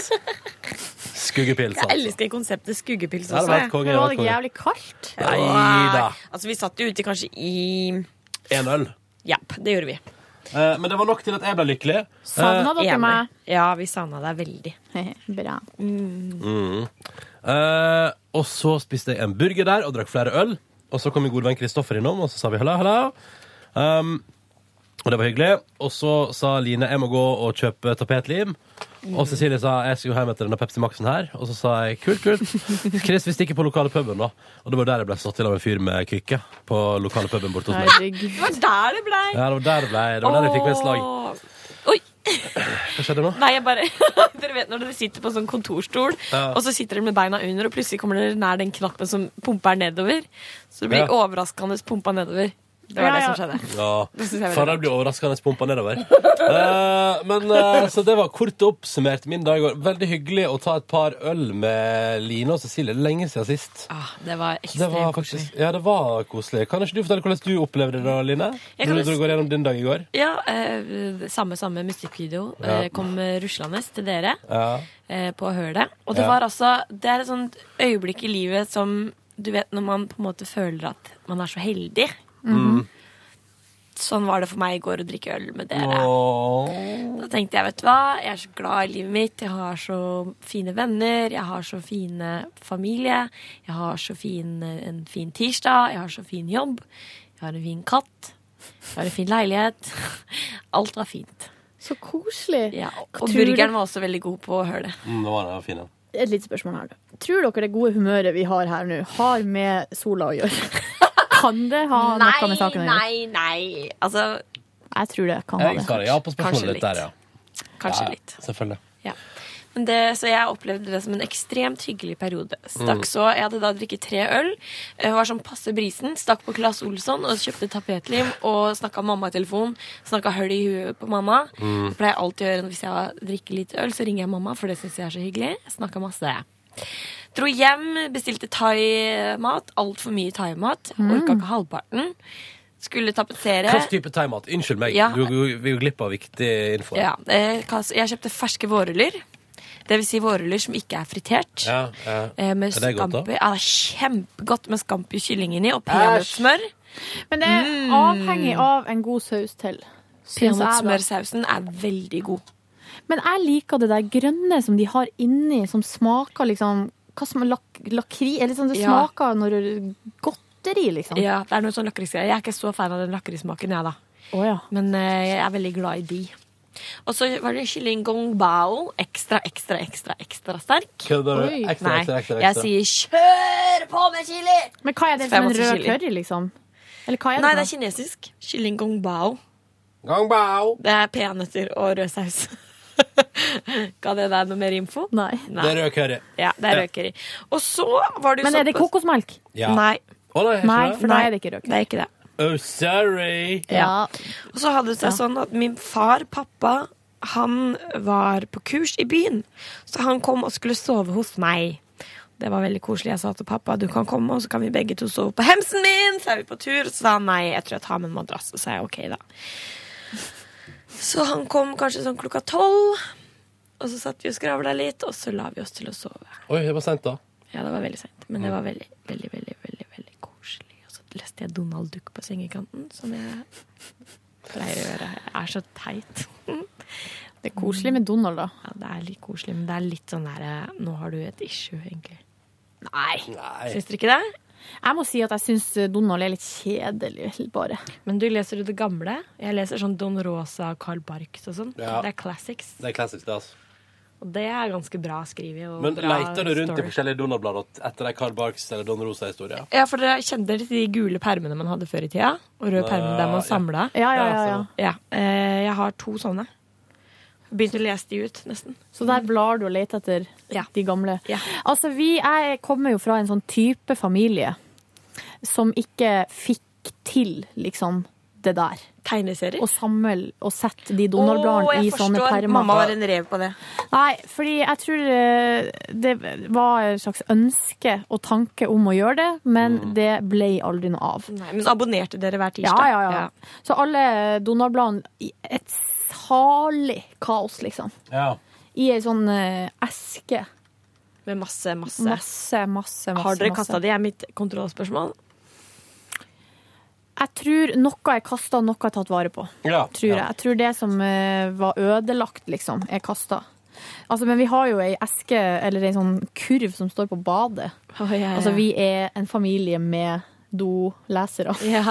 Speaker 3: Skuggepils,
Speaker 4: Jeg
Speaker 3: altså.
Speaker 4: elsker konseptet skuggepils
Speaker 3: Ja, det
Speaker 4: også.
Speaker 3: var helt konge, det var helt
Speaker 4: jeg.
Speaker 3: konge.
Speaker 7: Jævlig kaldt.
Speaker 3: Nei da.
Speaker 4: Altså, vi satt jo ute kanskje i
Speaker 3: En øl.
Speaker 4: Ja, det gjorde vi.
Speaker 3: Eh, men det var nok til at jeg ble lykkelig. Eh,
Speaker 4: Savna dere
Speaker 3: Enig.
Speaker 4: meg? Ja, vi savna deg veldig.
Speaker 7: Bra.
Speaker 3: Mm. Eh, og så spiste jeg en burger der og drakk flere øl. Og så kom min gode venn Kristoffer innom, og så sa vi halla, halla. Um, og det var hyggelig. Og så sa Line jeg må gå og kjøpe tapetlim. Og Cecilie sa jeg skal jo hjem etter denne Pepsi Max-en her. Og så sa jeg kult, kult. Chris, vi stikker på lokale puben, da. Og det var der jeg ble slått til av en fyr med krykke. På lokale puben borte hos meg.
Speaker 4: Det var der det blei.
Speaker 3: Ja, det var der det ble. Det var der jeg fikk meg et slag.
Speaker 4: Oi.
Speaker 3: Hva skjedde nå?
Speaker 4: Nei, jeg bare Dere vet når dere sitter på sånn kontorstol,
Speaker 3: Ja.
Speaker 4: og så sitter dere med beina under, og plutselig kommer dere nær den knappen som pumper nedover. Så det
Speaker 3: Ja.
Speaker 4: blir overraskende pumpa nedover. Det var
Speaker 3: Ja,
Speaker 4: det som
Speaker 3: ja.
Speaker 4: skjedde.
Speaker 3: Ja,
Speaker 4: Det synes jeg er veldig
Speaker 3: for det blir overraskende pumpa nedover. Eh, men eh, Så det var kort oppsummert min dag i går. Veldig hyggelig å ta et par øl med Line og Cecilie. Lenge siden sist.
Speaker 4: Det var
Speaker 3: Det var faktisk, ja, det var koselig. Kan ikke du fortelle hvordan du opplevde det, da, Line?
Speaker 4: Jeg kan
Speaker 3: Når
Speaker 4: nesten-
Speaker 3: du går gjennom din dag i går?
Speaker 4: Ja, eh, samme, samme musikkvideo
Speaker 3: Ja.
Speaker 4: eh, kom ruslende til dere.
Speaker 3: Ja.
Speaker 4: eh, på hølet. Og det
Speaker 3: Ja.
Speaker 4: var altså Det er et sånt øyeblikk i livet som Du vet når man på en måte føler at man er så heldig.
Speaker 3: Mhm.
Speaker 4: Sånn var det for meg i går å drikke øl med dere.
Speaker 3: Åh.
Speaker 4: Da tenkte jeg, vet du hva, jeg er så glad i livet mitt. Jeg har så fine venner. Jeg har så fine familie. Jeg har så fin, en fin tirsdag. Jeg har så fin jobb. Jeg har en fin katt. Jeg har en fin leilighet. Alt var fint.
Speaker 2: Så koselig.
Speaker 4: Ja,
Speaker 2: Tror
Speaker 4: og
Speaker 2: du-
Speaker 4: burgeren var også veldig god på hølet.
Speaker 3: Mm, det var det, fin, ja.
Speaker 2: Et lite spørsmål her. Tror dere det gode humøret vi har her nå, har med sola å gjøre? Kan det ha noe med saken å gjøre?
Speaker 4: Nei, nei, altså
Speaker 2: Jeg tror det kan ha det.
Speaker 3: Jeg svarer ja på spørsmålet
Speaker 4: Kanskje
Speaker 3: ditt der, ja.
Speaker 4: Kanskje
Speaker 3: Ja, ja,
Speaker 4: litt.
Speaker 3: Selvfølgelig.
Speaker 4: Ja. Men det, så jeg opplevde det som en ekstremt hyggelig periode. Stakk
Speaker 3: Mm.
Speaker 4: så, Jeg hadde da drikket tre øl, eh, var sånn passe brisen, stakk på Claes Olsson og kjøpte tapetlim og snakka mamma i telefon. Snakka høl i huet på mamma.
Speaker 3: Mm.
Speaker 4: Det pleier jeg alltid å gjøre hvis jeg drikker litt øl, så ringer jeg mamma, for det syns jeg er så hyggelig. Jeg snakka masse. Dro hjem, bestilte thaimat. Altfor mye thaimat.
Speaker 3: Mm.
Speaker 4: Orka ikke halvparten. Skulle tapetsere.
Speaker 3: Hvilken type thaimat? Unnskyld meg,
Speaker 4: Ja.
Speaker 3: du, du, vi går glipp av viktig info.
Speaker 4: Ja, eh, kas- jeg kjøpte ferske vårruller. Det vil si vårruller som ikke er fritert.
Speaker 3: Ja, ja.
Speaker 4: Eh, Med
Speaker 3: Er det godt, da?
Speaker 4: scampi. Ja, det er kjempegodt med scampi kylling inni og peanøttsmør.
Speaker 2: Men det er
Speaker 4: Mm.
Speaker 2: avhengig av en god saus til. synes jeg da.
Speaker 4: Peanøttsmørsausen er veldig god.
Speaker 2: Men jeg liker det der grønne som de har inni, som smaker liksom hva som er lak lakri Eller sånn, det
Speaker 4: Ja.
Speaker 2: smaker når det er godteri, liksom.
Speaker 4: Ja, det er noe sånn lakrisgreier. Jeg er ikke så fan av den lakrissmaken, jeg, da.
Speaker 2: Å, ja.
Speaker 4: Men eh, jeg er veldig glad i de. Og så var det kylling gong bao. Ekstra, ekstra, ekstra, ekstra sterk.
Speaker 3: Kødder du? Oi. Ekstra,
Speaker 4: Nei,
Speaker 3: ekstra, ekstra, ekstra.
Speaker 4: jeg sier kjør på med chili!
Speaker 2: Men hva er
Speaker 4: Så jeg
Speaker 2: det for en
Speaker 4: måtte
Speaker 2: rød
Speaker 4: chili.
Speaker 2: curry, liksom? Eller hva er det
Speaker 4: Nei,
Speaker 2: for
Speaker 4: det
Speaker 2: noe?
Speaker 4: er kinesisk. Kylling gong bao.
Speaker 3: Gong bao.
Speaker 4: Det er peanøtter og rød saus. Ga det deg noe mer info?
Speaker 2: Nei.
Speaker 3: Det er rød curry.
Speaker 4: Ja, det er
Speaker 3: Ja.
Speaker 4: rød curry. Og så var det jo
Speaker 2: Men er det
Speaker 4: såpass-
Speaker 2: kokosmelk?
Speaker 3: Ja.
Speaker 4: Nei.
Speaker 3: Å, det er ikke
Speaker 4: Nei,
Speaker 3: det?
Speaker 4: for da er det
Speaker 2: ikke rød
Speaker 4: Det er ikke det.
Speaker 3: Oh, sorry.
Speaker 4: Og så hadde det seg sånn at min far, pappa, han var på kurs i byen. Så han kom og skulle sove hos meg. Det var veldig koselig. Jeg sa til pappa du kan komme, og så kan vi begge to sove på hemsen min. Så er vi på tur. Og så sa han nei, jeg tror jeg tar med en madrass. Og så er jeg ok, da. Så han kom kanskje sånn klokka tolv. Og så satt vi og skravla litt, og så la vi oss til å sove.
Speaker 3: Oi, det var sent, da.
Speaker 4: Ja, det var veldig seint. Men det var veldig, veldig, veldig veldig, veldig koselig. Og så leste jeg Donald Duck på sengekanten, som jeg pleier å gjøre. Jeg er så teit. Det er
Speaker 2: koselig med Donald, da.
Speaker 4: Ja, det er litt koselig, men det er litt sånn derre Nå har du et issue, egentlig. Nei. Syns dere ikke det?
Speaker 2: Jeg må si at jeg syns eh, Donald er litt kjedelig, bare.
Speaker 4: Men du leser jo det gamle. Jeg leser sånn Don Rosa og Carl Barks og sånn.
Speaker 3: Ja.
Speaker 4: Det er classics.
Speaker 3: Det er klassisk, det, altså.
Speaker 4: Og det er ganske bra skrevet. og
Speaker 3: Men
Speaker 4: bra
Speaker 3: leter du rundt i
Speaker 4: story.
Speaker 3: forskjellige Donald-blader etter de Carl Barks eller Don Rosa-historier?
Speaker 4: Ja, for dere kjente dere til de gule permene man hadde før i tida? Og røde
Speaker 3: Nei,
Speaker 4: permer der man
Speaker 3: ja.
Speaker 4: samla?
Speaker 3: Ja, ja, ja, ja.
Speaker 4: eh, jeg har to sånne. Begynte å lese de ut, nesten.
Speaker 2: Så der blar du og leter etter de gamle.
Speaker 4: Ja.
Speaker 2: Altså, vi, jeg kommer jo fra en sånn type familie som ikke fikk til, liksom, det der.
Speaker 4: Tegneserier?
Speaker 2: Å samle og sette
Speaker 4: Å,
Speaker 2: de Donald-bladene
Speaker 4: jeg
Speaker 2: i sånne
Speaker 4: forstår.
Speaker 2: permer.
Speaker 4: Mamma var en rev på det.
Speaker 2: Nei, fordi jeg tror eh, det var et slags ønske og tanke om å gjøre det, men det ble aldri noe av.
Speaker 4: Mm. Nei, men så abonnerte dere hver tirsdag.
Speaker 2: Ja, ja, ja. Så alle Donald-bladene i et salig kaos, liksom.
Speaker 3: Ja.
Speaker 2: I ei sånn eh, eske.
Speaker 4: Med masse, masse.
Speaker 2: Masse, masse, masse.
Speaker 4: Har dere
Speaker 2: masse.
Speaker 4: kasta de? er mitt kontrollspørsmål.
Speaker 2: Jeg tror noe er kasta, noe er tatt vare på.
Speaker 3: Ja,
Speaker 2: tror jeg.
Speaker 3: ja.
Speaker 2: jeg tror det som eh, var ødelagt, liksom, er kasta. Altså, men vi har jo ei eske, eller ei sånn kurv, som står på badet.
Speaker 4: ja, ja.
Speaker 2: Altså, vi er en familie med dolesere.
Speaker 4: Ja,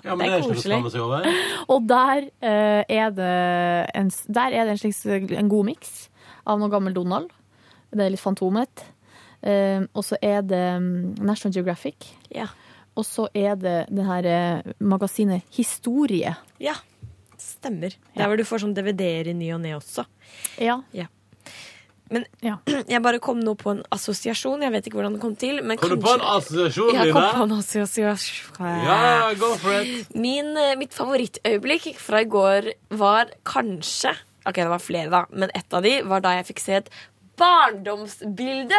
Speaker 3: Ja, men det er ikke noe å skamme seg over.
Speaker 2: Og der, eh, er det en, s- der er det en, slags, en god miks av noe gammel Donald. Det er litt Fantomet. Eh, og så er det mm, National Geographic.
Speaker 4: Ja.
Speaker 2: Og så er det det her eh, magasinet Historie.
Speaker 4: Ja, stemmer. Der hvor du får sånn DVD-er i ny og ne også.
Speaker 2: Ja.
Speaker 4: Men jeg bare kom nå på en assosiasjon. Jeg vet ikke hvordan det kom til. Men
Speaker 3: Kom du på
Speaker 4: kanskje-
Speaker 3: en assosiasjon,
Speaker 4: Jeg kom
Speaker 3: Line?
Speaker 4: på en assosiasjon.
Speaker 3: Ja, go for it.
Speaker 4: Min, eh, mitt favorittøyeblikk fra i går var kanskje Ok, det var flere, da, men ett av de var da jeg fikk se et barndomsbilde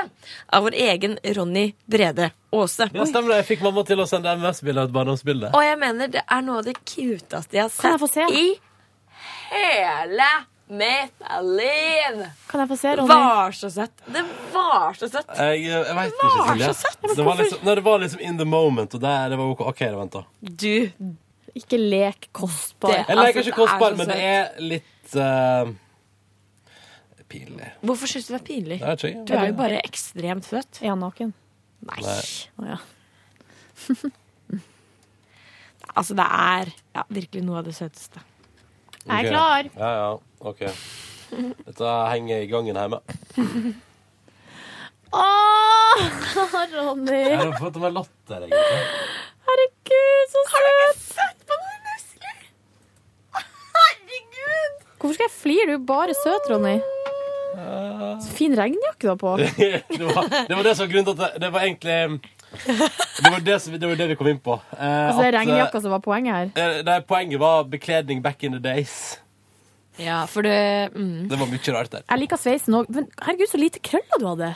Speaker 4: av vår egen Ronny Brede Aase.
Speaker 3: Ja, stemmer det. Jeg fikk mamma til å sende MS-bilde av et barndomsbilde.
Speaker 4: Og jeg mener det er noe av det cuteste jeg har
Speaker 2: Kan jeg få
Speaker 4: sett
Speaker 2: se?
Speaker 4: i hele mitt liv.
Speaker 2: Kan jeg få se,
Speaker 4: Det
Speaker 2: Ronny?
Speaker 4: var så søtt. Det var så søtt.
Speaker 3: Jeg, eh, jeg vet ikke,
Speaker 4: var
Speaker 3: Silje.
Speaker 4: så søtt.
Speaker 3: Det var, liksom, nei, det var liksom in the moment, og der, det var OK. OK, det vent, da.
Speaker 4: Du Altså,
Speaker 2: Ikke lek kostbar.
Speaker 3: Jeg leker ikke kostbar, men det er litt eh, pinlig.
Speaker 4: Hvorfor syns du det er pinlig?
Speaker 3: Det vet ikke jeg.
Speaker 4: Du er jo bare ekstremt søt.
Speaker 2: Er han naken?
Speaker 4: Nei.
Speaker 3: Nei.
Speaker 2: Å, ja.
Speaker 4: Altså, det er ja, virkelig noe av det søteste.
Speaker 3: Ok. Ja, ja. OK. Dette henger i gangen hjemme.
Speaker 2: Åh, Ronny!
Speaker 3: Jeg har fått meg latter, egentlig.
Speaker 2: Herregud, så søt! Har du ikke sett på noen
Speaker 4: muskler?
Speaker 2: Herregud! Hvorfor skal jeg flire? Du er jo bare søt, Ronny.
Speaker 3: Ah.
Speaker 2: Så fin regnjakke du har på. Altså,
Speaker 3: det, var, det var det som var grunnen til at det, det var egentlig eh, det var det, som, det var det vi kom inn på. Eh,
Speaker 2: Altså, det er
Speaker 3: at, eh,
Speaker 2: regnjakka som var poenget her.
Speaker 3: eh, Nei, poenget var bekledning back in the days.
Speaker 4: Ja, for det mm.
Speaker 3: Det var mye rart der.
Speaker 2: Jeg liker sveisen òg, men herregud, så lite krøller du hadde.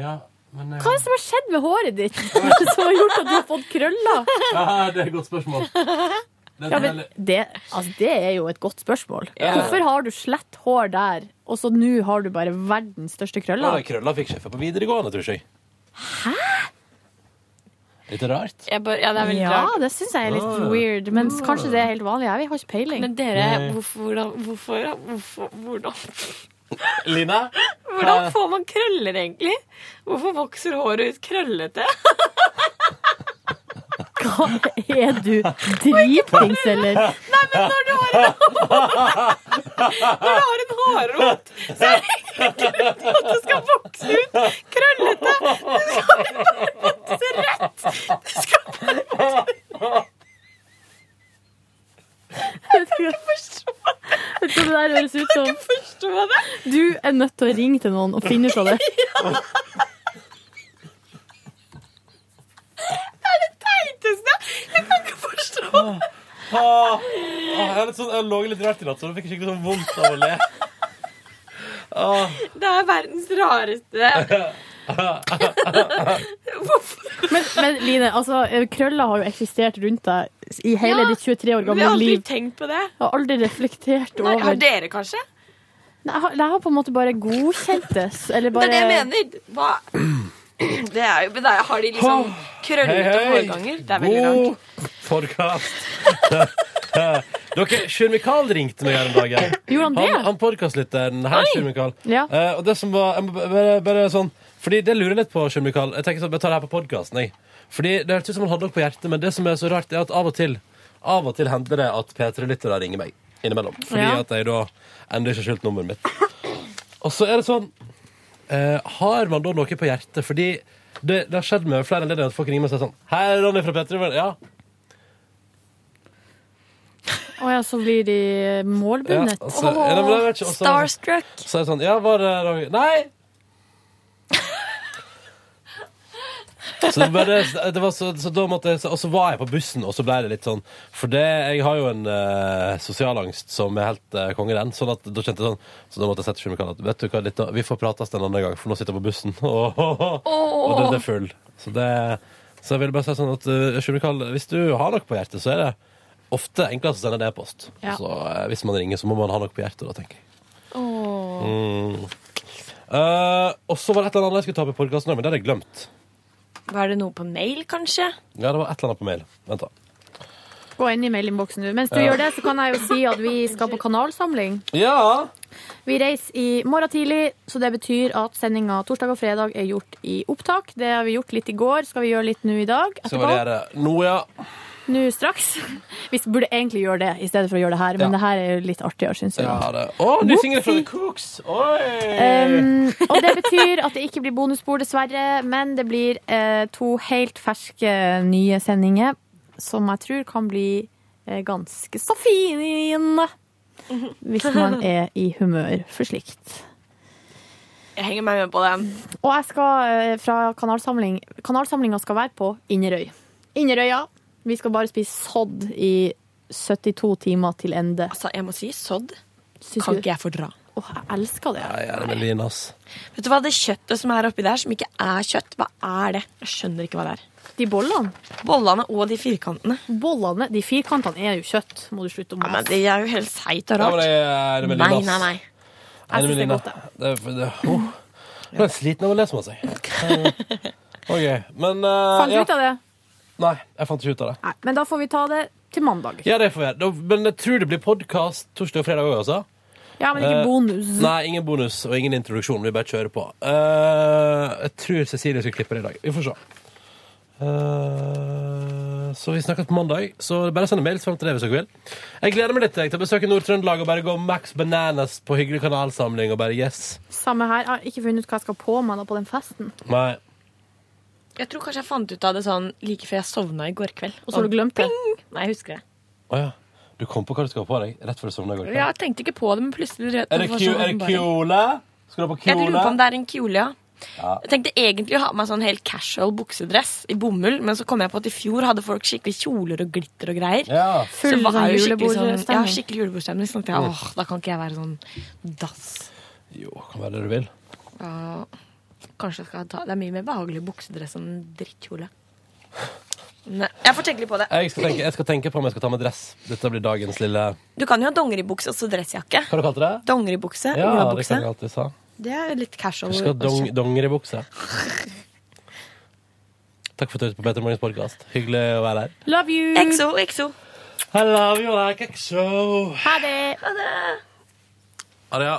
Speaker 3: Ja, men eh,
Speaker 2: Hva er det som har skjedd med håret ditt som har gjort at du har fått krøller?
Speaker 3: ja, Det er et godt spørsmål. Det er
Speaker 2: Ja, men det, altså, det er jo et godt spørsmål.
Speaker 3: Ja.
Speaker 2: Hvorfor har du slett hår der, og så nå har du bare verdens største
Speaker 3: Krølla.
Speaker 2: krøller?
Speaker 3: krølla fikk sjefen på videregående, tror jeg. Hæ? Litt rart.
Speaker 4: ja, det er veldig rart.
Speaker 2: det syns jeg er litt
Speaker 3: Ja.
Speaker 2: weird. Men kanskje det er helt vanlig. Jeg har ikke peiling.
Speaker 4: Men dere,
Speaker 3: Nei.
Speaker 4: hvorfor, hvordan, hvorfor, hvorfor hvordan,
Speaker 3: Line?
Speaker 4: hvordan får man krøller, egentlig? Hvorfor vokser håret ut krøllete?
Speaker 2: Hva er du? Dritings, eller?
Speaker 4: Nei, men når du har en Når du har en hårrot, så er det ikke grunn til at det skal vokse ut krøllete. Det skal bare vokse rett. Det skal bare
Speaker 2: Jeg kan ikke forstå det. Vet du hva det der høres ut som? Du er nødt til å ringe til noen og finne ut av det.
Speaker 4: Det er det teiteste. Jeg kan ikke forstå det.
Speaker 3: Ah, ah, jeg, er litt sånn, jeg lå litt rart i natt, så nå fikk jeg skikkelig sånn vondt av å le. Ah.
Speaker 4: Det er verdens rareste.
Speaker 2: Men, men Line, altså, krøller har jo eksistert rundt deg i hele
Speaker 4: Ja,
Speaker 2: ditt 23 år
Speaker 4: Vi
Speaker 2: gamle
Speaker 4: har aldri
Speaker 2: liv.
Speaker 4: tenkt på det.
Speaker 2: Jeg har aldri reflektert
Speaker 4: Nei,
Speaker 2: over
Speaker 4: har dere kanskje?
Speaker 2: Nei, jeg, har, jeg har på en måte bare godkjent det. s- Eller bare
Speaker 4: Det er det jeg mener. Hva? Det er jo, men da har de liksom krøllete
Speaker 3: Hei, hei.
Speaker 4: hårganger. Det er veldig rart.
Speaker 3: Podcast. Dere, Sjur Mikael ringte meg her om dagen.
Speaker 2: Gjorde han det?
Speaker 3: Han, han podcastlytteren. Hei, Sjur Mikael.
Speaker 2: Ja.
Speaker 3: Eh, og det som var jeg må b- bare, bare sånn Fordi det lurer jeg litt på, Sjur Mikael. Jeg tenker sånn, jeg tar det her på podkasten, jeg. Fordi det hørtes ut som han hadde noe på hjertet, men det som er så rart, er at av og til Av og til hender det at P3-lyttere ringer meg innimellom. Fordi
Speaker 12: Ja.
Speaker 3: at jeg da ennå ikke har skjult nummeret mitt. Og så er det sånn Eh, har man da noe på hjertet? Fordi det, det har skjedd med flere anledninger at folk ringer meg og sier sånn Hei, Ronny fra Petter. Ja,
Speaker 2: Å ja, så blir de målbundet.
Speaker 3: Ja, altså, ja, men jeg vet ikke, også- så er det sånn Ja, var det Roger?» Nei! Så, det bare, det var så, så da måtte jeg, så- Og så var jeg på bussen, og så ble det litt sånn For det, jeg har jo en eh, sosial angst som er helt eh, konge, den. Sånn at da kjente jeg sånn Så da måtte jeg sette Sjur Mikael at Vet du hva, litt, av- vi får prates en annen gang, for nå sitter jeg på bussen. Og, og den er full. Så det Så jeg vil bare si sånn at eh, Sjur Mikael, hvis du har noe på hjertet, så er det ofte enklest å sende en e-post.
Speaker 2: Ja.
Speaker 3: Så eh, hvis man ringer, så må man ha noe på hjertet, da, tenker jeg.
Speaker 2: Åh.
Speaker 3: Mm. Eh, og så var det et eller annet jeg skulle ta opp i podkasten, men det hadde jeg glemt.
Speaker 4: Var det noe på mail, kanskje?
Speaker 3: Ja, det var et eller annet på mail. Vent, da.
Speaker 2: Gå inn i mailinnboksen nå. Mens du
Speaker 3: Ja.
Speaker 2: gjør det, så kan jeg jo si at vi skal på kanalsamling.
Speaker 3: Ja!
Speaker 2: Vi reiser i morgen tidlig, så det betyr at sendinga torsdag og fredag er gjort i opptak. Det har vi gjort litt i går, skal vi gjøre litt nå i dag.
Speaker 3: Så
Speaker 2: Etterpå.
Speaker 3: var det her, eh, Nå, ja.
Speaker 2: Nå straks. Vi burde egentlig gjøre det i stedet for å gjøre det her, men
Speaker 3: Ja.
Speaker 2: det her er jo litt artigere, syns jeg.
Speaker 3: Ja, det. Å, ny singel fra The Cooks! Oi!
Speaker 2: Um, og det betyr at det ikke blir bonusbord, dessverre, men det blir eh, to helt ferske nye sendinger som jeg tror kan bli eh, ganske så fine hvis man er i humør for slikt.
Speaker 4: Jeg henger meg med på den.
Speaker 2: Og jeg skal eh, fra kanalsamling Kanalsamlinga skal være på Inderøy. Inderøya. Vi skal bare spise sodd i 72 timer til ende.
Speaker 4: Altså, jeg må si sodd
Speaker 2: du-
Speaker 4: kan ikke jeg fordra.
Speaker 2: Åh, jeg elsker det.
Speaker 3: Nei, er det med Line, ass?
Speaker 4: Vet du hva, det kjøttet som er oppi der, som ikke er kjøtt, hva er det? Jeg skjønner ikke hva det er.
Speaker 2: De bollene?
Speaker 4: Bollene og de firkantene.
Speaker 2: Bollene, De firkantene er jo kjøtt, må du slutte å
Speaker 4: Ja, men de er jo helt seigt og
Speaker 3: Ja, men
Speaker 4: rart.
Speaker 3: det er det med
Speaker 4: Nei,
Speaker 3: Line, ass.
Speaker 4: nei, nei.
Speaker 3: Er det med
Speaker 4: Jeg synes det er
Speaker 3: Line?
Speaker 4: godt,
Speaker 3: Det er- det- oh. Nå er jeg sliten av å lese med seg. OK. Men eh,
Speaker 2: Fant du
Speaker 3: ja.
Speaker 2: ut av det?
Speaker 3: Nei, jeg fant ikke ut av det.
Speaker 2: Nei, men da får vi ta det til mandag.
Speaker 3: Ja, det får vi gjøre. Da- Men jeg tror det blir podkast torsdag og fredag òg, altså.
Speaker 2: Ja, men ikke
Speaker 3: Eh,
Speaker 2: bonus.
Speaker 3: Nei, ingen bonus og ingen introduksjon. Vi bare kjører på. Eh, jeg tror Cecilie skal klippe det i dag. Vi får se. Eh, så vi snakkes på mandag. Så bare send en mail fram til det hvis dere vil. Jeg gleder meg litt jeg, til å besøke Nord-Trøndelag og bare gå Max Bananas på hyggelig kanalsamling og bare yes.
Speaker 2: Samme her. Jeg har ikke funnet ut hva jeg skal på meg da på den festen.
Speaker 3: Nei.
Speaker 4: Jeg tror kanskje jeg fant ut av det sånn like før jeg sovna i går kveld.
Speaker 2: Og så har du glemt det?
Speaker 4: Ping! Nei, jeg husker det.
Speaker 3: Å ja. Du kom på hva du skal ha på deg rett før du sovna i går kveld?
Speaker 4: Jeg tenkte ikke på det, men plutselig
Speaker 3: Er det, kjo- er det kjole? Skal du ha på
Speaker 4: Jeg lurer på om
Speaker 3: kjole?
Speaker 4: det er en kjole, ja.
Speaker 3: Ja.
Speaker 4: Jeg tenkte egentlig å ha på meg sånn helt casual buksedress i bomull, men så kom jeg på at i fjor hadde folk skikkelig kjoler og glitter og greier.
Speaker 3: Ja.
Speaker 4: Så det var
Speaker 2: Full
Speaker 4: jo skikkelig
Speaker 2: julebordstemning.
Speaker 4: Sånn, ja, skikkelig julebordstemning. Så tenkte jeg,
Speaker 3: Mm.
Speaker 4: åh, da kan ikke jeg være sånn dass.
Speaker 3: Jo, kan være det du vil.
Speaker 4: Ja, kanskje jeg skal ta Det er mye mer behagelig buksedress enn en drittkjole. Nei, jeg får tenke litt på det.
Speaker 3: Jeg skal, tenke, jeg skal tenke på om jeg skal ta med dress. Dette blir dagens lille
Speaker 4: Du kan jo ha dongeribukse og så dressjakke.
Speaker 3: Hva du kalte du det?
Speaker 4: Dongeribukse,
Speaker 3: Ja, det
Speaker 4: olabukse.
Speaker 3: kan jeg alltid sa.
Speaker 4: Det er litt casual.
Speaker 3: Du skal ha
Speaker 4: og
Speaker 3: dong,
Speaker 4: kjent.
Speaker 3: dongeribukse. Takk for at du hørte på Petter Morgens podkast. Hyggelig å være her.
Speaker 2: Love you!
Speaker 4: Exo, exo.
Speaker 3: I love you like exo.
Speaker 2: Ha det!
Speaker 4: Ha det!
Speaker 3: Ha det, ja.